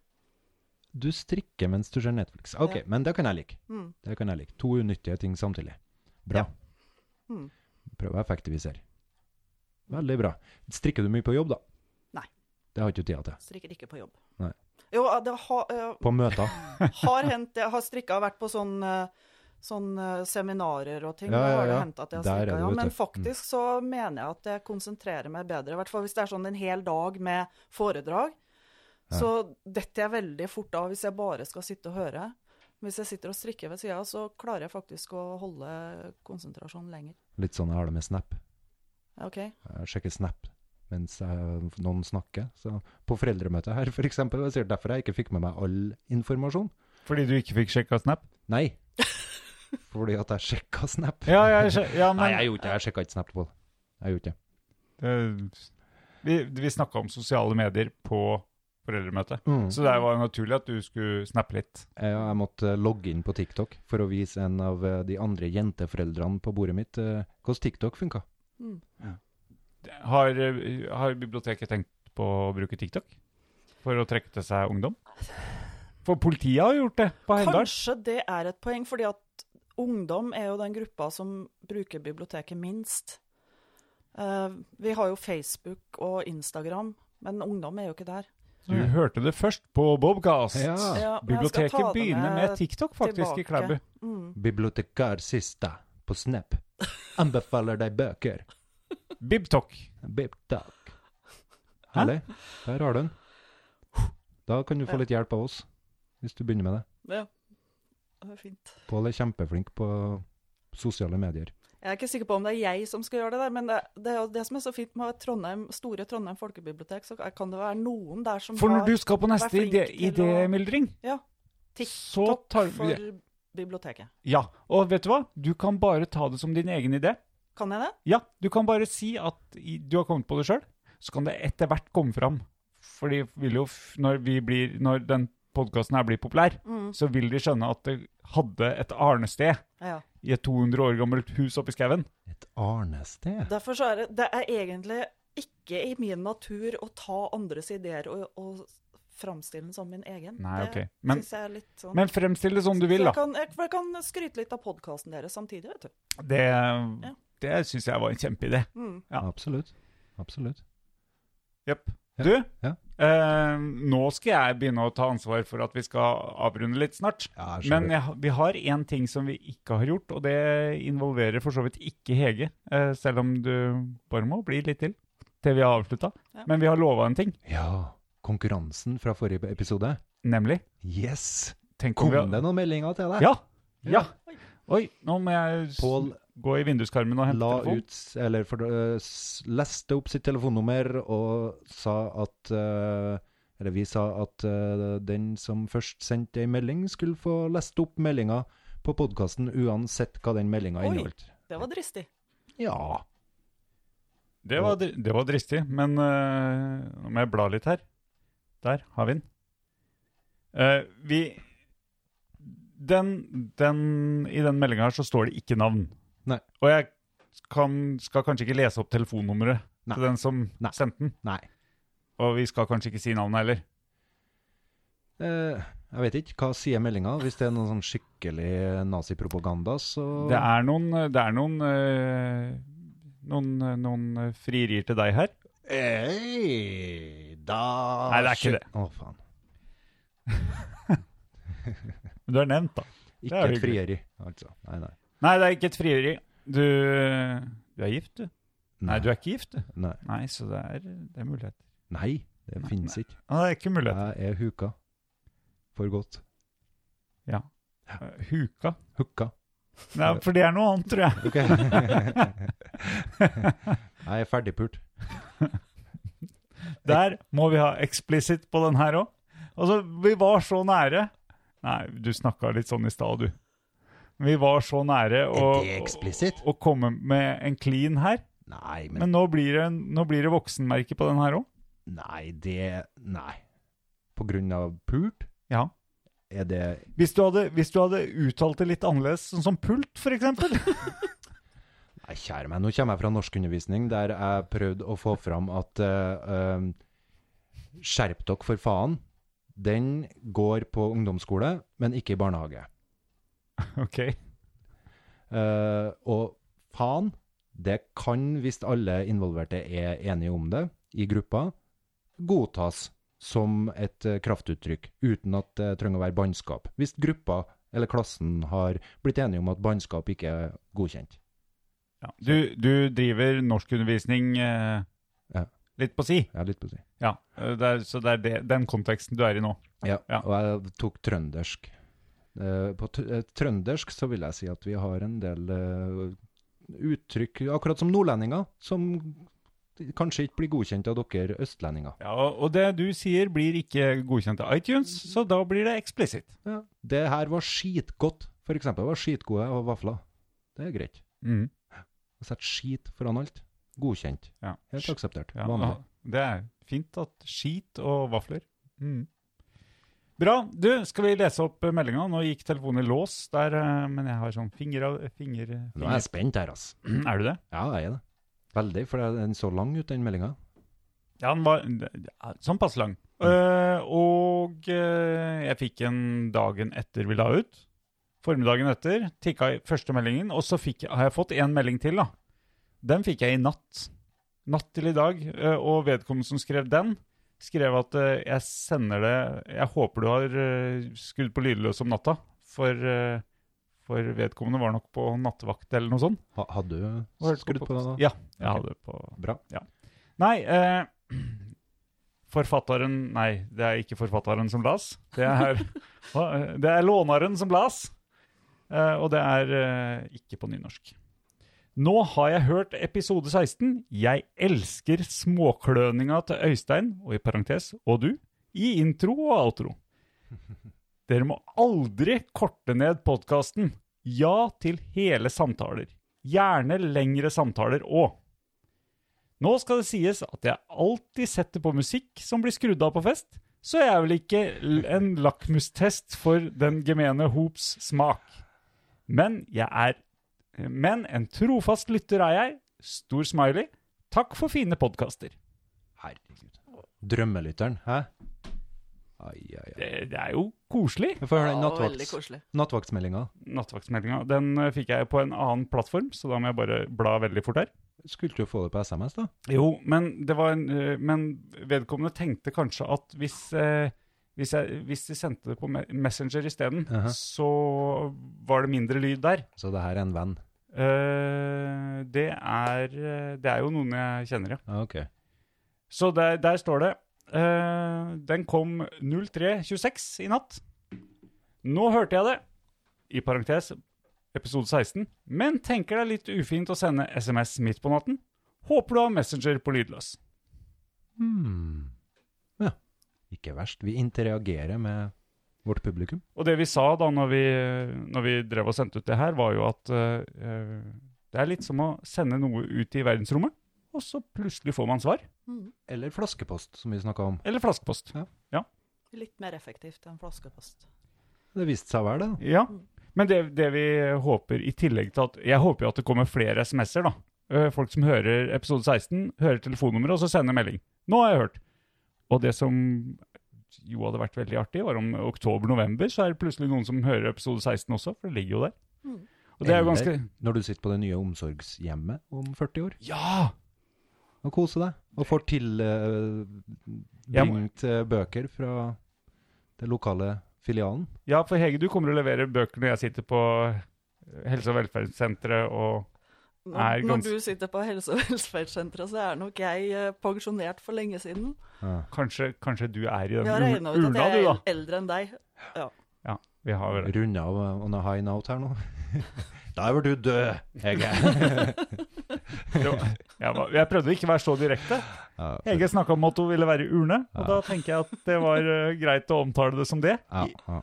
S5: Du strikker mens du ser Netflix. Ok,
S2: Ja.
S5: men det kan jeg like.
S2: Mm.
S5: Det kan jeg like. To unyttige ting samtidig. Bra.
S2: Mm.
S5: Prøv å effektivisere. Veldig bra. Strikker du mye på jobb, da?
S2: Nei.
S5: Det har ikke du tida til.
S2: Strikker ikke på jobb.
S5: Nei.
S2: Jo, eh, det har, eh,
S5: På møter.
S2: har hendt Jeg har strikka, vært på sånn eh, Sånn eh, seminarer og ting.
S5: Ja,
S2: Da
S5: ja,
S2: har det
S5: ja.
S2: hendt at jeg
S5: Der er
S2: har strikka,
S5: det,
S2: ja.
S5: vet
S2: Men
S5: du. Mm.
S2: faktisk så mener jeg at jeg konsentrerer meg bedre. I hvert fall hvis det er sånn en hel dag med foredrag. Så detter jeg veldig fort av hvis jeg bare skal sitte og høre. Men Hvis jeg sitter og strikker ved sida, så klarer jeg faktisk å holde konsentrasjonen lenger.
S5: Litt sånn jeg har det med Snap.
S2: OK?
S5: Jeg sjekker Eh, Snap mens jeg, noen snakker. Så på foreldremøtet her, for eksempel, det er sikkert derfor jeg ikke fikk med meg all informasjon.
S4: Fordi du ikke fikk sjekka Snap?
S5: Nei.
S4: *laughs*
S5: Fordi at jeg sjekka Snap.
S4: Ja, jeg skjø- ja men
S5: Nei, jeg gjorde ikke det. Jeg sjekka ikke Snap. Pål. Jeg gjorde ikke det.
S4: Eh, Vi, vi snakka om sosiale medier på foreldremøtet,
S5: Mm.
S4: så det var naturlig at du skulle snappe litt.
S5: Jeg, Eh, jeg måtte logge inn på TikTok for å vise en av eh, de andre jenteforeldrene på bordet mitt eh, hvordan TikTok funka.
S4: Har, eh, har biblioteket tenkt på å bruke TikTok for å trekke til
S2: Mm.
S4: seg ungdom? For politiet har gjort det på Heimdal.
S2: Kanskje det er et poeng, fordi at ungdom er jo den gruppa som bruker biblioteket minst. Eh, vi har jo Facebook og Instagram, men ungdom er jo ikke der.
S4: Du hørte det først på Bobcast.
S5: Ja.
S2: Ja, men jeg skal ta
S4: Ah, Biblioteket
S2: det
S4: begynner med TikTok, faktisk, i
S2: tilbake.
S4: Klæbu.
S2: Mm.
S5: Bibliotekarsista
S4: *laughs*
S5: på Snap. Anbefaler deg bøker.
S4: Bibtok.
S5: Bibtak. Herlig. Der har du den. Da kan du
S2: Ja.
S5: få litt hjelp av oss, hvis du begynner med det.
S2: Ja. Det er fint.
S5: Pål er kjempeflink på sosiale medier.
S2: Jeg er ikke sikker på om det er jeg som skal gjøre det der, men det, det er jo det som er så fint med Trondheim, store Trondheim folkebibliotek, så kan det være noen der som
S4: For når
S2: har
S4: du skal på neste
S2: flink
S4: ide-
S2: til å-
S4: idémyldring,
S2: Ja.
S4: så tar vi
S2: for biblioteket.
S4: Ja. Og vet du hva? Du kan bare ta det som din egen idé.
S2: Kan jeg det?
S4: Ja, du kan bare si at i, du har kommet på det sjøl, så kan det etter hvert komme fram. For de vil jo, f- når, vi blir, når den podkasten her blir populær,
S2: Mm.
S4: så vil de skjønne at det hadde et arnested
S2: Ja.
S4: i et 200 år gammelt hus oppi skauen.
S5: Et arnested?
S2: Derfor så er det, det er egentlig ikke i min natur å ta andres ideer og, og framstille den som min egen.
S4: Nei,
S2: det
S4: ok. Men-
S2: synes jeg er litt sånn...
S4: Men fremstill det som du vil,
S2: Så
S4: da.
S2: jeg kan, jeg, for jeg kan skryte litt av podkasten deres samtidig, vet du.
S4: Det, det syns jeg var en kjempeidé.
S2: Mm.
S4: Ja.
S5: Absolutt. Absolutt.
S4: Jepp.
S5: Ja.
S4: Du,
S5: Ja.
S4: eh, nå skal jeg begynne å ta ansvar for at vi skal avrunde litt snart.
S5: Ja, jeg skjønner.
S4: Men jeg, vi har én ting som vi ikke har gjort, og det involverer for så vidt ikke Hege. eh, selv om du bare må bli litt til til vi har avslutta.
S2: Ja.
S4: Men vi har lova en ting,
S5: Ja, konkurransen fra forrige episode.
S4: nemlig
S5: Yes!
S4: tenk om
S5: Kom
S4: vi har-
S5: det noen meldinger til deg?
S4: Ja! Ja! Oi, nå må jeg s-
S5: Pål
S4: gå i vinduskarmen og hente
S5: la
S4: telefonen.
S5: ut, eller for, øh, s- leste opp sitt telefonnummer og sa at øh, Eller vi sa at øh, den som først sendte ei melding, skulle få lest opp meldinga på podkasten uansett hva den meldinga
S2: Oi.
S5: inneholdt.
S2: Det var dristig.
S5: Ja.
S4: Det var, dri- det var dristig, men eh, nå må jeg bla litt her. Der har vi den. Eh, vi den, den, I den meldinga her så står det ikke navn.
S5: Nei.
S4: Og jeg kan, skal kanskje ikke lese opp telefonnummeret
S5: Nei.
S4: til den som
S5: Nei.
S4: sendte den.
S5: Nei.
S4: Og vi skal kanskje ikke si navnet heller.
S5: Eh, jeg vet ikke. Hva sier meldinga? Hvis det er noe sånn skikkelig nazipropaganda, så
S4: Det er noen Det er noen, eh, noen, noen frierier til deg her.
S5: Ei, da
S4: Nei, det er ikke det.
S5: Å, faen.
S4: Men du er nevnt, da. er
S5: Ikke et
S4: hyggelig.
S5: frieri, altså. Nei, nei.
S4: Nei, det er ikke et frieri. Du, du er gift, du. Nei, du er ikke gift, du.
S5: Nei.
S4: Nei, så det er, det er mulighet.
S5: Nei, det
S4: Nei,
S5: finnes ikke.
S4: Ja, det er ikke mulighet.
S5: Jeg er huka. For godt.
S4: Ja. Eh, Huka.
S5: Hooka.
S4: Nei, for det er noe annet, tror jeg.
S5: Ok. *laughs*
S4: *laughs*
S5: jeg er ferdigpult.
S4: Der må vi ha eksplisitt på den her òg. Altså, vi var så nære. Nei, du snakka litt sånn i stad, du. Vi var så nære å,
S5: Er det eksplisitt?
S4: å, å komme med en clean her,
S5: Nei, men
S4: men nå blir det, nå blir det voksenmerke på den her òg.
S5: Nei, det Nei. På grunn av pult?
S4: Ja.
S5: Er det
S4: Hvis du, hadde, hvis du hadde uttalt det litt annerledes, sånn som pult, for eksempel.
S5: Nei, kjære meg, nå kommer jeg fra norskundervisning der jeg prøvde å få fram at eh, eh, Skjerp dere, for faen. Den går på ungdomsskole, men ikke i barnehage.
S4: *laughs* Ok.
S5: Eh, og faen, det kan, hvis alle involverte er enige om det i gruppa, godtas som et eh, kraftuttrykk, uten at det trenger å være bannskap. Hvis gruppa eller klassen har blitt enige om at bannskap ikke er godkjent.
S4: Ja. Du, du driver norskundervisning eh,
S5: Ja.
S4: litt på si.
S5: Jeg er litt på å si.
S4: Ja, eh, det er, så det er det, den konteksten du er i nå.
S5: Ja,
S4: Ja.
S5: og jeg tok trøndersk. Eh, På tr- eh, trøndersk så vil jeg si at vi har en del eh, uttrykk, akkurat som nordlendinger, som kanskje ikke blir godkjent av dere østlendinger.
S4: Ja, og og det du sier blir ikke godkjent av iTunes,
S5: Mhm.
S4: så da blir det eksplisitt.
S5: Ja. Det her var skitgodt, for eksempel. Det var skitgode og vafler. Det er greit.
S4: Mhm.
S5: Å sette skit foran alt. Godkjent.
S4: Ja.
S5: Helt akseptert.
S4: Ja,
S5: Vanlig.
S4: og det er fint at skit og vafler. Mhm. Bra. Du, skal vi lese opp eh, meldinga? Nå gikk telefonen i lås der, eh, men jeg har sånn finger av finger...
S5: Nå er
S4: finger. *clears throat*
S5: jeg spent her, ass.
S4: Er du det?
S5: Ja, jeg er det. Veldig, for den så lang ut, den meldinga.
S4: Ja, den var ja, sånn passe lang.
S5: Mm.
S4: Eh, og eh, jeg fikk en dagen etter vi la ut. Formiddagen etter tikka i første meldingen, og så fikk, har jeg fått én melding til. da. Den fikk jeg i natt. Natt til i dag. eh, Og vedkommende som skrev den, skrev at eh, jeg sender det Jeg håper du har eh, skudd på lydløs om natta. For, eh, for vedkommende var nok på nattevakt eller noe sånt.
S5: Ha, hadde
S4: Og
S5: du
S4: hørte
S5: skrudd på det? da?
S4: Ja, jeg hadde det på
S5: Bra.
S4: Nei, eh, forfatteren Nei, det er ikke forfatteren som las. Det er, *laughs* hva- eh, det er låneren som las. Eh, og det er eh, ikke på nynorsk. Nå har jeg hørt episode 16. Jeg elsker småkløninga til Øystein, og i parentes, og du, i intro og outro. Dere må aldri korte ned podkasten. Ja til hele samtaler. Gjerne lengre samtaler òg. Nå skal det sies at jeg alltid setter på musikk som blir skrudd av på fest, så jeg er vel ikke l- en lakmustest for den gemene hops smak. Men jeg er Men en trofast lytter er jeg. Stor smiley. Takk for fine podkaster.
S5: Herregud. Drømmelytteren, hæ? Ai, ai, ai.
S4: Det, det er jo koselig.
S5: Vi får høre den
S2: Ja, veldig
S5: nattvakts,
S2: koselig.
S5: nattvaktsmeldinga.
S4: Nattevaktsmeldinga den eh, fikk jeg på en annen plattform, så da må jeg bare bla veldig fort her.
S5: Skulle du få det på SMS, da?
S4: Jo, men, det var en, eh, men vedkommende tenkte kanskje at hvis, eh, hvis, jeg, hvis de sendte det på me- Messenger isteden,
S5: Aha.
S4: så var det mindre lyd der.
S5: Så det her er en venn.
S4: Eh, det, er, eh, det er jo noen jeg kjenner, ja.
S5: Ah, ok.
S4: Så der, der står det. eh, den kom 03.26 i natt. Nå hørte jeg det, i parentes episode 16, men tenker det er litt ufint å sende SMS midt på natten. Håper du har Messenger på lydløs.
S5: Hmm. Ja. Ikke verst. Vi interagerer med vårt publikum.
S4: Og det vi sa da når vi, når vi drev og sendte ut det her, var jo at eh, det er litt som å sende noe ut i verdensrommet, og så plutselig får man svar.
S5: Eller flaskepost, som vi snakka om.
S4: Eller flaskepost.
S5: Ja.
S2: Litt mer effektivt enn flaskepost.
S5: Det viste seg å være det. da.
S4: Ja. Men det, det vi håper i tillegg til at Jeg håper jo at det kommer flere SMS-er, da. Eh, Folk som hører episode 16, hører telefonnummeret og så sender melding. Nå har jeg hørt. Og det som jo hadde vært veldig artig, var om oktober-november, så er det plutselig noen som hører episode 16 også, for det ligger jo der. Og det er jo ganske
S5: Eller når du sitter på det nye omsorgshjemmet om 40 år
S4: Ja!
S5: og koser deg. Og får
S4: Jeg må-
S5: tilbringt eh, bøker fra det lokale filialen.
S4: Ja, for Hege, du kommer og leverer bøker når jeg sitter på eh, helse- og velferdssenteret og
S2: Når,
S4: Er
S2: når
S4: gans-
S2: du sitter på helse- og velferdssenteret, så er nok jeg eh, pensjonert for lenge siden.
S4: kanskje, kanskje du er i den
S2: Vi har
S4: ul-
S2: regna ut at
S4: urna, du,
S2: jeg
S4: da.
S2: er eldre enn deg.
S4: Ja, vi har vel det.
S5: Runde av eh, on a high note
S4: *laughs*
S5: her nå. da er vel du død, Hege.
S4: Det var- Jeg, var, jeg prøvde å ikke være så direkte.
S5: ja,
S4: Hege snakka om at hun ville være i urne, og da tenker jeg at det var eh, greit å omtale det som det.
S5: ja, ja.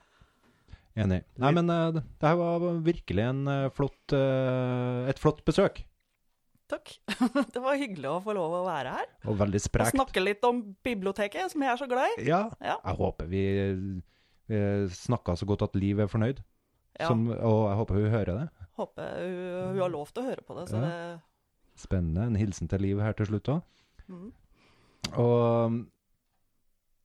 S5: Enig. Nei, men eh, det det her var virkelig en eh, flott, eh, et flott besøk.
S2: Takk. *laughs* Det var hyggelig å få lov å være her.
S5: Og veldig
S2: Og
S5: sprekt.
S2: snakke litt om biblioteket, som jeg er så glad i.
S5: Ja.
S2: Ja.
S5: Jeg håper vi eh, snakka så godt at Liv er fornøyd.
S2: Ja,
S5: Som, og jeg håper hun hører det.
S2: Håper hun, hun har lov til å høre på det, så
S5: Ja.
S2: det
S5: Spennende. En hilsen til Liv her til slutt òg.
S2: Mhm.
S5: Og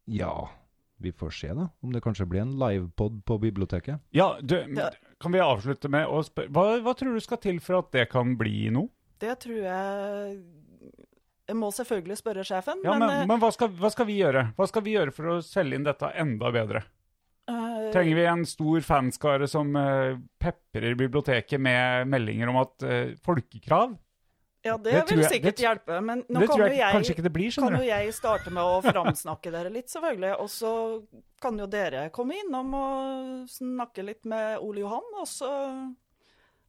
S5: ja Vi får se, da. Om det kanskje blir en livepod på biblioteket.
S4: Ja, du,
S2: Ja.
S4: kan vi avslutte med å spørre hva, hva tror du skal til for at det kan bli noe?
S2: Det tror jeg Jeg må selvfølgelig spørre sjefen,
S4: Ja,
S2: men, eh,
S4: men, men hva, skal, hva skal vi gjøre? Hva skal vi gjøre for å selge inn dette enda bedre?
S2: eh,
S4: Trenger vi en stor fanskare som eh, peprer biblioteket med meldinger om at eh, folkekrav?
S2: ja, det,
S4: det tror
S2: vil
S4: jeg- det
S2: sikkert
S4: tr-
S2: hjelpe. Men nå
S4: det
S2: kan
S4: tror
S2: jo
S4: jeg
S2: jeg
S4: kanskje ikke det blir,
S2: kan
S4: skjønner
S2: jo
S4: du.
S2: jeg starte med å framsnakke dere litt, selvfølgelig. Og så kan jo dere komme innom og snakke litt med Ole Johan. Og så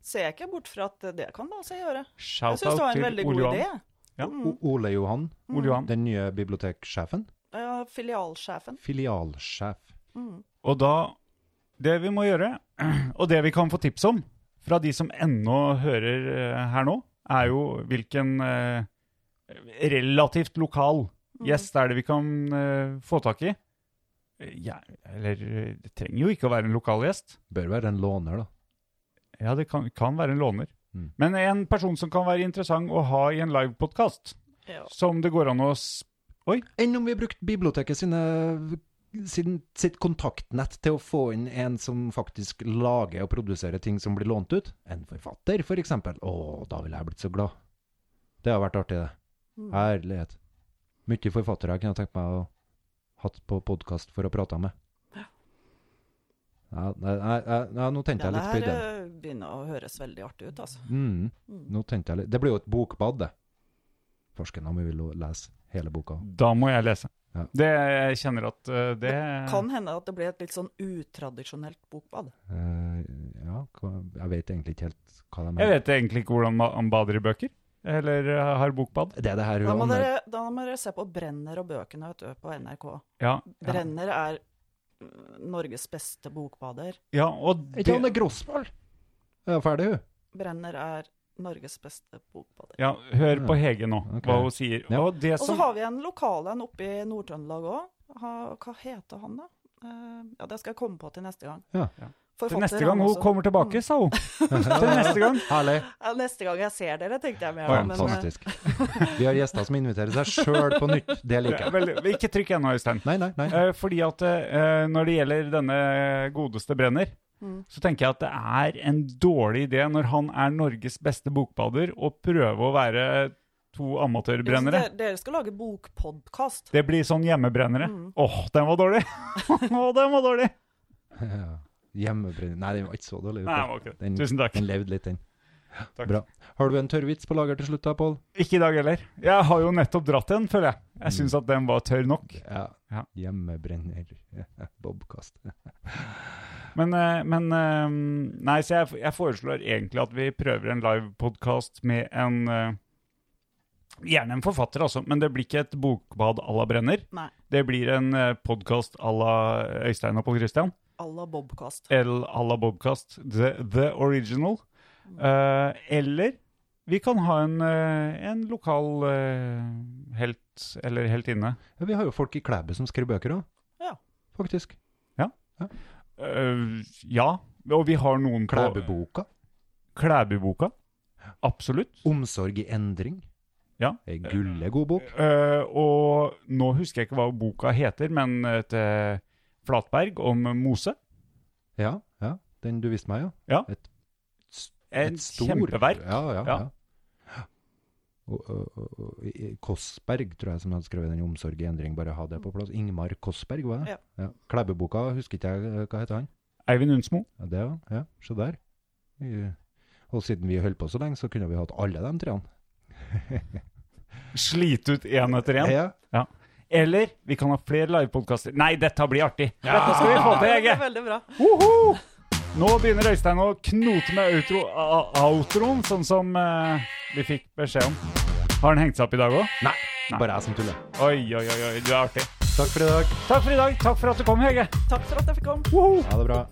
S2: ser jeg ikke bort fra at det kan la seg gjøre. Jeg
S4: Shout
S2: syns det
S4: out
S2: var en
S4: til
S2: veldig
S4: Ole
S2: god idé.
S4: Johan. Ja.
S2: Mm.
S5: O- Ole Johan,
S4: Ole Johan.
S5: den nye biblioteksjefen.
S2: Ja, eh, filialsjefen.
S5: Filialsjef.
S4: Og da Det vi må gjøre, *clears throat* og det vi kan få tips om fra de som ennå hører eh, her nå, er jo hvilken eh, relativt lokal
S2: Mm.
S4: gjest er det vi kan eh, få tak i. Eh, Ja, eller eh, Det trenger jo ikke å være en lokal gjest.
S5: Bør være en låner, da.
S4: Ja, det kan, kan være en låner.
S5: Mm.
S4: Men en person som kan være interessant å ha i en livepodkast,
S2: Ja.
S4: som det går an å s-
S5: Enn om vi brukte biblioteket sine sin, sitt kontaktnett til å få inn en som faktisk lager og produserer ting som blir lånt ut. En forfatter, for eksempel. Å, da ville jeg blitt så glad. Det har vært artig, det.
S2: Mm.
S5: Ærlighet. Mye forfattere jeg kunne tenkt meg å hatt på podkast for å prate med. Ja, nei, nei, nei, nei, nå
S2: Det
S5: tente jeg litt på
S2: her
S5: ideen.
S2: eh, begynner å høres veldig artig ut, altså.
S5: Mm. Nå tente jeg litt. Det blir jo et bokbad, det. Farsken, da må vi lo- lese hele boka.
S4: Da må jeg lese.
S5: Ja.
S4: Det jeg kjenner at eh, det
S2: Kan hende at det blir et litt sånn utradisjonelt bokbad.
S5: Eh, ja, hva- jeg vet egentlig ikke helt hva de
S4: Jeg vet egentlig ikke hvordan ma- man bader i bøker, eller eh, har bokbad.
S5: Det er det her
S2: Da må
S5: hun Anne
S2: dere, da må dere se på Brenner og bøkene vet du, på NRK.
S4: Ja, ja.
S2: Brenner er mm, Norges beste bokbader.
S4: ja og
S5: Er ikke
S4: det,
S5: Anne Grosvold? Hun er ferdig, hun.
S2: Brenner er Norges beste bokbader.
S4: ja, hør på Hege nå,
S5: Ok.
S4: hva hun sier.
S5: Ja.
S4: Og det
S2: Og så
S4: som
S2: har vi en lokal en oppe i Nord-Trøndelag òg. Hva heter han, da? Eh, Ja, det skal jeg komme på til neste gang.
S5: Ja.
S4: Ja.
S2: Forfatter,
S4: til neste
S2: han
S4: gang hun
S2: også. Mm.
S4: kommer tilbake, sa hun. Til neste gang.
S5: Herlig.
S2: Ja, neste gang jeg ser dere, tenkte jeg mer. da, men, eh,
S5: Fantastisk. Vi har gjester som inviterer seg sjøl på nytt.
S4: *laughs*
S5: Det liker jeg.
S4: Vel, ikke trykk ennå, Øystein.
S5: Nei, nei, nei.
S4: Eh, Fordi at eh, når det gjelder denne godeste Brenner, så tenker jeg at det er en dårlig idé når han er Norges beste bokbader, å prøve å være to amatørbrennere.
S2: Dere, dere skal lage bokpodkast.
S4: Det blir sånn hjemmebrennere. Åh, den var dårlig! *laughs* Åh, den var dårlig!
S5: Ja. Hjemmebrenner Nei, den var ikke så dårlig.
S4: Nei, den var ikke det.
S5: Den-
S4: Tusen takk.
S5: Den levde litt, den.
S4: Takk.
S5: Bra. Har du en tørrvits på lager til slutt, da, Pål?
S4: Ikke i dag heller. Jeg har jo nettopp dratt en, føler jeg. Jeg syns at den var tørr nok.
S5: Ja.
S4: Ja.
S5: Hjemmebrenner. *laughs* Bobkast.
S4: Men, eh, men eh, Nei, så jeg, jeg foreslår egentlig at vi prøver en livepodkast med en eh, Gjerne en forfatter, altså, men det blir ikke et bokbad à la Brenner.
S2: Nei.
S4: Det blir en podkast à la Øystein og Pål Christian.
S2: À la Bobkast.
S4: Eller à la Bobkast. The, the Original. Eh, eller vi kan ha en, eh, en lokal eh, helt eller heltinne.
S5: Ja, vi har jo folk i Klæbu som skriver bøker òg.
S2: Ja.
S5: Faktisk.
S4: Eh, ja. Og vi har noen på
S5: Klæbuboka.
S4: Klæbuboka. Absolutt.
S5: Omsorg i endring.
S4: Ja.
S5: Ei gullegod bok.
S4: Eh, og nå husker jeg ikke hva boka heter, men eh, til Flatberg om Mose.
S5: Ja, ja. Den du viste meg, ja.
S4: Ja.
S5: Et, s-
S4: En
S5: et stor-
S4: kjempeverk.
S5: Ja, ja,
S4: Ja.
S5: ja. Og, og, og, og i- i Kossberg, tror jeg, som hadde skrevet den 'Omsorg i endring', bare ha det på plass. Ingmar Kossberg, var det? Ja. Klæbuboka, husker ikke jeg eh, hva heter han?
S4: Eivind Undsmo.
S5: Ja, det, ja. ja. Se der. Vi- Og siden vi holdt på så lenge, så kunne vi hatt alle de treene.
S4: Slite ut én etter én.
S5: Ja.
S4: Eller vi kan ha flere livepodkaster. Nei, dette blir artig! Dette skal vi få til,
S2: Det
S4: Hege!
S5: *laughs*
S2: er veldig bra.
S4: Woho! Nå begynner Øystein å knote med outro, a- outroen, sånn som eh, vi fikk beskjed om. Har den hengt seg opp i dag òg?
S5: Nei, bare jeg som tuller.
S4: Oi, oi, oi, oi, du er artig.
S5: Takk for i dag.
S4: Takk for i dag. Takk for at du kom, Hege.
S2: Takk for at jeg fikk komme.
S4: Woho!
S5: Ha det bra.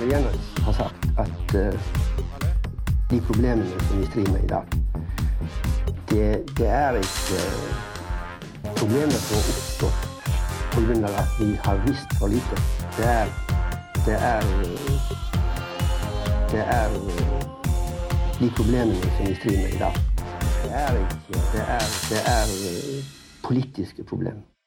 S7: Reynolds har sagt at eh, de problemene som vi strir med i dag, det, det er ikke eh, problemer som har oppstått pga. at vi har visst for lite. Det er Det er, eh, det er eh, de problemene som vi strir med i dag. Det er ikke Det er, det er eh, politiske problemer.